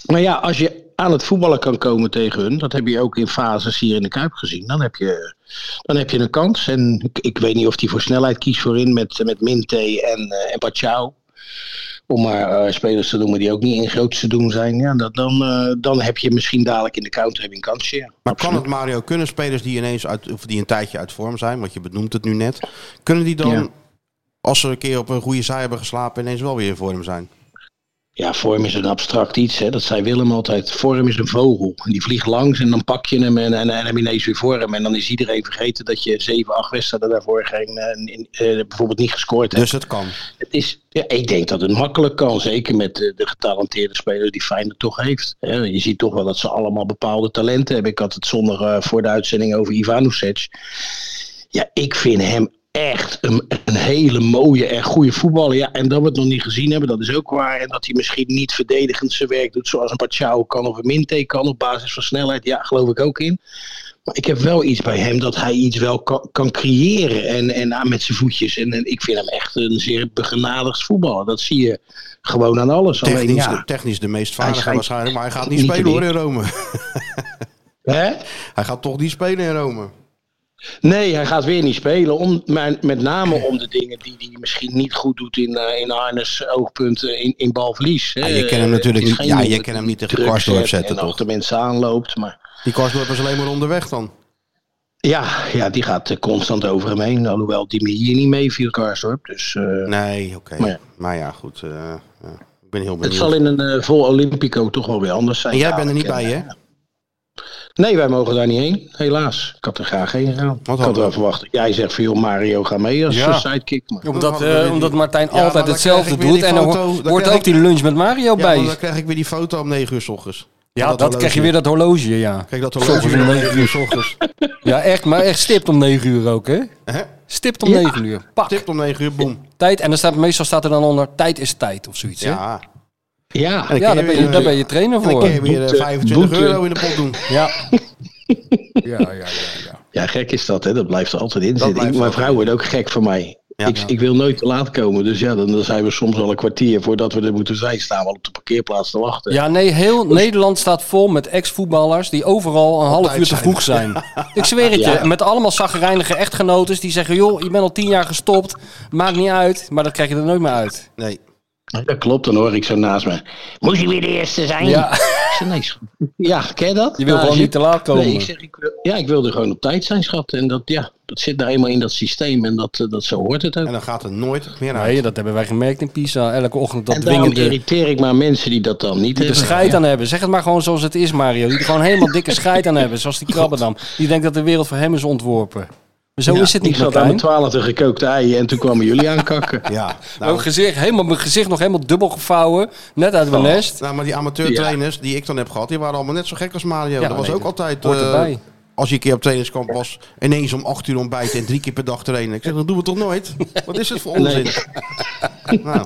H: Maar ja, als je aan het voetballen kan komen tegen hun, dat heb je ook in fases hier in de Kuip gezien, dan heb je, dan heb je een kans. En ik, ik weet niet of die voor snelheid kiest voorin met, met Minte en, eh en Pachau. Om maar eh, spelers te noemen die ook niet in groots te doen zijn. Ja, dat, dan, eh, dan heb je misschien dadelijk in de counter heb je een kansje. Ja.
C: Maar
H: Absoluut.
C: kan het, Mario, kunnen spelers die ineens uit, of die een tijdje uit vorm zijn, want je benoemt het nu net, kunnen die dan,
H: Ja.
C: als ze een keer op een goede zij hebben geslapen, ineens wel weer in vorm zijn?
H: Ja, vorm is een abstract iets. Hè. Dat zei Willem altijd. Vorm is een vogel. En die vliegt langs en dan pak je hem en, en, en heb je ineens weer vorm. En dan is iedereen vergeten dat je 7, 8 wedstrijden daarvoor geen, eh, in- eh, bijvoorbeeld niet gescoord hebt.
C: Dus het kan.
H: Het is, ja, ik denk dat het makkelijk kan. Zeker met eh, de getalenteerde spelers die Feyenoord toch heeft. Eh, Hè, Je ziet toch wel dat ze allemaal bepaalde talenten hebben. Ik had het zondag eh, voor de uitzending over Ivanovic. Ja, ik vind hem echt een, een hele mooie en goede voetballer. Ja, en dat we het nog niet gezien hebben, dat is ook waar. En dat hij misschien niet verdedigend zijn werk doet zoals een Pachau kan of een Minte kan op basis van snelheid. Ja, geloof ik ook in. Maar ik heb wel iets bij hem dat hij iets wel kan, kan creëren. En, en aan met zijn voetjes. En, en ik vind hem echt een zeer begenadigd voetballer. Dat zie je gewoon aan alles. Alleen
C: Technisch,
H: ja.
C: technisch de meest vaardige
H: schijnt-
C: waarschijnlijk, maar hij gaat niet,
H: niet te
C: spelen hoor in
H: leren.
C: Rome.
H: Hè?
C: hij gaat toch niet spelen in Rome.
H: Nee, hij gaat weer niet spelen. Om, maar met name om de dingen die hij misschien niet goed doet in, eh in harness, oogpunten, eh, in, in balverlies. hè.
C: Ja, je kent hem natuurlijk
H: Het
C: niet-
H: is geen
C: ja, je
H: jongen
C: kent hem
H: die
C: niet tegen
H: druk
C: Karsdorp
H: zet
C: zetten,
H: en
C: toch?
H: achter mensen aanloopt. Maar
C: Die Karsdorp is alleen maar onderweg dan.
H: ja, ja, die gaat eh, constant over hem heen. Alhoewel die me hier niet meeviel, Karsdorp. Dus eh,
C: Nee, oké.
H: Maar ja.
C: Maar ja, goed. eh, ja. Ik ben heel
H: het
C: benieuwd.
H: zal in een eh, vol Olympico toch wel weer anders zijn.
C: En jij
H: Ja,
C: bent er niet
H: en,
C: bij,
H: eh,
C: hè?
H: Nee, wij mogen daar niet heen, helaas. Ik had er graag heen gegaan.
C: Wat
H: ik had
C: handig.
H: wel verwacht. dat Jij zegt van, joh, Mario, ga mee als
D: Ja.
H: eh, sidekick. Maar...
D: Omdat,
C: hadden we
D: eh,
C: weer
D: omdat
C: die-
D: Martijn
C: Ja, maar
D: altijd
C: dan
D: hetzelfde
C: krijg ik weer
D: doet.
C: die
D: En dan
C: foto,
D: hoor-
C: dan
D: wordt
C: krijg
D: ook die lunch met Mario
C: Ja,
D: bij.
C: want dan krijg ik weer die foto om 9 uur s ochtends.
D: Ja,
C: Van
D: dat, krijg je
C: horloge.
D: weer dat horloge, ja.
C: Kijk, dat horloge
D: Soms om
C: om
D: 9
C: 9 uur s ochtends.
D: Ja, echt, maar echt stipt om 9 uur ook, hè?
C: Hè?
D: Stipt om 9 uur. Pak.
C: Tip om 9 uur, boem.
D: Tijd. En dan staat, meestal staat er dan onder tijd is tijd of zoiets, hè?
C: Ja.
D: Ja,
H: Ja,
C: En dan kun
D: daar,
C: je
D: ben
C: weer,
D: je, daar
C: eh,
D: ben je trainer
C: En dan
D: voor.
C: kun je weer eh,
H: Boete.
C: 25
H: Boete.
C: euro in de pot doen.
D: Ja. Ja, ja, ja, ja.
H: Ja, gek is dat, hè? Dat blijft er altijd in zitten.
C: blijft
H: Ik- Mijn
C: altijd
H: vrouw wordt ook gek van mij.
C: Ja.
H: ik, ik wil nooit te laat komen. Dus ja, dan, dan zijn we soms al een kwartier voordat we er moeten zijn. Staan we al op de parkeerplaats te wachten.
D: Ja, nee, heel Nederland staat vol met ex-voetballers die overal een half
C: tijd
D: uur te
C: zijn.
D: vroeg zijn. Ik zweer het
H: Ja.
D: je, met allemaal zagrijnige echtgenotes die zeggen, joh, je bent al tien jaar gestopt, maakt niet uit, maar dat krijg je er nooit meer uit.
C: Nee.
H: Dat klopt, dan hoor ik zo naast me. Moet je weer de eerste zijn?
D: Ja,
H: Ik zeg, nee, schat. ja ken je dat?
D: je wil
H: Ja,
D: gewoon
H: als
D: niet te laat
H: Nee,
D: komen.
H: ik zeg, ik wil, ja, ik wil er gewoon op tijd zijn, schat. En dat, ja, dat- Dat zit nou eenmaal in dat systeem en dat, eh, dat zo hoort het ook.
C: En dan gaat het nooit meer uit.
D: Nee, dat hebben wij gemerkt in Pisa. Elke ochtend dat
H: en daarom
D: dwingende...
H: irriteer ik maar mensen die dat dan niet
D: Die er
H: hebben.
D: scheid aan hebben. Zeg het maar gewoon zoals het is, Mario. Die er gewoon helemaal dikke scheid aan hebben. Zoals die krabbendam. Die denkt dat de wereld voor hem is ontworpen. Maar zo
H: Ja,
D: is het niet,
H: Ik zat aan
D: Martijn.
H: mijn twaalfde gekookte ei en toen kwamen jullie aankakken.
C: Ja,
D: Mijn
C: nou,
D: gezicht, helemaal, mijn gezicht nog helemaal dubbel gevouwen. Net uit mijn
H: Oh.
D: nest.
C: nou, maar die amateurtrainers die ik dan heb gehad, die waren allemaal net zo gek als Mario.
D: Ja,
C: dat was
D: nee,
C: ook
D: dat
C: altijd,
D: hoort
C: eh,
D: erbij.
C: als je een keer op trainingskamp was, ineens om acht uur ontbijten en drie keer per dag trainen. Ik zeg, dat doen we toch nooit? Wat is het voor onzin? Nou,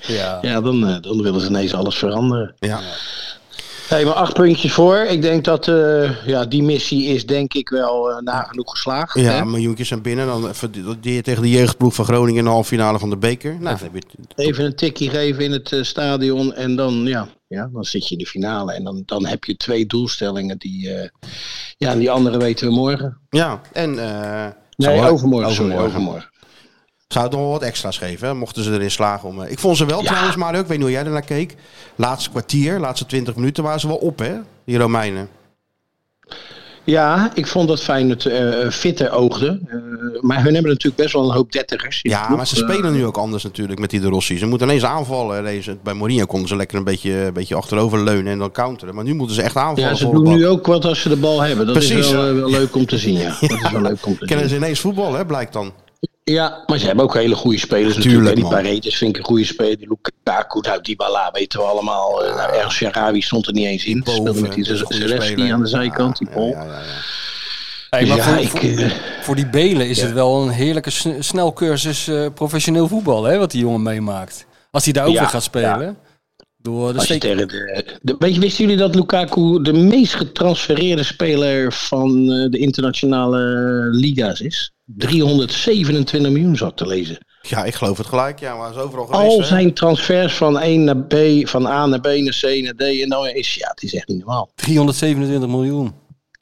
D: Ja.
H: Ja, dan, eh, dan willen ze ineens alles veranderen.
C: ja.
H: Hey, maar acht puntjes voor. Ik denk dat eh, ja, die missie is denk ik wel eh, nagenoeg geslaagd.
C: ja,
H: hè?
C: miljoentjes zijn binnen. Dan verdeer je tegen de jeugdploeg van Groningen in de halve finale van de beker. Nou, dan heb je het.
H: Even een tikje geven in het eh, stadion en dan, ja, ja, dan zit je in de finale. En dan, dan heb je twee doelstellingen die, eh, ja, die andere weten we morgen.
C: Ja, en eh,
H: Nee,
C: zou-
H: overmorgen, sorry,
C: overmorgen.
H: overmorgen.
C: zou het nog wel wat extra's geven, hè, mochten ze erin slagen om... eh, Ik vond ze wel trouwens, maar ik weet niet hoe jij ernaar keek. Laatste kwartier, laatste twintig minuten waren ze wel op, hè, die Romeinen.
H: Ja, ik vond dat Feyenoord eh fitter oogde. Eh, maar hun hebben natuurlijk best wel een hoop dertigers. in de
C: Ja,
H: ploeg.
C: maar ze spelen nu ook anders natuurlijk met die de Rossi. Ze moeten ineens aanvallen. Deze, bij Mourinho konden ze lekker een beetje, een beetje achterover leunen en dan counteren. Maar nu moeten ze echt aanvallen.
H: Ja, ze
C: volle
H: doen
C: bak.
H: nu ook wat als ze de bal hebben. Dat
C: Precies,
H: is wel,
C: ja.
H: eh, wel leuk om te zien, ja. Dat is wel leuk om te zien.
C: Kennen ze ineens voetbal, hè, blijkt dan.
H: Ja, maar ze hebben ook hele goede spelers
C: Tuurlijk,
H: natuurlijk. hè.
C: man.
H: Die Paredes vind ik een goede speler. Die Lukaku, nou, Dybala weten we allemaal. Eh, Nou, El Sharawi stond er niet eens in. Speelde
C: Boven,
H: met die
C: dat is een goede
H: Zaleski
C: speler.
H: aan de zijkant. die
C: Ja,
H: bal.
C: ja, ja, ja.
D: Hey, maar
H: Ja,
D: voor,
H: ik,
D: voor,
H: eh,
D: voor die belen is het wel een heerlijke sn- snelcursus eh, professioneel voetbal. Hè, wat die jongen meemaakt. Als hij daar ook
H: Ja,
D: weer gaat spelen. eh, Door de
H: als je
D: steek...
H: tegen de, de- weet je, wisten jullie dat Lukaku de meest getransfereerde speler van eh, de internationale eh, liga's is? 327 miljoen zat te lezen.
C: Ja, ik geloof het gelijk. Ja, maar ze is overal geweest,
H: Al
C: hè.
H: zijn transfers van, 1 naar B, van A naar B naar C naar D. En dan is, ja, het is echt niet normaal.
D: 327 miljoen.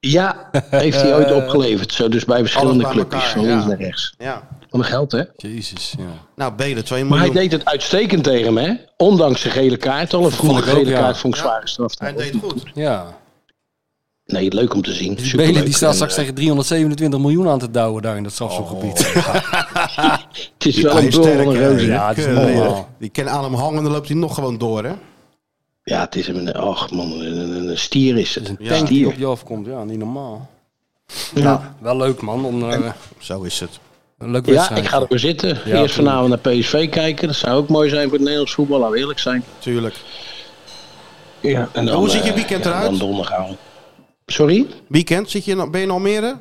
H: Ja, heeft hij ooit opgeleverd. Zo dus bij verschillende
C: bij
H: clubjes,
C: elkaar,
H: van links
C: ja.
H: naar rechts.
C: Ja.
H: Wat een geld, hè?
D: Jezus, ja.
C: Nou, Belen, 2
H: Maar hij
C: miljoen.
H: deed het uitstekend tegen hem, hè? Ondanks de gele kaart al. Een vroege
D: ik ook,
H: gele
D: ja.
H: kaart vond ik
C: Ja,
H: zware straf.
C: Hij deed het goed.
D: Ja.
H: Nee, leuk om te zien.
D: Die
H: Superleuk.
D: Belen die staat
H: En,
D: straks
H: eh,
D: tegen 327 miljoen aan te douwen daar in dat strafschopgebied.
H: Oh, Het is wel een doel eh, van een roze.
D: Ja,
H: Ja.
D: het is
C: Keurig.
D: normaal.
C: Die kan aan hem hangen en dan loopt hij nog gewoon door, hè.
H: het is een... Och man, een, een- een stier is het.
D: Tank
H: Een
D: die op
H: stier.
D: je afkomt, ja, niet normaal.
H: Ja,
D: Wel leuk man, om, eh,
C: Zo is het.
D: een leuk
H: ja
D: wedstrijd.
H: ik ga ervoor zitten. Eerst vanavond naar PSV kijken. Dat zou ook mooi zijn voor het Nederlands voetbal, laten we eerlijk zijn.
C: Tuurlijk.
H: Ja, en dan,
C: Hoe ziet je
H: eh,
C: weekend
H: ja,
C: eruit?
H: Dan donderdagavond. Sorry?
C: Weekend, zit je in, ben je in Almere?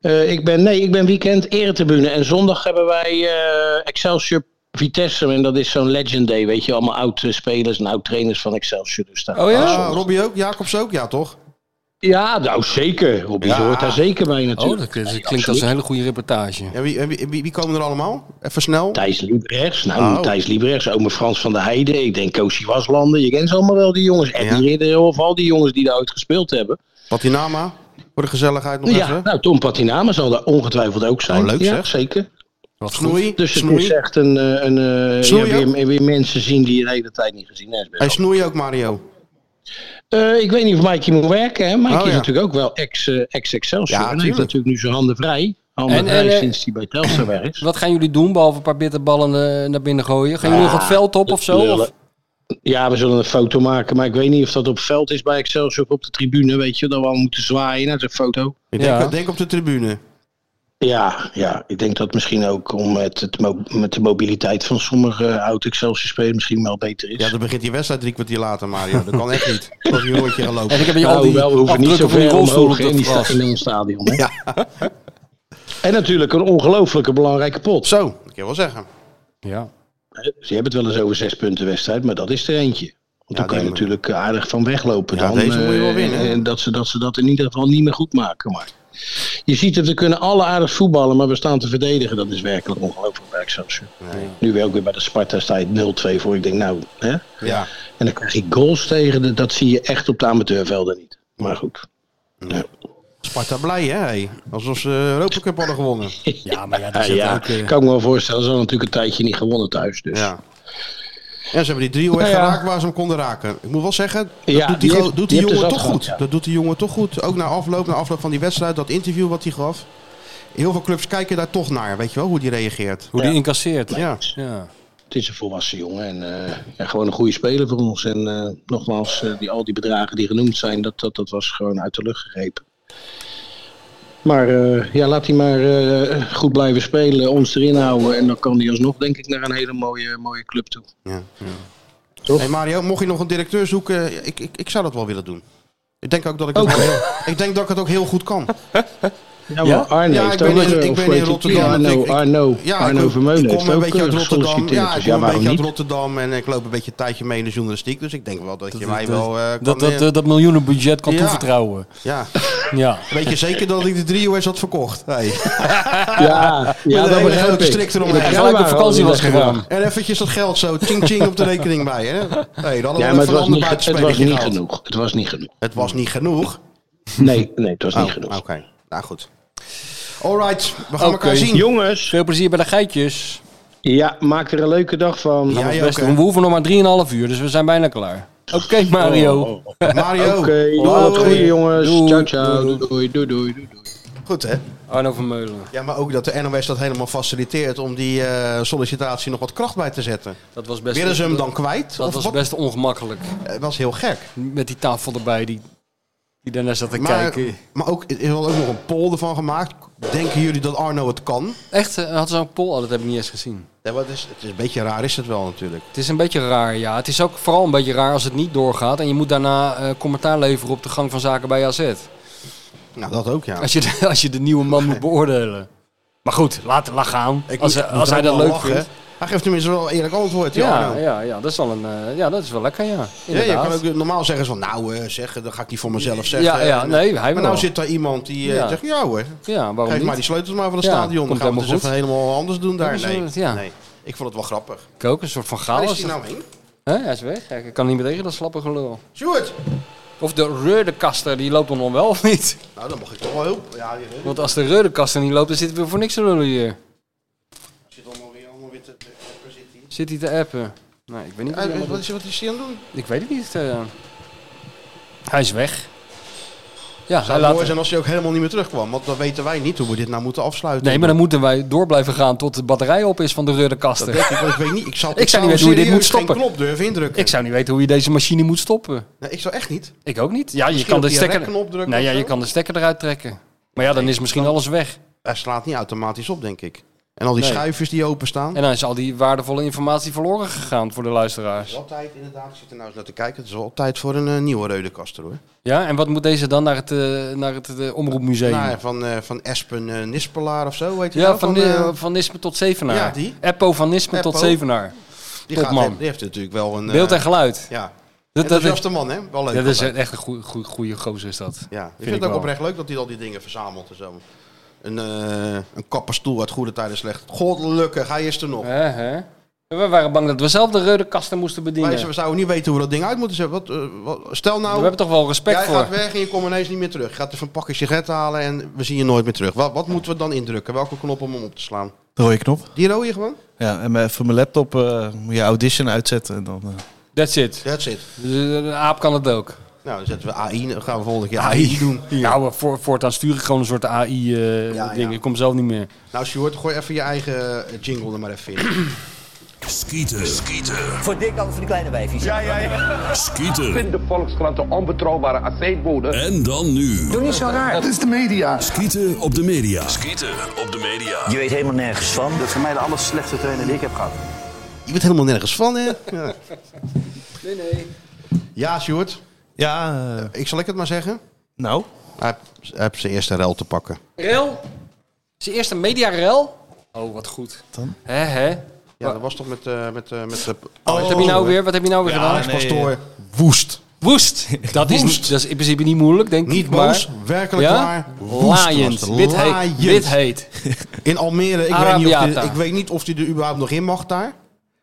H: Eh, ik ben, nee, ik ben weekend eretribune. En zondag hebben wij eh, Excelsior Vitesse. En dat is zo'n legend day, weet je. Allemaal oud-spelers en oud-trainers van Excelsior. Dus daar.
D: Oh ja?
C: Ah, Robbie ook? Jacobs ook? Ja, toch?
H: Ja, nou zeker. Robbie
C: Ja.
H: hoort daar zeker bij natuurlijk.
D: Oh, dat klinkt,
H: Nee,
D: klinkt als
H: absoluut.
D: een hele goede reportage.
C: Ja, wie, wie, wie- wie komen er allemaal? Even snel.
H: Thijs Liebrechts, nou
C: Oh.
H: Thijs Liebrechts, ome Frans van der Heijden, ik denk Koosje Waslanden, je kent ze allemaal wel die jongens, Eddie Ridderhoff, al die jongens die daar ooit gespeeld hebben.
C: Patinama? Voor de gezelligheid nog
H: Ja,
C: even.
H: nou Tom Patinama zal daar ongetwijfeld ook zijn.
C: Oh, leuk,
H: ja,
C: zeg.
H: zeker.
D: Wat goed.
C: Snoei?
H: Dus het is
C: snoei?
H: echt een, eh, een eh, ja,
C: Snoei ook?
H: weer, weer mensen zien die je de hele tijd niet gezien hebt.
C: Hij snoei ook, Mario.
H: Eh, ik weet niet of Mikey moet werken. Hè? Mikey
C: Oh,
H: is
C: ja.
H: natuurlijk ook wel ex, eh, ex-Excelsior.
C: Ja,
H: en hij heeft
C: tuurlijk.
H: natuurlijk nu zijn handen vrij. Handen
D: En- en,
H: vrij
D: eh,
H: sinds hij bij Telstra weg is.
D: Wat gaan jullie doen, behalve een paar bitterballen eh, naar binnen gooien? Gaan jullie nog het veld op of zo?
H: Lullen.
D: Of?
H: Ja, we zullen een foto maken. Maar ik weet niet of dat op veld is bij Excelsior of op de tribune. Weet je, dat we al moeten zwaaien naar zo'n foto.
C: Ik
D: Ja.
C: denk, denk op de tribune.
H: Ja, ja, ik denk dat misschien ook om met, het mo- met de mobiliteit van sommige eh, oud-Excelsior-spelers misschien wel beter is.
C: Ja, dan begint die wedstrijd drie kwartier later, Mario. Dat kan echt niet. Dat je een rondje gaan lopen.
D: En ik heb je
H: Nou,
D: al die
H: hoewel, we hoeven niet
D: afdrukken
H: zo
D: van die
H: ver
D: rolstoel op
H: omhoog hè, in,
D: dat
H: die sta-
D: gras.
H: in ons stadion. Hè? En natuurlijk een ongelooflijke belangrijke pot.
C: Zo, dat kan je wel zeggen.
D: Ja.
H: Ze hebben Dus het wel eens over zes punten wedstrijd, maar dat is er eentje.
C: Ja,
H: Want daar kan je
C: die-
H: natuurlijk aardig van weglopen.
C: Ja,
H: dan,
C: deze moet je wel
H: eh,
C: winnen, hè?
H: En dat ze, dat ze dat in ieder geval niet meer goed maken. Maar je ziet het, we kunnen alle aardig voetballen, maar we staan te verdedigen. Dat is werkelijk ongelooflijk bij Excelsior. Nu weer ook weer bij de Sparta sta je 0-2 voor. Ik denk, nou, hè?
C: Ja.
H: En dan krijg ik goals tegen. de- dat zie je echt op de amateurvelden niet. Maar goed. Ja.
C: Sparta blij, hè? hey? Alsof ze eh, Europa Cup hadden gewonnen.
D: ja, maar ja,
H: Ja,
D: daar zit
H: ja,
D: ook... eh,
H: kan ik me wel voorstellen. Ze hadden natuurlijk een tijdje niet gewonnen thuis. Dus.
C: Ja. Ja, ze hebben die driehoek echt
H: Nou ja.
C: geraakt waar ze hem konden raken. Ik moet wel zeggen, dat
H: Ja,
C: doet die,
H: die
C: go-
H: heeft-
C: doet
H: die
C: die,
H: heeft
C: jongen
H: er
C: toch
H: zat
C: goed.
H: gehad, ja.
C: Dat doet die jongen toch goed. Ook na afloop, na afloop van die wedstrijd, dat interview wat hij gaf. Heel veel clubs kijken daar toch naar, weet je wel, hoe die reageert.
D: Hoe die incasseert.
C: Ja.
D: Ja.
H: Het is een volwassen jongen en eh, ja, gewoon een goede speler voor ons. En eh, nogmaals, eh, die, al die bedragen die genoemd zijn, dat, dat, dat was gewoon uit de lucht gegrepen. Maar eh, ja, laat hij maar eh, goed blijven spelen, ons erin houden. En dan kan hij alsnog, denk ik, naar een hele mooie, mooie club toe.
C: Ja.
H: Toch?
C: Hey Mario, mocht je nog een directeur zoeken, ik, ik, ik zou dat wel willen doen. Ik denk ook dat ik, dat wel heel- ik, denk dat ik het ook heel goed kan.
H: Ja, maar Arno
C: Ja,
H: heeft
C: ik ben
H: ook,
C: in-
H: eh,
C: ik
H: of
C: ben in
H: weet ik-
C: Rotterdam. Ik-
H: Arno,
C: ik-
H: Arno, Arno
C: ik,
H: Vermeulen
C: ik kom
H: heeft
C: een
H: ook
C: beetje uit
H: eh,
C: Rotterdam.
H: gesolliciteerd.
C: Ja, ik
H: dus ja,
C: kom een
H: waarom
C: beetje uit
H: niet?
C: Rotterdam en ik loop een beetje een tijdje mee in de journalistiek. Dus ik denk wel dat, je mij
D: dat-
C: wel eh, kan...
D: Dat, dat,
C: eh,
D: dat, dat miljoenen budget kan
C: Ja.
D: toevertrouwen.
C: ja.
D: Ja.
C: Weet je zeker dat ik de drie US had verkocht? Hey.
H: Ja, ja,
C: Met een
H: dat
C: hele
H: begrijp
C: grote
H: ik.
C: strik eromheen.
H: Dat
C: En
H: jij
D: gelijk
H: maar
D: op vakantie
H: al
D: was
H: die
D: gegaan.
H: weggegaan.
C: En eventjes dat geld zo, ching ching op de rekening bij. Hè? Hey, dan hadden we
H: Ja,
C: even
H: maar het
C: een
H: was
C: ander
H: niet, het was
C: buitenspelletje
H: niet
C: gehaald.
H: genoeg. Het was niet genoeg.
C: Het was niet genoeg.
H: Nee, nee het was niet
C: Oh, Oké,
H: genoeg.
C: nou goed. Alright, we gaan elkaar zien.
H: Jongens,
D: Veel plezier bij de geitjes.
H: ja, maak er een leuke dag van.
C: Ja,
D: Best
C: ja, oké.
D: doen. We hoeven nog maar 3,5 uur, dus we zijn bijna klaar. Oké, Mario.
H: Oh, oh,
C: Mario.
H: Oké,
C: doei.
H: laat het goede jongens.
D: Doei.
H: Ciao, ciao. Doei, doei, doei. doei, doei.
C: Goed hè?
D: Arno Vermeulen.
C: Ja, maar ook dat de NOS dat helemaal faciliteert om die eh, sollicitatie nog wat kracht bij te zetten.
D: Dat was best,
C: Willen ze hem dan kwijt?
D: dat
C: Of
D: was
C: wat?
D: best ongemakkelijk.
C: Eh, was heel gek.
D: Met die tafel erbij die, die daarna zat te
C: Maar,
D: kijken.
C: maar ook, er is ook nog een poll ervan gemaakt. Denken jullie dat Arno het kan?
D: Echt, eh, had ze een poll? Oh, dat heb ik niet eens gezien.
C: Ja, wat is, het is een beetje raar is het wel natuurlijk.
D: Het is een beetje raar, ja. Het is ook vooral een beetje raar als het niet doorgaat. En je moet daarna eh, commentaar leveren op de gang van zaken bij AZ.
C: Nou, dat ook ja.
D: Als je de, als je de nieuwe man moet beoordelen. Maar goed, laat, laat gaan.
C: Ik
D: als
C: moet-
D: hij-
C: moet
D: als hij
C: ook
D: dat
C: wel
D: leuk
C: lachen,
D: vindt.
C: hè. Hij geeft tenminste wel een eerlijk antwoord. die
D: Ja,
C: Arno.
D: ja, ja, dat is wel een, eh, ja, dat is wel lekker, ja.
C: Ja, je
D: Inderdaad.
C: kan ook normaal zeggen van nou eh, zeggen, dat ga ik niet voor mezelf zeggen.
D: Ja, ja,
C: En,
D: nee, hij
C: maar
D: wel.
C: nou zit daar iemand die eh,
D: Ja.
C: zegt, ja hoor,
D: ja, waarom
C: geef
D: niet?
C: maar die sleutels maar van het
D: Ja,
C: stadion. Dan
D: komt
C: gaan we het
D: helemaal
C: eens even helemaal anders doen daar.
D: Ja, zo
C: Nee,
D: is het, ja.
C: nee, ik vond het wel grappig.
D: Ik ook, een soort van
C: Waar
D: chaos.
C: is hij nou heen?
D: Hè, hij is weg. Ik kan niet meer tegen dat slappe gelul.
C: Sjoerd!
D: Of de reudekaster, die loopt dan nog wel of niet?
C: Nou, dan mag ik toch wel heel... Ja, die
D: Want als de reudekaster niet loopt, dan zitten we voor niks te lullen hier.
C: zit allemaal weer, allemaal weer te... te- te- te- zit hij.
D: Zit hij te appen? Nee, ik weet niet wat hij
C: Eh,
D: allemaal
C: Wat is, wat is hij aan het doen?
D: doet. Ik weet het niet. eh. Hij is weg. Ja,
C: Het zou
D: hij
C: mooi
D: laat...
C: zijn als hij ook helemaal niet meer terugkwam. Want dan weten wij niet hoe we dit nou moeten afsluiten.
D: Nee, maar dan moeten wij door blijven gaan tot de batterij op is van de
C: Dat
D: reudekaster.
C: denk ik, want ik weet niet. Ik, zal,
D: Ik zou niet weten hoe je dit
C: serieus
D: moet stoppen.
C: geen knop durven indrukken.
D: Ik zou niet weten hoe je deze machine moet stoppen.
C: Nee, ik zou echt niet.
D: Ik ook niet. Ja, je
C: Misschien
D: kan
C: op
D: de
C: die
D: stekker...
C: rekknop drukken
D: Nee,
C: of
D: ja, je
C: zo?
D: kan de stekker eruit trekken. Maar ja, dan is misschien alles weg.
C: Hij slaat niet automatisch op, denk ik. En al die
D: Nee.
C: schuifjes die openstaan.
D: En dan is al die waardevolle informatie verloren gegaan voor de luisteraars.
C: Altijd inderdaad, ik zit er nou eens naar te kijken. Het is wel tijd voor een eh, nieuwe reudekaster hoor.
D: Ja, en wat moet deze dan naar het, eh, naar het eh, omroepmuseum?
C: Nou, ja, van, eh, van Espen eh, Nispelaar of zo, weet je
D: ja,
C: wel?
D: van,
C: eh,
D: eh, van Nisme tot Zevenaar.
C: ja, die.
D: Eppo van Nisme tot
C: Eppo.
D: Zevenaar.
C: die,
D: top
C: gaat,
D: man.
C: die heeft natuurlijk wel een... eh,
D: Beeld en geluid.
C: Ja,
D: Dat, dat, is,
C: enthousiaste man hè, wel leuk.
D: dat is
C: altijd.
D: echt een goeie, goeie, goeie gozer is dat.
C: ja. Ik vind,
D: ik
C: het ook
D: wel.
C: oprecht leuk dat hij al die dingen verzamelt en zo. Een, eh een kapperstoel uit goede tijden slecht. Goddelijk, hij is er nog.
D: Hè, hè? We waren bang dat we zelf de reudekasten moesten bedienen.
C: Wij- we zouden niet weten hoe dat ding uit moet zien. Wat, eh, wat- stel
D: eh. We
C: nou,
D: hebben toch wel respect
C: jij
D: voor.
C: gaat weg en je komt ineens niet meer terug. Je gaat even een pakje sigaretten halen en we zien je nooit meer terug. Wat, wat moeten we dan indrukken? Welke knop om hem op te slaan?
E: De rode knop.
C: Die rode gewoon?
E: Ja, en met- voor mijn laptop eh, moet je audition uitzetten. En dan, eh,
D: That's it.
C: That's it.
D: Dus, eh, Een aap kan het ook.
C: Nou, dan zetten we AI. Dan gaan we volgende keer AI doen.
D: Nou, voor, voortaan stuur ik gewoon een soort AI-ding.
C: Ja, ja.
D: Ik kom zelf niet meer.
C: Nou, Sjoerd, gooi even je eigen eh, jingle er maar even in.
I: Skieten. Skieten.
J: Voor dik als voor die kleine wijfjes.
I: Skieten.
B: De Volkskrant de onbetrouwbare aceetbode.
I: En dan nu.
J: Doe niet zo raar.
I: Skieten op de media. Skieten op de media.
J: Je weet helemaal nergens van.
B: Dat is voor mij de aller slechtste trainer die ik heb gehad.
C: Je bent helemaal nergens van, hè? Ja. Nee, nee. Ja, Sjoerd.
E: ja, eh,
C: Ik zal ik het maar zeggen.
E: nou.
C: Hij heeft- hij heeft zijn eerste rel te pakken.
D: Rel? Zijn eerste media-rel? Oh, wat goed. Dan? Hè, hè?
C: Ja, dat was toch met... eh met, eh, met de
D: Wat heb je nou weer, wat heb je nou weer gedaan?
E: nee.
C: Pastoor. Woest.
D: Woest. Dat is,
C: Woest.
D: dat is in principe niet moeilijk, denk
C: Niet
D: ik. maar-
C: boos, werkelijk
D: ja?
C: waar. Woest
D: Laaiend.
C: was het.
D: Wit heet.
C: Laaiend.
D: Wit heet.
C: In Almere, ik weet, niet of die,
D: Arabiata.
C: ik weet niet of die er überhaupt nog in mag daar.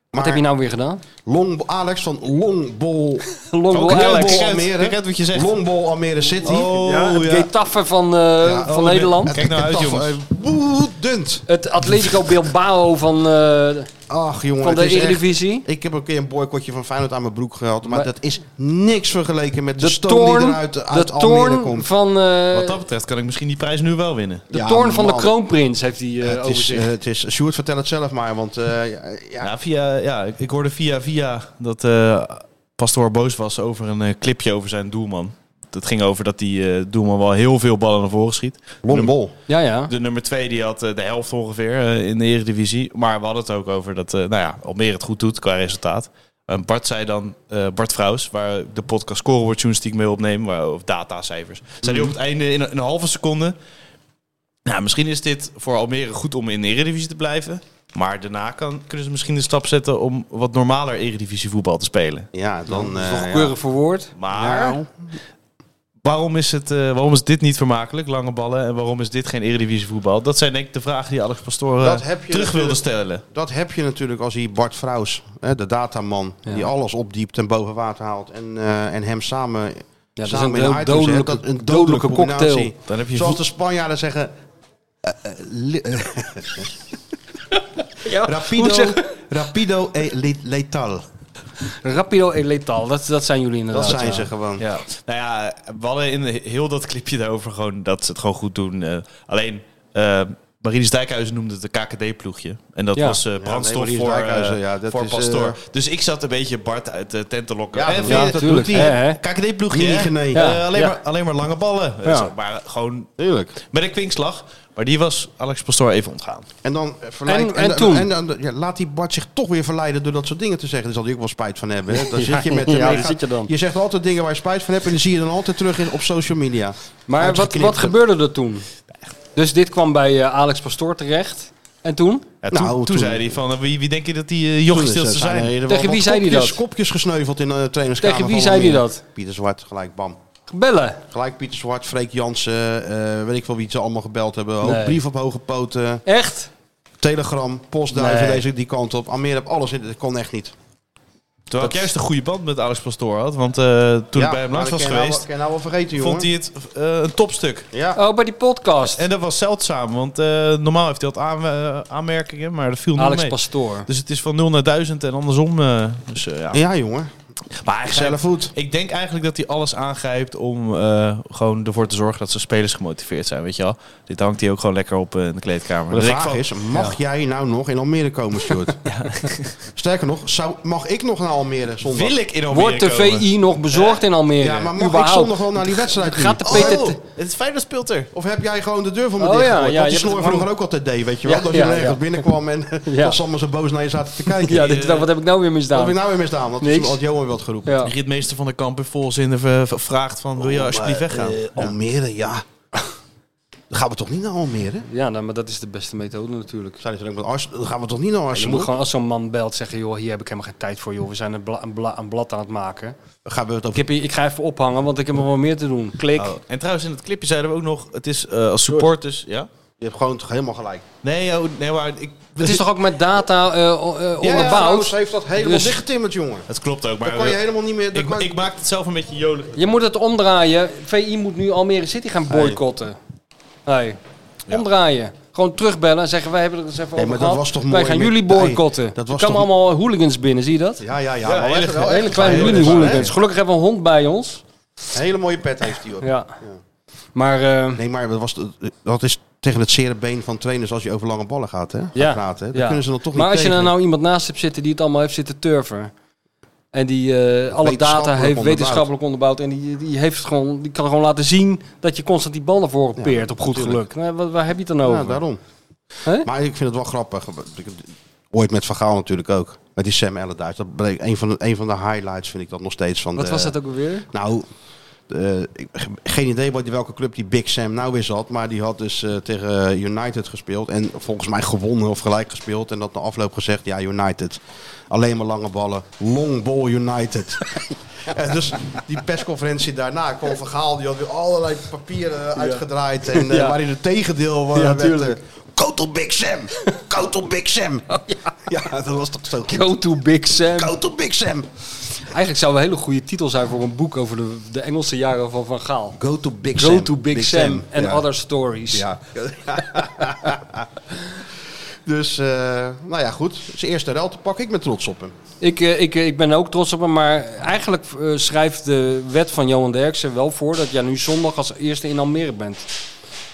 D: Wat heb je nou weer gedaan?
C: Long, Alex van Longbol.
D: Longbol
C: Longbol
D: Alex.
E: ken het.
C: Almere.
E: Ik ken het wat je zegt.
C: Longbol Almere City.
D: Het Getafe van, eh, van
C: oh,
D: Nederland.
E: Kijk nou uit,
C: Taf-
E: jongens.
C: eh, Woedend.
D: Het Atletico Bilbao van... eh,
C: Ach jongen,
D: Van de
C: Oh, het is echt-
D: Eredivisie?
C: ik heb ook een keer een boycotje van Feyenoord aan mijn broek gehad. Maar, dat is niks vergeleken met de,
D: De
C: stoom die
D: toorn,
C: eruit uit
D: de
C: Almere
D: toorn
C: komt.
D: van, eh,
E: Wat dat betreft kan ik misschien die prijs nu wel winnen.
D: de
C: Ja,
D: toorn van de
C: man.
D: kroonprins heeft hij eh,
C: het,
D: over
C: is,
D: zich.
C: eh, het is, Sjoerd vertel het zelf maar, want eh, ja, ja,
E: Ja, Nou, via, ja ik, ik hoorde via via dat eh Pastoor boos was over een eh, clipje over zijn doelman. Dat ging over dat die eh, doelman wel heel veel ballen naar voren schiet.
C: longbol.
D: ja,
C: dus,
D: ja.
E: De nummer twee die had eh, de helft ongeveer eh, in de Eredivisie. Maar we hadden het ook over dat eh nou ja, Almere het goed doet qua resultaat. En Bart zei dan, eh, Bart Vrouws, waar de podcast scoreboard journalistiek mee opneemt, waar, of datacijfers. Zei hij op het einde in, een- in een halve seconde. Nou, misschien is dit voor Almere goed om in de Eredivisie te blijven. Maar daarna kan, kunnen ze misschien de stap zetten om wat normaler Eredivisie voetbal te spelen.
C: Ja, dan... eh,
D: Toch
C: ja.
D: keurig verwoord.
E: Maar
C: Nou.
E: waarom, is het, eh, waarom is dit niet vermakelijk, lange ballen? En waarom is dit geen Eredivisie voetbal? Dat zijn denk ik de vragen die Alex Pastoor eh,
C: Dat heb je
E: terug wilde
C: natuurlijk.
E: stellen.
C: Dat heb je natuurlijk als hij Bart Vrouws, hè, de dataman, die alles opdiept en boven water haalt. En, eh, en hem samen,
D: dat is
C: samen
D: een
C: in
D: dood-
C: de items zet.
D: dodelijke-
C: Dat een
D: dodelijke
C: dodelijke combinatie.
E: Dan heb je
C: Zoals
E: voet-
C: de Spanjaarden zeggen... eh, eh, li- rapido,
D: moet zeggen-
C: rapido e le- letal.
D: Rapido en letal, dat, dat zijn jullie
C: Dat
D: inderdaad.
C: zijn
D: ja.
C: ze gewoon.
E: Ja. Nou ja, we hadden in heel dat clipje daarover gewoon dat ze het gewoon goed doen. Eh, alleen, eh Marinus Dijkhuizen noemde het de KKD-ploegje. En dat
D: Ja.
E: was eh, brandstof
C: nee, Marinus
E: voor,
C: Dijkhuizen,
E: eh,
C: ja, dat
E: voor
C: is,
E: Pastoor.
C: eh,
E: Dus ik zat een beetje Bart uit de tent te lokken.
C: Ja,
E: Eh,
C: dat-
E: vind je-
D: Ja,
C: dat
D: natuurlijk.
C: doet
D: hè,
C: hij.
D: hè.
E: KKD-ploegje, hè?
C: Negen, nee.
E: Eh,
D: Ja.
E: alleen,
D: Ja.
E: maar, alleen maar lange ballen. Eh,
D: Ja.
E: zo, maar gewoon
C: Tuurlijk.
E: met een kwinkslag. Maar die was Alex Pastoor even ontgaan.
C: En dan eh, verleidt-
D: En- en toen?
C: dan- ja, laat die Bart zich toch weer verleiden door dat soort dingen te zeggen. Daar zal hij ook wel spijt van hebben. Hè? Daar zit je met
D: ja,
C: hem.
D: daar
C: gaat-
D: zit je dan.
C: Je zegt altijd dingen waar je spijt van hebt en die zie je dan altijd terug in, op social media.
D: Maar wat,
C: Uitgeknipt.
D: wat gebeurde er toen? Dus dit kwam bij eh, Alex Pastoor terecht. En toen?
E: Ja, toen,
C: Nou,
E: toen
C: toen-
E: zei hij van, eh, wie, wie denk je dat die uh, jochies
C: Toen
E: stil
C: is,
E: te
C: eh,
E: zijn?
C: er wel
D: Tegen
C: wat
D: wie zei die
C: kopjes-
D: dat?
C: Kopjes gesneuveld in de trainingskamer.
D: Tegen wie
C: van
D: zei die
C: Almere.
D: dat?
C: Pieter Zwart, gelijk bam.
D: Bellen.
C: Gelijk Pieter Zwart, Freek Jansen, eh, weet ik wel wie ze allemaal gebeld hebben. Ook
D: Nee.
C: Brief op hoge poten,
D: Echt?
C: telegram, postduiven
D: Nee.
C: deze die kant op. Almere heb alles in, dat kon echt niet.
E: Terwijl ik juist een goede band met Alex Pastoor had. Want eh, toen
C: Ja,
E: ik bij hem
C: maar
E: langs
C: dat kan
E: was
C: je nou-
E: geweest,
C: kan je nou wel vergeten, jongen.
E: vond hij het eh, een topstuk.
C: Ja.
D: Oh, bij die podcast.
E: En dat was zeldzaam, want eh, normaal heeft hij wat aan, eh, aanmerkingen, maar dat viel nog
D: Alex
E: mee.
D: Pastoor.
E: Dus het is van 0 naar 1000 en andersom. eh, dus, eh, ja.
C: Ja, jongen.
E: Maar hij grijpt-
C: Zelf goed.
E: Ik denk eigenlijk dat hij alles aangrijpt om eh, gewoon ervoor te zorgen dat zijn spelers gemotiveerd zijn, weet je wel. Dit hangt hij ook gewoon lekker op eh, in de kleedkamer.
C: Maar de
E: Dus ik
C: vraag
E: val-
C: is, mag jij nou nog in Almere komen, Stuart? Sterker nog, zou, mag ik nog naar Almere zondag?
E: wil ik in Almere
D: Wordt de
E: komen?
D: VI nog bezorgd in Almere?
C: Ja, maar mag ik
D: Überhaupt?
C: zondag wel naar die wedstrijd
D: Gaat de
C: nu?
D: PT
E: Oh, het is fijn dat speelt er.
C: Of heb jij gewoon de deur voor me
D: Oh
C: dicht?
D: ja,
C: Ja,
D: ja,
C: ja,
D: je
C: die
D: hebt
C: snor
D: het
C: vroeger
D: gewoon-
C: ook altijd deed, weet je
D: Ja,
C: wel? dat je
D: ja,
C: ergens
D: ja.
C: binnenkwam en
D: Ja.
C: dat ze allemaal zo boos naar je zaten te kijken.
D: Ja, dit, wat heb ik nou weer
C: dat
D: misdaan?
C: heb ik nou weer misdaan, want
D: Niks.
C: toen had Johan wat geroepen.
D: Ja.
E: Ritmeester van de Kamp in volzinnen v- v- vraagt van, wil je alsjeblieft
C: Maar,
E: weggaan?
C: eh, Almere, ja. Dan gaan we toch niet naar Almere?
D: Ja, nou, maar dat is de beste methode natuurlijk.
C: Zijn ze ook met Ars? Dan gaan we toch niet naar
D: Je
C: Arsenal?
D: moet gewoon als zo'n man belt zeggen, joh, hier heb ik helemaal geen tijd voor, joh. We zijn een, bla- een, bla- een blad aan het maken.
C: Gaan we het
D: Ik,
C: over...
D: heb hier, ik ga even ophangen, want ik heb nog wel meer te doen. Klik.
E: Oh, En trouwens, in het clipje zeiden we ook nog, het is eh, als supporters... Ja?
C: Je hebt gewoon toch helemaal gelijk.
E: Nee, oh, nee, maar ik...
D: Het is toch ook met data eh, o- eh, onderbouwd?
C: Vrouws heeft dat helemaal
D: Dus-
C: dichtgetimmerd, jongen.
E: Het klopt ook, maar...
C: Dan kan je
E: eh,
C: helemaal niet meer... dan
E: ik,
C: kan-
E: ik maak het zelf een beetje jolig. Dus
D: Je moet het omdraaien. VI moet nu Almere City gaan boycotten. Hey. Omdraaien. Gewoon terugbellen en zeggen, wij hebben er eens even
C: Nee,
D: over
C: maar
D: gehad.
C: dat was toch
D: wij
C: mooi
D: gaan
C: met-
D: jullie boycotten.
C: Hey, dat was
D: er komen
C: toch-
D: allemaal hooligans binnen, zie je dat?
C: Ja, ja, ja.
E: Ja,
C: maar
E: hele-
C: echt wel
D: Hele
C: echt
D: kleine
C: een hele-
D: mini hooligans. Gelukkig hebben we een hond bij ons.
C: Hele mooie pet heeft hij, hoor.
D: Ja. Maar eh,
C: Nee, maar dat, was, dat is tegen het zere been van trainers als je over lange ballen gaat, hè? Gaat
D: Ja.
C: praten, hè? Dan
D: Ja.
C: kunnen ze dan toch
D: maar
C: niet
D: als je er
C: tegen.
D: nou iemand naast hebt zitten die het allemaal heeft zitten turven. En die eh, alle data
C: Wetenschappelijk
D: heeft
C: onderbouwd.
D: wetenschappelijk onderbouwd. En die, die, heeft het gewoon, die kan gewoon laten zien dat je constant die bal naar voren peert op goed
C: natuurlijk.
D: geluk. Nou, waar, waar heb je het dan over?
C: Ja, daarom.
D: Hè?
C: Maar ik vind het wel grappig. Ik heb- Ooit met Van Gaal natuurlijk ook. Met die Sam Allardyce. Dat bleek een van de, een van de highlights, vind ik dat nog steeds. Van
D: Wat
C: de-
D: was dat ook alweer?
C: Nou, de- ik- ge- geen idee wat, welke club die Big Sam nou weer zat. Maar die had dus eh, tegen eh, United gespeeld. En volgens mij gewonnen of gelijk gespeeld. En dat na afloop gezegd, ja, United. Alleen maar lange ballen. Long ball United. En dus die persconferentie daarna kwam Van Gaal. Die had weer allerlei papieren uitgedraaid. En, eh,
D: Ja.
C: Waarin het tegendeel eh,
D: Ja,
C: werd, eh,
D: tuurlijk.
C: Go to Big Sam! Go to Big Sam! ja. dat was toch zo.
D: Go to Big Sam.
C: Go to Big Sam!
D: Eigenlijk zou een hele goede titel zijn voor een boek over de, de Engelse jaren van Van Gaal.
C: Go to Big
D: Go
C: Sam.
D: to Big, Sam and
C: Ja.
D: Other Stories.
C: Ja. Dus, eh, nou ja, goed. Zijn eerste rel te pakken. Ik ben trots op hem.
D: Ik, eh, ik, eh, ik ben ook trots op hem, maar eigenlijk eh, schrijft de wet van Johan Derksen wel voor dat jij nu zondag als eerste in Almere bent.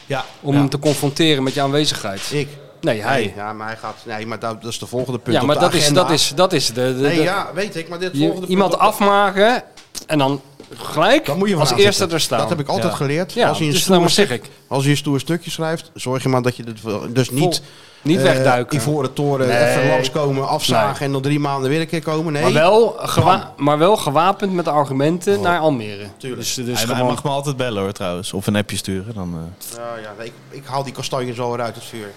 C: Ja.
D: Om hem te confronteren met je aanwezigheid.
C: Ik?
D: Nee, hij.
C: Ja, maar hij gaat... Nee, maar dat, dat is de volgende punt
D: ja, maar
C: op de
D: dat is,
C: agenda.
D: dat is, dat is de... de-
C: Nee,
D: de-
C: ja, weet ik. Maar dit
D: je-
C: volgende
D: iemand
C: punt op de-
D: afmaken en dan gelijk
C: Dan moet je
D: als
C: vanaf
D: eerste
C: zitten.
D: er staan.
C: Dat heb ik altijd
D: Ja.
C: geleerd.
D: Ja,
C: als je een
D: dus
C: stoer
D: daarom
C: stuk-
D: zeg ik.
C: Als je een stoer stukje schrijft, zorg je maar dat je het wel- dus niet...
D: niet
C: eh,
D: wegduiken.
C: Ivoren toren,
D: Nee.
C: even langskomen, afzagen en dan drie maanden weer een keer komen. Nee. Oh.
D: Maar, wel gewa- maar wel gewapend met de argumenten naar Almere.
C: Tuurlijk.
D: Dus, dus
E: hij, hij
D: gewoon...
E: mag me altijd bellen hoor trouwens. Of een appje sturen. Dan, eh.
C: Ja, ja, nee, ik, ik haal die kastanjes wel weer uit het vuur.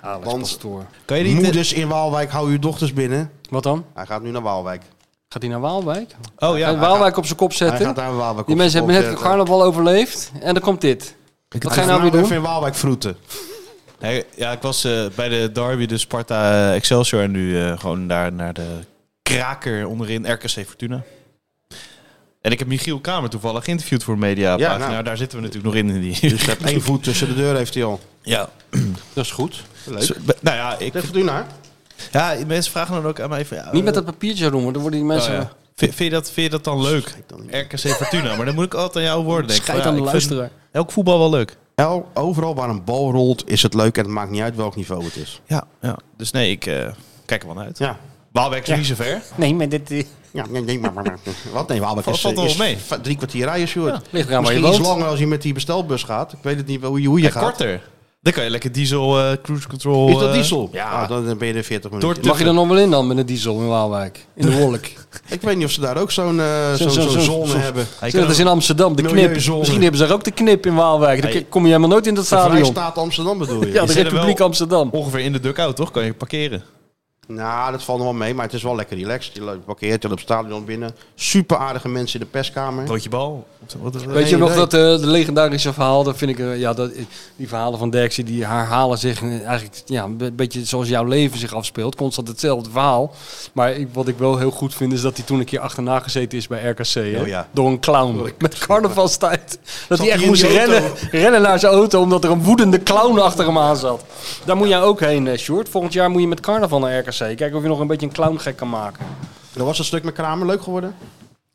D: Ah,
C: Want
E: Kan je niet-
C: moeders in Waalwijk, hou uw dochters binnen.
D: Wat dan?
C: Hij gaat nu naar Waalwijk.
D: Gaat hij naar Waalwijk?
E: Oh ja.
D: Hij gaat Waalwijk op zijn kop zetten.
C: Hij gaat daar Waalwijk
D: eh, Die
C: op
D: mensen
C: zijn
D: hebben net
C: kop
D: een
C: zetten.
D: carnaval overleefd en dan komt dit. Wat ga je nou weer
C: Vanavond
D: doen?
C: even in Waalwijk vroeten.
E: Nee, ja, ik was eh, bij de derby, de Sparta eh, Excelsior. En nu eh, gewoon daar naar de kraker onderin, RKC Fortuna. En ik heb Michiel Kamer toevallig geïnterviewd voor een mediapagina.
C: Ja, nou.
E: Daar zitten we natuurlijk nog in. in die...
C: Dus hij heeft één voet tussen de deur heeft hij al.
E: Ja.
D: Dat is goed.
C: Leuk.
E: Dus, be- nou ja, ik,
C: Zeg Fortuna.
E: ja, mensen vragen dan ook aan mij... Van, ja,
D: Niet met dat papiertje roemen, dan worden die
E: Oh,
D: mensen...
E: ja. Vind, vind je dat, vind je dat dan leuk? RKC Fortuna. Maar dan moet ik altijd aan jouw woorden denken.
D: Schijt
E: van,
D: aan
E: ja,
D: de
E: ik vind
D: luisteraar.
E: Elk voetbal wel leuk.
C: El, overal waar een bal rolt is het leuk en het maakt niet uit welk niveau het is.
E: Ja, ja. Dus nee, ik eh, kijk er wel naar uit.
C: Ja.
E: Waalwijk is
C: Ja.
E: niet zo ver.
D: Nee, maar dit... eh,
C: Ja, nee, nee, maar, maar, maar. Wat? Nee, Waalwijk
E: Valt-
C: is,
E: valt er wel
C: is
E: mee.
C: v- drie kwartier rijden, Sjoerd.
D: Ligt eraan waar je
C: Misschien iets
D: woont.
C: langer als je met die bestelbus gaat. Ik weet het niet wel hoe je, hoe je
E: Ja,
C: gaat.
E: korter. Dan kan je lekker diesel, eh, cruise control...
C: Is dat
E: eh,
C: diesel? ja, dan ben je er 40 minuten.
E: Door-
D: Mag je er nog wel in dan met een diesel in Waalwijk? In de wolk.
C: Ik weet niet of ze daar ook zo'n eh,
D: Zo'n-
C: zo'n
D: zo'n-
C: zo'n
D: zo'n-
C: zone
D: zo'n-
C: hebben.
E: Hij
D: Zeg,
E: kan
D: dat is dus in Amsterdam, de knip.
C: Milieuzone.
D: Misschien hebben ze daar ook de knip in Waalwijk. Dan
E: Hey.
D: kom je helemaal nooit in dat
C: De
D: stadion.
C: Vrijstaat Amsterdam bedoel je?
D: Ja, de
E: zit er
D: Republiek
E: wel-
D: Amsterdam.
E: ongeveer in de dugout, toch? Kan je parkeren.
C: Nou, dat valt nog wel mee, maar het is wel lekker relaxed. Je loopt- parkeert, je loopt het stadion binnen. Super aardige mensen in de perskamer.
E: Broodje bal. Wat is dat?
D: Weet je
C: Geen
D: nog
C: idee.
D: dat eh, de legendarische verhaal, dat vind ik, eh, ja, dat, die verhalen van Derksen, die herhalen zich eh, eigenlijk ja, een be- beetje zoals jouw leven zich afspeelt. Constant hetzelfde verhaal. Maar ik, wat ik wel heel goed vind, is dat hij toen een keer achterna gezeten is bij RKC. hè?
C: Oh ja.
D: Door een clown. Met carnavalstijd. Dat hij
C: hij
D: echt
C: in
D: moest
C: die auto?
D: rennen, rennen naar zijn auto, omdat er een woedende clown achter hem aan zat. Daar moet jij ook heen, eh, Sjoerd. Volgend jaar moet je met carnaval naar RKC. Kijken of je nog een beetje een clown gek kan maken.
C: Dat was een stuk met Kramer, leuk geworden.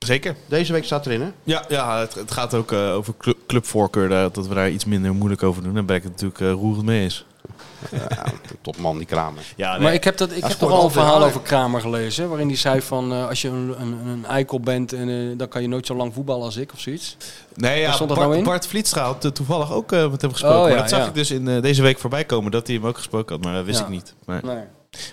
E: Zeker.
C: Deze week staat erin, hè?
E: Ja, ja het, het gaat ook eh, over clu- clubvoorkeur. daar- dat we daar iets minder moeilijk over doen. Daar ben ik het natuurlijk eh, roerend mee eens.
C: Topman, die Kramer.
E: Ja, nee.
D: Maar ik heb, dat, ik heb toch
C: scoort
D: al een
C: altijd
D: verhaal
C: hard.
D: over Kramer gelezen. Waarin hij zei van eh, als je een, een, een eikel bent, en, eh, dan kan je nooit zo lang voetballen als ik of zoiets.
E: Nee, ja,
D: Waar stond dat
E: Bart,
D: nou in?
E: Bart Vlietstra had eh, toevallig ook eh, met hem gesproken.
D: Oh, ja,
E: maar dat zag
D: ja.
E: ik dus in, eh, deze week voorbij komen dat hij hem ook gesproken had. Maar dat wist
D: Ja.
E: ik niet. Maar,
D: Nee.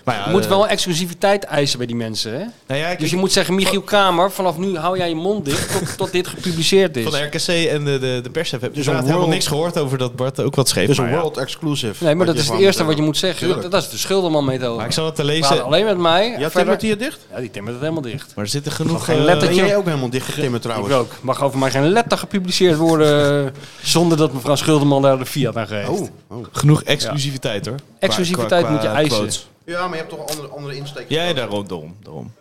E: maar ja,
D: Je moet
E: eh,
D: wel exclusiviteit eisen bij die mensen. Hè?
E: nou ja, ik-
D: Dus je
E: ik-
D: moet zeggen, Michiel Kramer, vanaf nu hou jij je mond dicht tot, tot dit gepubliceerd
E: van de
D: is.
E: RKC en de, de, de pers heb dus
C: een
E: inderdaad helemaal
C: world-
E: niks gehoord over dat Bart ook wat schreef.
C: Dus
E: maar,
C: een
E: ja.
C: world exclusive.
D: Nee, maar dat
C: je
D: is het
C: van-
D: eerste wat je eh, moet zeggen.
C: Tuurlijk.
D: Dat, dat is de schilderman methode.
E: maar ik zal het te lezen.
D: Praat alleen met mij.
C: Ja,
D: verder-
C: timmert hij het dicht?
D: Ja, die timmert het helemaal dicht.
E: Maar er zitten genoeg...
D: geen
E: eh,
D: letter-
C: Ben
D: Dat je-
C: jij ook helemaal dicht getimmerd
D: Ik
C: trouwens?
D: ook. Mag over mij geen letter gepubliceerd worden eh, zonder dat mevrouw Schilderman daar de fiat aan geeft.
C: Oh, oh.
E: genoeg exclusiviteit hoor. Qua-
D: Exclusiviteit
E: qua- qua
D: moet je eisen.
E: quotes.
C: Ja, maar je hebt toch andere, andere insteek.
E: Jij daarom, daarom, daarom.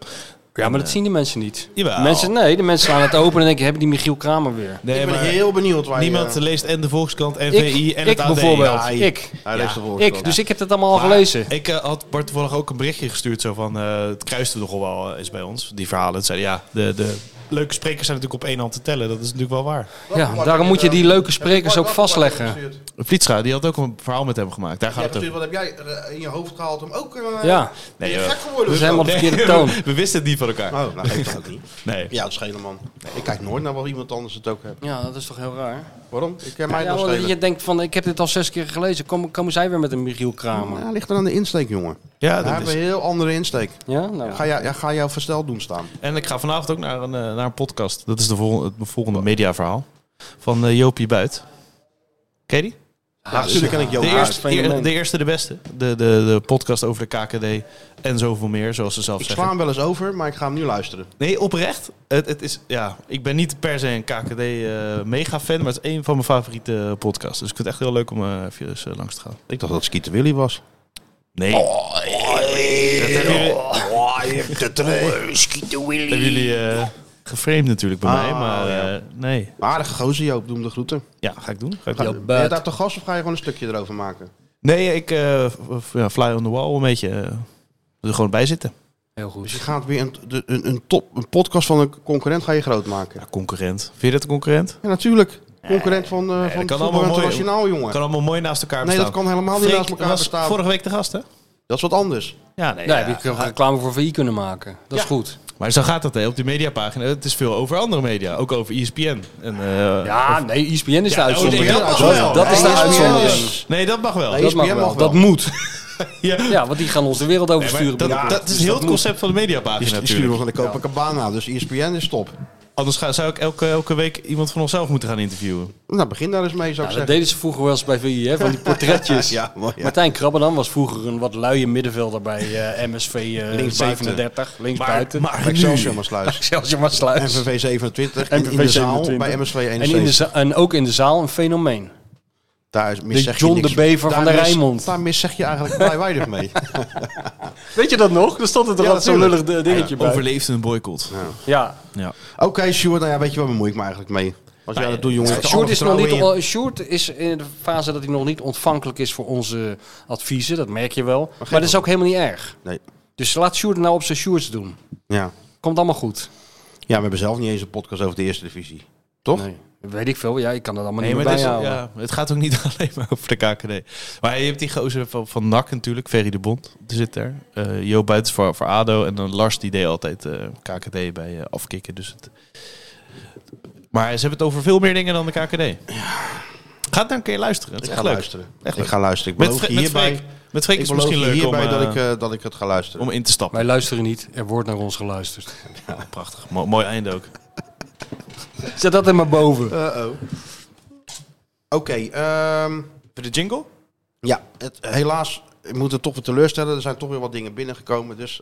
D: Ja, maar dat zien die mensen niet.
E: Jawel.
D: Mensen, nee, de mensen slaan het open en denken, hebben die Michiel Kramer weer?
E: Nee,
C: ik ben
E: maar
C: heel benieuwd waar
E: niemand
C: je... eh,
E: leest en de Volkskrant en VI en
D: ik
E: het AD.
D: bijvoorbeeld.
E: Ja,
D: ik.
C: Hij leest de volgende
D: Ik, dus ik heb het allemaal al gelezen.
E: Ik eh, had Bart toevallig ook een berichtje gestuurd. Zo van, eh, het kruiste nogal wel eh, eens bij ons. Die verhalen. Het zeiden, ja, de, de leuke sprekers zijn natuurlijk op één hand te tellen. Dat is natuurlijk wel waar.
D: Ja, daarom moet je die leuke sprekers ook vastleggen.
E: Vlietstra, die had ook een verhaal met hem gemaakt. Daar gaat het over.
C: Wat heb jij eh, in je hoofd gehaald om ook... eh,
D: Ja,
C: ben je
E: Nee, joh.
C: gek geworden?
D: dat
C: of
D: is
C: zo?
D: helemaal de verkeerde toon.
E: Oh, we, wisten het niet van elkaar.
C: Oh, nou geeft dat ook niet.
E: Nee.
C: Ja, dat schelen man. Ik kijk nooit naar wat iemand anders het ook heeft.
D: Ja, dat is toch heel raar.
C: Waarom? Ik ken mij
D: Ja,
C: nog
D: want
C: schelen.
D: je denkt van, ik heb dit al zes keer gelezen. Kom, komen zij weer met een Michiel Kramer?
C: Ja, ligt er aan de insteek, jongen.
E: Ja,
C: Hij
E: dat
C: heeft
E: is.
C: een heel andere insteek.
D: Ja, nou.
C: Ga, jou, ja, ga jou versteld doen staan.
E: En ik ga vanavond ook naar een, eh, naar een podcast. Dat is de volgende, het volgende mediaverhaal. Van eh, Jopie Buit. Ken je die?
C: Ja,
D: dus
C: natuurlijk ken ik jou.
E: De
C: maar
E: eerste,
D: fenomeen.
E: de eerste, de beste. De, de, de podcast over de KKD en zoveel meer, zoals ze zelf
C: Ik
E: zeggen.
C: sla hem wel eens over, maar ik ga hem nu luisteren.
E: Nee, oprecht. Het, het is, ja, ik ben niet per se een KKD-mega-fan, eh, maar het is een van mijn favoriete podcasts. Dus ik vind het echt heel leuk om eh even eens, eh, langs te gaan.
C: Ik dacht dat het Skeeter Willy was.
E: Nee.
C: Oh.
E: Hebben jullie eh geframed natuurlijk bij
C: Ah,
E: mij, maar
C: ja.
E: eh, nee.
C: Aardige gozer, Joop. Doe hem de groeten.
E: Ja, ga ik doen. Ga ik
D: Ja,
E: doen.
C: Ben je
D: buit.
C: daar te gast of ga je gewoon een stukje erover maken?
E: Nee, ik eh, v- v- ja, fly on the wall een beetje. eh, er gewoon bij zitten.
D: Heel goed.
C: Dus je gaat weer een, de- een, een, top, een podcast van een concurrent ga je groot maken.
E: Concurrent. Vind je dat een concurrent?
C: Ja, natuurlijk. Concurrent van, eh van het voetbal internationaal, jongen.
E: Kan allemaal mooi naast elkaar
C: nee,
E: bestaan.
C: dat kan helemaal niet
E: Freek
C: naast elkaar
E: was
C: bestaan. Nou,
E: vorige week de gast, hè?
C: Dat is wat anders.
E: Ja,
D: Nee,
E: nee.
D: ja,
E: ja.
D: Nou, heb je ook reclame voor VI kunnen maken. Dat is goed.
E: Maar zo gaat dat hè, op die mediapagina. Het is veel over andere media. Ook over E ESPN. En, eh,
D: Ja, nee, ESPN is de
E: oh,
D: uitzondering.
E: nee,
D: dat,
E: mag wel. E
D: dat is de
E: Nee, ESPN
D: uitzondering.
E: is- Nee, dat mag wel.
D: dat mag wel. Dat moet. ja. want die gaan ons de wereld
E: Nee, maar
D: oversturen.
E: dat,
D: binnenkort.
E: dat is
D: Dus
E: heel het
D: moet.
E: concept van de
C: Die
E: mediapagina
C: stu- die sturen
E: natuurlijk.
C: nog naar de Copacabana, dus ESPN is top.
E: Anders ga, zou ik elke, elke week iemand van onszelf moeten gaan interviewen.
C: Nou, begin daar eens mee, zou
D: Ja,
C: ik
D: Ah, dat
C: zeggen.
D: deden ze vroeger wel eens bij VI, hè, van die portretjes.
C: Ja, mooi, ja.
D: Martijn Krabbenam was vroeger een wat luie middenvelder bij eh, MSV eh,
C: Linksbuiten.
D: 37,
E: Maar-
D: linksbuiten.
E: maar
C: Bij Excelsior
E: nu-
C: maar sluis.
D: Excelsior maar sluis.
C: MVV 27
D: En
C: en in de zaal bij MSV
D: En, in de
C: 71.
D: za- en ook in de zaal een fenomeen.
C: Daar is- mis
D: de
C: zeg je
D: John
C: niks
D: de
C: mee.
D: Bever van
C: Daar
D: de
C: mis-
D: Rijnmond.
C: Daar mis zeg je eigenlijk vrij weinig mee.
D: Weet je dat nog? Er stond er toch
C: Ja,
D: altijd zo'n lullig
C: natuurlijk.
D: eh, dingetje bij.
E: Overleefd een boycott.
D: Ja.
E: Ja.
C: Oké, Sjoerd, nou ja, weet je wat, bemoei ik me eigenlijk mee. Als jij dat doet, jongen. ik heb
D: Sjoerd
C: alle
D: is, nog niet,
C: vertrouwen in
D: eh, Sjoerd is in de fase dat hij nog niet ontvankelijk is voor onze adviezen. Dat merk je wel. Maar, dat is ook helemaal niet erg.
C: je. Nee.
D: Dus laat Sjoerd nou op zijn Sjoerds doen.
C: Ja.
D: Komt allemaal goed.
C: ja, we hebben zelf niet eens een podcast over de eerste divisie. Toch?
D: Nee, weet ik veel. Ja, ik kan dat allemaal
E: Nee,
D: niet
E: maar
D: meer
E: het, is-
D: bijhouden.
E: ja, het gaat ook niet alleen maar over de KKD. Maar je hebt die gozer van, van NAC natuurlijk, Ferry de Bond, die zit daar. Eh Jo Buitens voor, voor ADO en dan Lars die deed altijd eh, KKD bij eh, afkicken. Dus het... Maar ze hebben het over veel meer dingen dan de KKD. Ga dan een keer luisteren. Het is
C: Ik
E: echt
C: ga
E: leuk.
C: luisteren.
E: Echt
C: Ik
E: leuk.
C: ga luisteren. Ik
E: Met,
C: beloof
E: Fre-
C: je
E: met
C: hierbij,
E: Freek, met Freek
C: ik
E: is het
C: beloof
E: misschien
C: je
E: leuk om,
C: hierbij dat,
E: eh,
C: ik, eh, dat ik het ga luisteren.
E: om in te stappen.
D: Wij luisteren niet. Er wordt naar ons geluisterd.
E: Prachtig. Mo- mooi einde ook.
D: Zet dat er maar boven.
C: Uh-oh. Oké, ehm,
E: Voor de jingle?
C: ja, het, helaas ik moet het toch weer teleurstellen. Er zijn toch weer wat dingen binnengekomen. Dus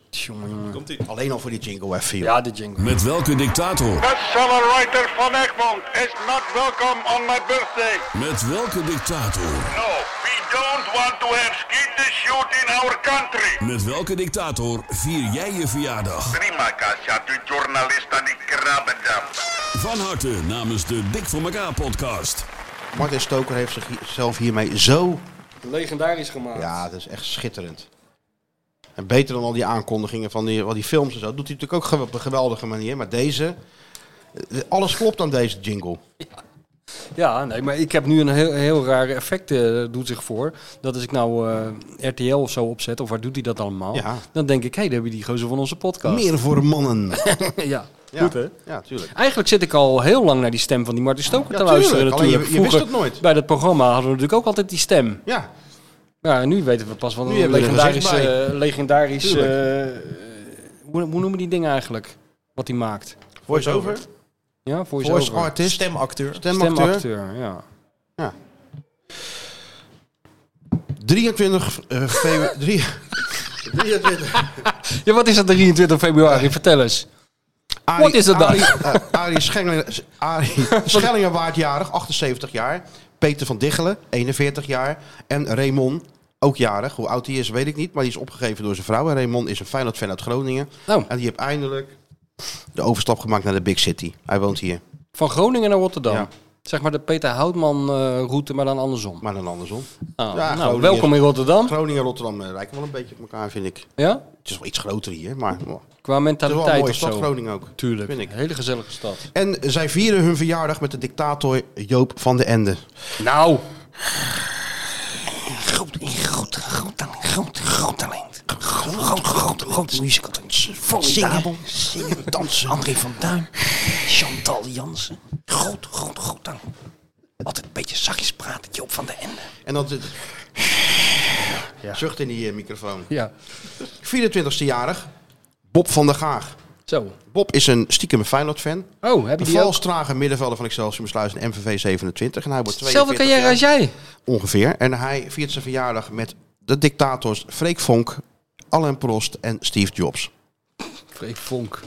E: Komt ie.
C: alleen al voor die jingle even. joh.
D: Ja, Ah, de jingle.
I: Met welke dictator?
K: Accelerator van Egmond is not welcome on my birthday.
I: Met welke dictator?
K: No, we don't want to have skin to shoot in our country.
I: Met welke dictator vier jij je verjaardag?
K: Prima, Kasia, de journalist aan die krabbendam.
I: Van harte namens de Dik voor elkaar podcast.
C: Martin Stoker heeft zichzelf hiermee zo...
D: Legendarisch gemaakt.
C: Ja, dat is echt schitterend. En beter dan al die aankondigingen van die, al die films en zo. Dat doet hij natuurlijk ook ge- op een geweldige manier. Maar deze... eh, Alles klopt aan deze jingle.
D: Ja, nee, maar ik heb nu een heel, heel raar effect eh, doet zich voor. Dat als ik nou eh, RTL of zo opzet, of waar doet hij dat allemaal?
C: Ja.
D: Dan denk ik, hé, daar hebben die gozer van onze podcast.
C: Meer voor mannen.
D: ja.
C: Ja.
D: goed hè?
C: Ja, tuurlijk.
D: Eigenlijk zit ik al heel lang naar die stem van die Martin Stoker
C: Ja,
D: te
C: tuurlijk.
D: luisteren.
C: Alleen
D: natuurlijk.
C: je- je wist
D: Vroeger
C: het nooit.
D: Bij dat programma hadden we natuurlijk ook altijd die stem.
C: Ja,
D: Ja, en nu weten we pas wat
C: Nu
D: een
C: hebben we er
D: legendarisch...
C: gezicht
D: eh, legendarisch
C: Tuurlijk.
D: eh, eh, hoe, hoe noemen die dingen eigenlijk? Wat hij maakt.
C: voice-over.
D: Ja, voice,
C: Voice
D: over.
C: artist.
E: Stemacteur.
C: Stemacteur.
D: Stemacteur, ja.
C: 23 eh, februari... drie- 23...
D: Ja, wat is dat 23 februari? Vertel eens.
C: Arie,
D: Wat is dat dan?
C: Arie, eh, Arie Schellingen- S- Arie Schellingenwaard jarig, 78 jaar. Peter van Diggelen, 41 jaar. En Raymond, ook jarig. Hoe oud hij is, weet ik niet. Maar die is opgegeven door zijn vrouw. En Raymond is een Feyenoord fan uit Groningen.
D: Nou,
C: En die heeft eindelijk de overstap gemaakt naar de Big City. Hij woont hier.
D: van Groningen naar Rotterdam.
C: Ja.
D: Zeg maar de Peter Houtman-route, maar dan andersom.
C: Maar dan andersom.
D: Ah,
C: Ja,
D: nou,
C: Groningen-
D: welkom in Rotterdam.
C: Groningen en Rotterdam eh, lijken wel een beetje op elkaar, vind ik.
D: Ja?
C: Het is wel iets groter hier, maar oh, het
D: Qua
C: is wel een
D: mentaliteit
C: mooie
D: of
C: stad,
D: zo.
C: Groningen ook.
D: Tuurlijk.
C: Vind ik.
D: Hele gezellige stad.
C: En zij vieren hun verjaardag met de dictator Joop van den Ende.
D: Nou. Groot, groot, groot talent. Groot, groot talent. Groot, groot, groot, groot musical talent. Formidabel. Zingen, dansen. André van Duin. Chantal Jansen. Groot, groot, groot talent. Altijd een beetje zachtjes praten. Joop van de Ende.
C: En dan zit... Zucht in die eh, microfoon.
D: Ja.
C: 24e jarig, Bob van der Gaag.
D: Zo.
C: Bob is een stiekem Feyenoord-fan.
D: Oh, heb
C: Een
D: je die ook?
C: valstrage middenvelder van Excelsior Sluis en MVV 27. En hij wordt
D: Zelfde
C: 42
D: carrière
C: jaar
D: als jij.
C: Ongeveer. En hij viert zijn verjaardag met de dictators Freek Vonk, Alain Prost en Steve Jobs.
D: Freek Vonk.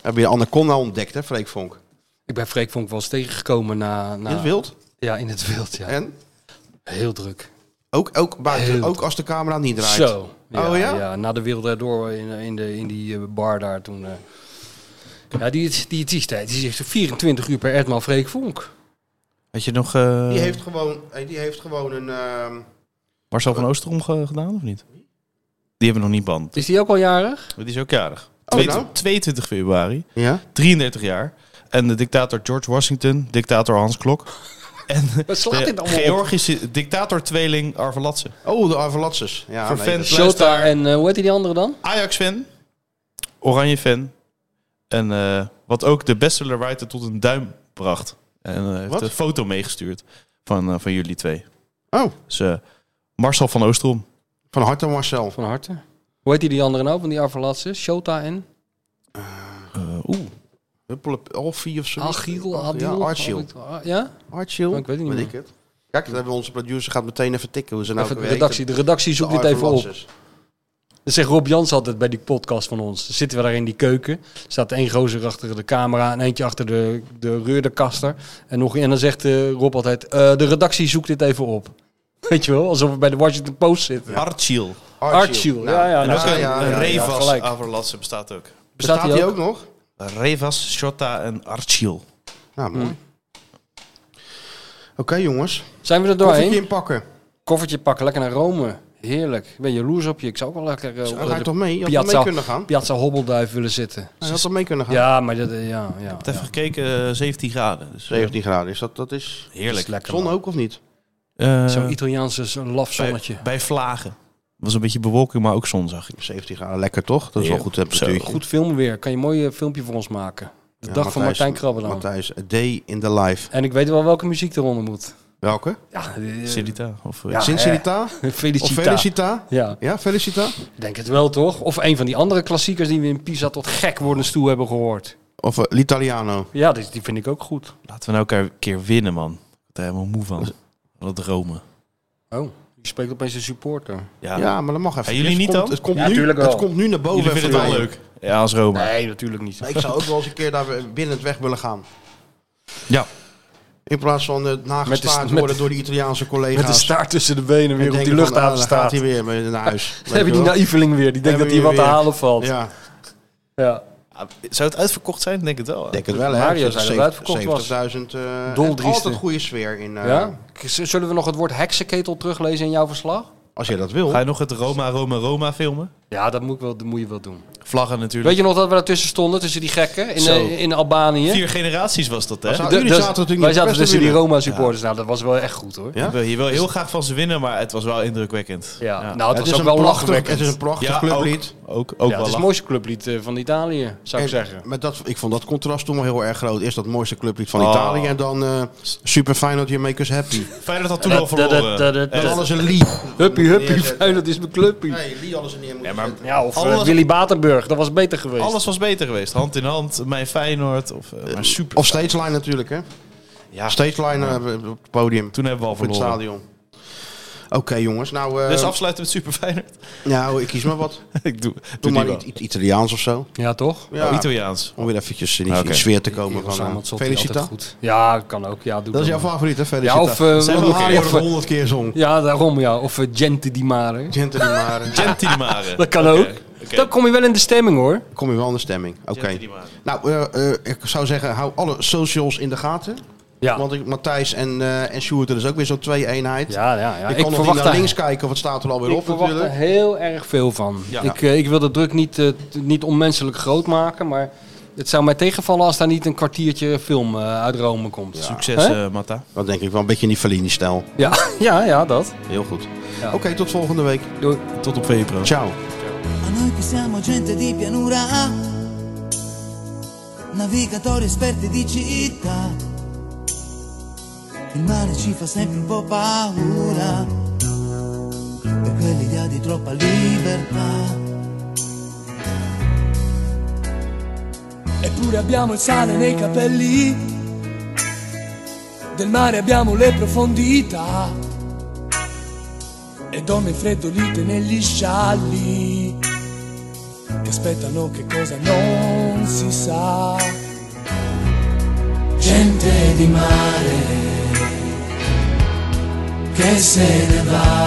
C: Heb je Anaconda ontdekt, hè, Freek Vonk?
D: Ik ben Freek Vonk wel eens tegengekomen na... na
C: In het wild.
D: Ja, in het wild, ja.
C: En
D: Heel druk.
C: ook, ook buiten,
D: Heel
C: ook als de camera niet draait.
D: Zo.
C: Oh ja?
D: na de wereld erdoor in, in, de, in die eh, bar daar toen. eh. ja, die, die, die, die, die, die zegt 24 uur per etmaal Freek Vonk.
E: Had je nog... eh,
C: Die heeft gewoon, eh, die heeft gewoon een, ehm,
E: Marcel van Oosterom ge- gedaan of niet? Die hebben nog niet band.
D: Is die ook al jarig?
E: Die is ook jarig.
D: Oh, nou.
E: 22 22 februari.
C: Ja?
E: 33 jaar. En de dictator George Washington, dictator Hans Klok. En
C: slaat dit
E: de
C: allemaal op?
E: Georgische dictator-tweeling Arvelatse.
C: Oh, de Arvelatses. Ja,
E: Voor
C: nee,
E: fans
C: dat-
D: Shota en eh, hoe heet die andere dan?
E: Ajax-fan. Oranje-fan. En eh, wat ook de bestsellerwriter tot een duim bracht. En eh, heeft
C: Wat?
E: een foto meegestuurd van, eh, van jullie twee.
C: Oh.
E: Dus eh, Marcel van Oostrom.
C: Van harte Marcel.
D: Van harte. Hoe heet die, die andere nou van die Arvalatse? Shota en?
E: Oeh.
C: Huppelep, Alfie of zo.
D: Achiel,
C: Ja,
D: Adil. Oh,
C: Archiel.
D: Ja?
C: Archiel.
D: Ik weet het niet
C: Weet
D: meer.
C: ik het. Kijk, dat hebben we onze producer gaat meteen even tikken hoe ze nou
D: Even
C: ook
D: de
C: weer
D: redactie-
C: heten.
D: de redactie zoekt dit even op.
C: Arvelatses.
D: Dat zegt Rob Jans altijd bij die podcast van ons. Dan zitten we daar in die keuken. Er staat één gozer achter de camera en eentje achter de, de reurderkaster. En, nog, en dan zegt eh, Rob altijd, eh, de redactie zoekt dit even op. Weet je wel, alsof we bij de Washington Post zitten.
E: Archiel.
C: Archiel.
D: Archiel, ja, ja.
E: en
D: nou,
E: ook een,
C: ja,
E: een
C: ja, ja,
E: Revas
D: gelijk.
E: Averlatse bestaat ook.
C: Bestaat
D: die
C: die
D: ook?
C: ook nog?
E: Revas, Shota en Archiel.
C: Nou, mooi.
D: Mm.
C: Oké, jongens.
D: Zijn we er
C: Koffietje
D: doorheen?
C: inpakken.
D: Koffertje pakken, lekker naar Rome. Heerlijk. Ik ben jaloers op je. Ik zou ook wel lekker eh, op
C: Ga je
D: de
C: toch mee? Je had toch
D: piazza,
C: mee kunnen gaan?
D: piazza Hobbelduif willen zitten.
C: Je had toch mee kunnen gaan?
D: Ja, maar dat, eh, ja, ja.
E: Ik heb even gekeken, eh, 17 graden. Dus, eh,
C: 17 graden is dat, dat is...
D: Dat is
E: heerlijk.
D: lekker.
C: Zon
D: man.
C: ook of niet?
E: Eh,
D: Zo'n Italiaanse zo'n lafzonnetje.
E: bij, bij vlagen. was een beetje bewolking, maar ook zon zag ik.
C: 17 graden, lekker toch? Dat is wel
E: Ja,
C: goed
E: zo,
C: temperatuur.
D: Goed filmweer. Kan je een mooi eh, filmpje voor ons maken. De
C: Ja,
D: dag van Martijn Krabbe dan.
C: Matthijs, a day in the life.
D: En ik weet wel welke muziek eronder moet.
C: Welke?
D: Ja, eh,
E: Celita. Of, eh,
D: Ja,
C: Sincerita? Of
D: Felicita.
C: Felicita?
D: Ja,
C: Ja, Felicita?
D: ik denk het wel toch? Of een van die andere klassiekers die we in Pisa tot gek worden toe hebben gehoord.
C: Of eh, L'Italiano?
D: Ja, die, die vind ik ook goed.
E: Laten we nou elkaar een keer winnen, man. Ik word er helemaal moe van. Van het dromen.
D: Oh, je spreekt opeens een supporter.
E: Ja.
C: Ja, maar dat mag even.
E: En jullie
C: Het
E: niet
C: komt-
E: dan?
C: Het komt,
D: Ja,
C: nu,
D: tuurlijk wel.
C: het komt nu naar boven.
E: Jullie vinden
C: even
E: het wel
C: bij
E: leuk. Ja, als Roma.
D: Oh, Nee, natuurlijk niet.
C: je. Ik zou ook wel eens een keer daar binnen het weg willen gaan.
E: Ja.
C: In plaats van het
D: Met de
C: nagestaard
D: st- met-
C: worden door de Italiaanse collega's.
D: Met de staart tussen de benen
C: En
D: weer op die
C: denken van, ah,
D: luchthaven
C: daar gaat
D: staat.
C: hij weer mee naar huis.
D: Dan heb je die naïveling weer. Die denkt
C: Hebben
D: dat hij
C: we
D: wat te
C: weer.
D: halen valt. Ja.
C: Ja,
E: Ah, Zou het uitverkocht zijn? Ik Denk het wel. hè?
C: denk het wel hè.
D: Mario
C: Zo'n
D: zei dat het
C: 70-
D: uitverkocht was.
C: 70.000. eh,
D: Dol
C: en
D: drieste.
C: altijd goede sfeer in. eh,
D: Ja? Z- Zullen we nog het woord heksenketel teruglezen in jouw verslag?
C: Als je dat wil.
E: Ga je nog het Roma, Roma, Roma filmen?
D: Ja, dat moet, ik wel, dat moet je wel doen.
E: Vlaggen natuurlijk.
D: Weet je nog dat we daartussen stonden, tussen die gekken in,
E: Zo.
D: eh, in Albanië?
E: Vier generaties was dat, hè?
C: Was
E: Ik
C: dat-
D: De-
C: Jullie
D: dus-
C: zaten natuurlijk
D: wij
C: niet op
D: zaten
C: de
D: tussen die
C: perstribune.
D: Roma supporters. Nou, dat was wel echt goed hoor. Ja,
C: Ja.
E: wil hier wel heel graag van ze winnen, maar het was wel indrukwekkend.
D: nou, het,
C: Het
D: was
C: is,
D: ook
C: een
D: wel
C: prachtig, het
D: lachwekkend.
C: is een prachtig
E: Ja,
C: clublied.
E: Ook, ook
D: Ja,
E: wel
D: het is het
E: lachen.
D: mooiste clublied eh, van Italië, zou ik
C: En
D: zeggen.
C: Met dat, ik vond dat contrast toen wel heel erg groot. Eerst dat mooiste clublied van
E: Oh.
C: Italië en dan eh super fijn dat je make us happy.
E: Feyenoord had toen al
D: Dat- dat-
E: verloren.
D: dat- dat-
E: Eh,
C: Dat alles een lief.
D: Huppie, huppie,
C: Neerzetten.
D: fijn, dat is mijn clubpie.
C: Nee, Lee alles een neer moeten
E: Ja, maar-
C: zetten.
D: Ja, of eh,
E: Alles-
D: Willy Batenburg, dat was beter geweest.
E: Alles was beter geweest. Hand in hand, mijn Feyenoord. Of, eh, maar super.
C: Of stageline natuurlijk, hè? Ja. Stageline eh, op het podium.
E: Toen hebben we al
C: Op het
E: verloren.
C: stadion. Oké, jongens. Nou, eh,
E: Dus afsluiten met super Feyenoord.
C: nou, ik kies maar wat.
E: ik doe,
C: Doe maar
E: die
C: iets, iets Italiaans of zo.
D: Ja, toch?
C: Ja.
E: Oh, Italiaans.
C: Om weer eventjes in die,
E: Oké.
C: in die sfeer te komen.
D: Eros
C: Van, eh,
D: Ramazzotti,
C: Felicita.
D: altijd goed. Ja, kan ook. Ja, doe
C: Dat is jouw
D: dan.
C: favoriet, hè? Felicita.
D: Ja, of... eh,
E: Zijn we
C: Van
E: nog
C: Mario
D: of,
C: dat
D: eh,
C: 100 keer zong.
D: ja, daarom ja. Of eh, Gente Di Mare.
C: Gente di Mare.
E: Gentile Mare.
D: Dat kan
E: eh. Oké,
D: ook.
E: oké.
D: Dan kom je wel in de stemming hoor.
C: Kom je wel in de stemming. Oké.
E: Gentile Di Mare.
C: Nou, eh, eh, ik zou zeggen, hou alle socials in de gaten.
D: Ja,
C: Want ik, Matthijs en, eh en Sjoerd, dat is ook weer zo'n twee-eenheid.
D: Ah. ja, ja. ja.
C: Je kan nog niet
D: verwacht
C: naar
D: daar-
C: links kijken, wat staat er alweer
D: Ik
C: op
D: verwacht
C: natuurlijk.
D: er heel erg veel van.
E: Ja.
D: Ik, eh, ik wil de druk niet, eh, t- niet onmenselijk groot maken, maar het zou mij tegenvallen als daar niet een kwartiertje film eh, uit Rome komt.
E: Succes,
D: Hè?
E: eh, Matta.
C: Dat denk ik wel een beetje in die Fellini-stijl.
D: Ja, ja, ja, dat.
C: Heel goed.
D: Ja.
C: Oké, tot volgende week.
D: Doei.
E: Tot op Vepro.
C: Ciao.
B: Ma noi che siamo gente di pianura, navigatori esperti di città, il mare ci fa sempre un po' paura, per quell'idea di troppa libertà.
L: Eppure abbiamo il sale nei capelli, del mare abbiamo le profondità e donne freddolite negli scialli che aspettano che cosa non si sa. Gente di mare che se ne va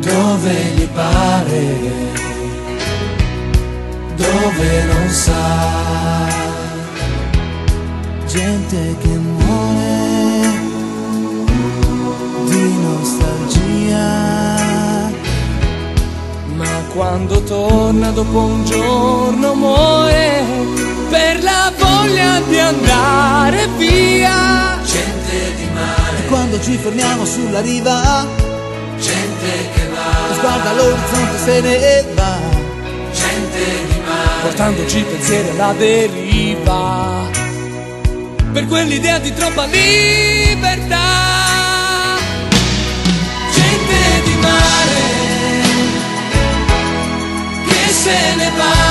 L: dove gli pare dove non sa gente che muore di
B: nostalgia. Ma quando torna dopo un giorno muore per la voglia di andare via. Gente di mare.
M: Quando ci fermiamo sulla riva,
B: gente che va.
M: guarda l'orizzonte se ne va.
B: gente di mare portandoci pensieri alla deriva per quell'idea di troppa libertà gente di mare che se ne va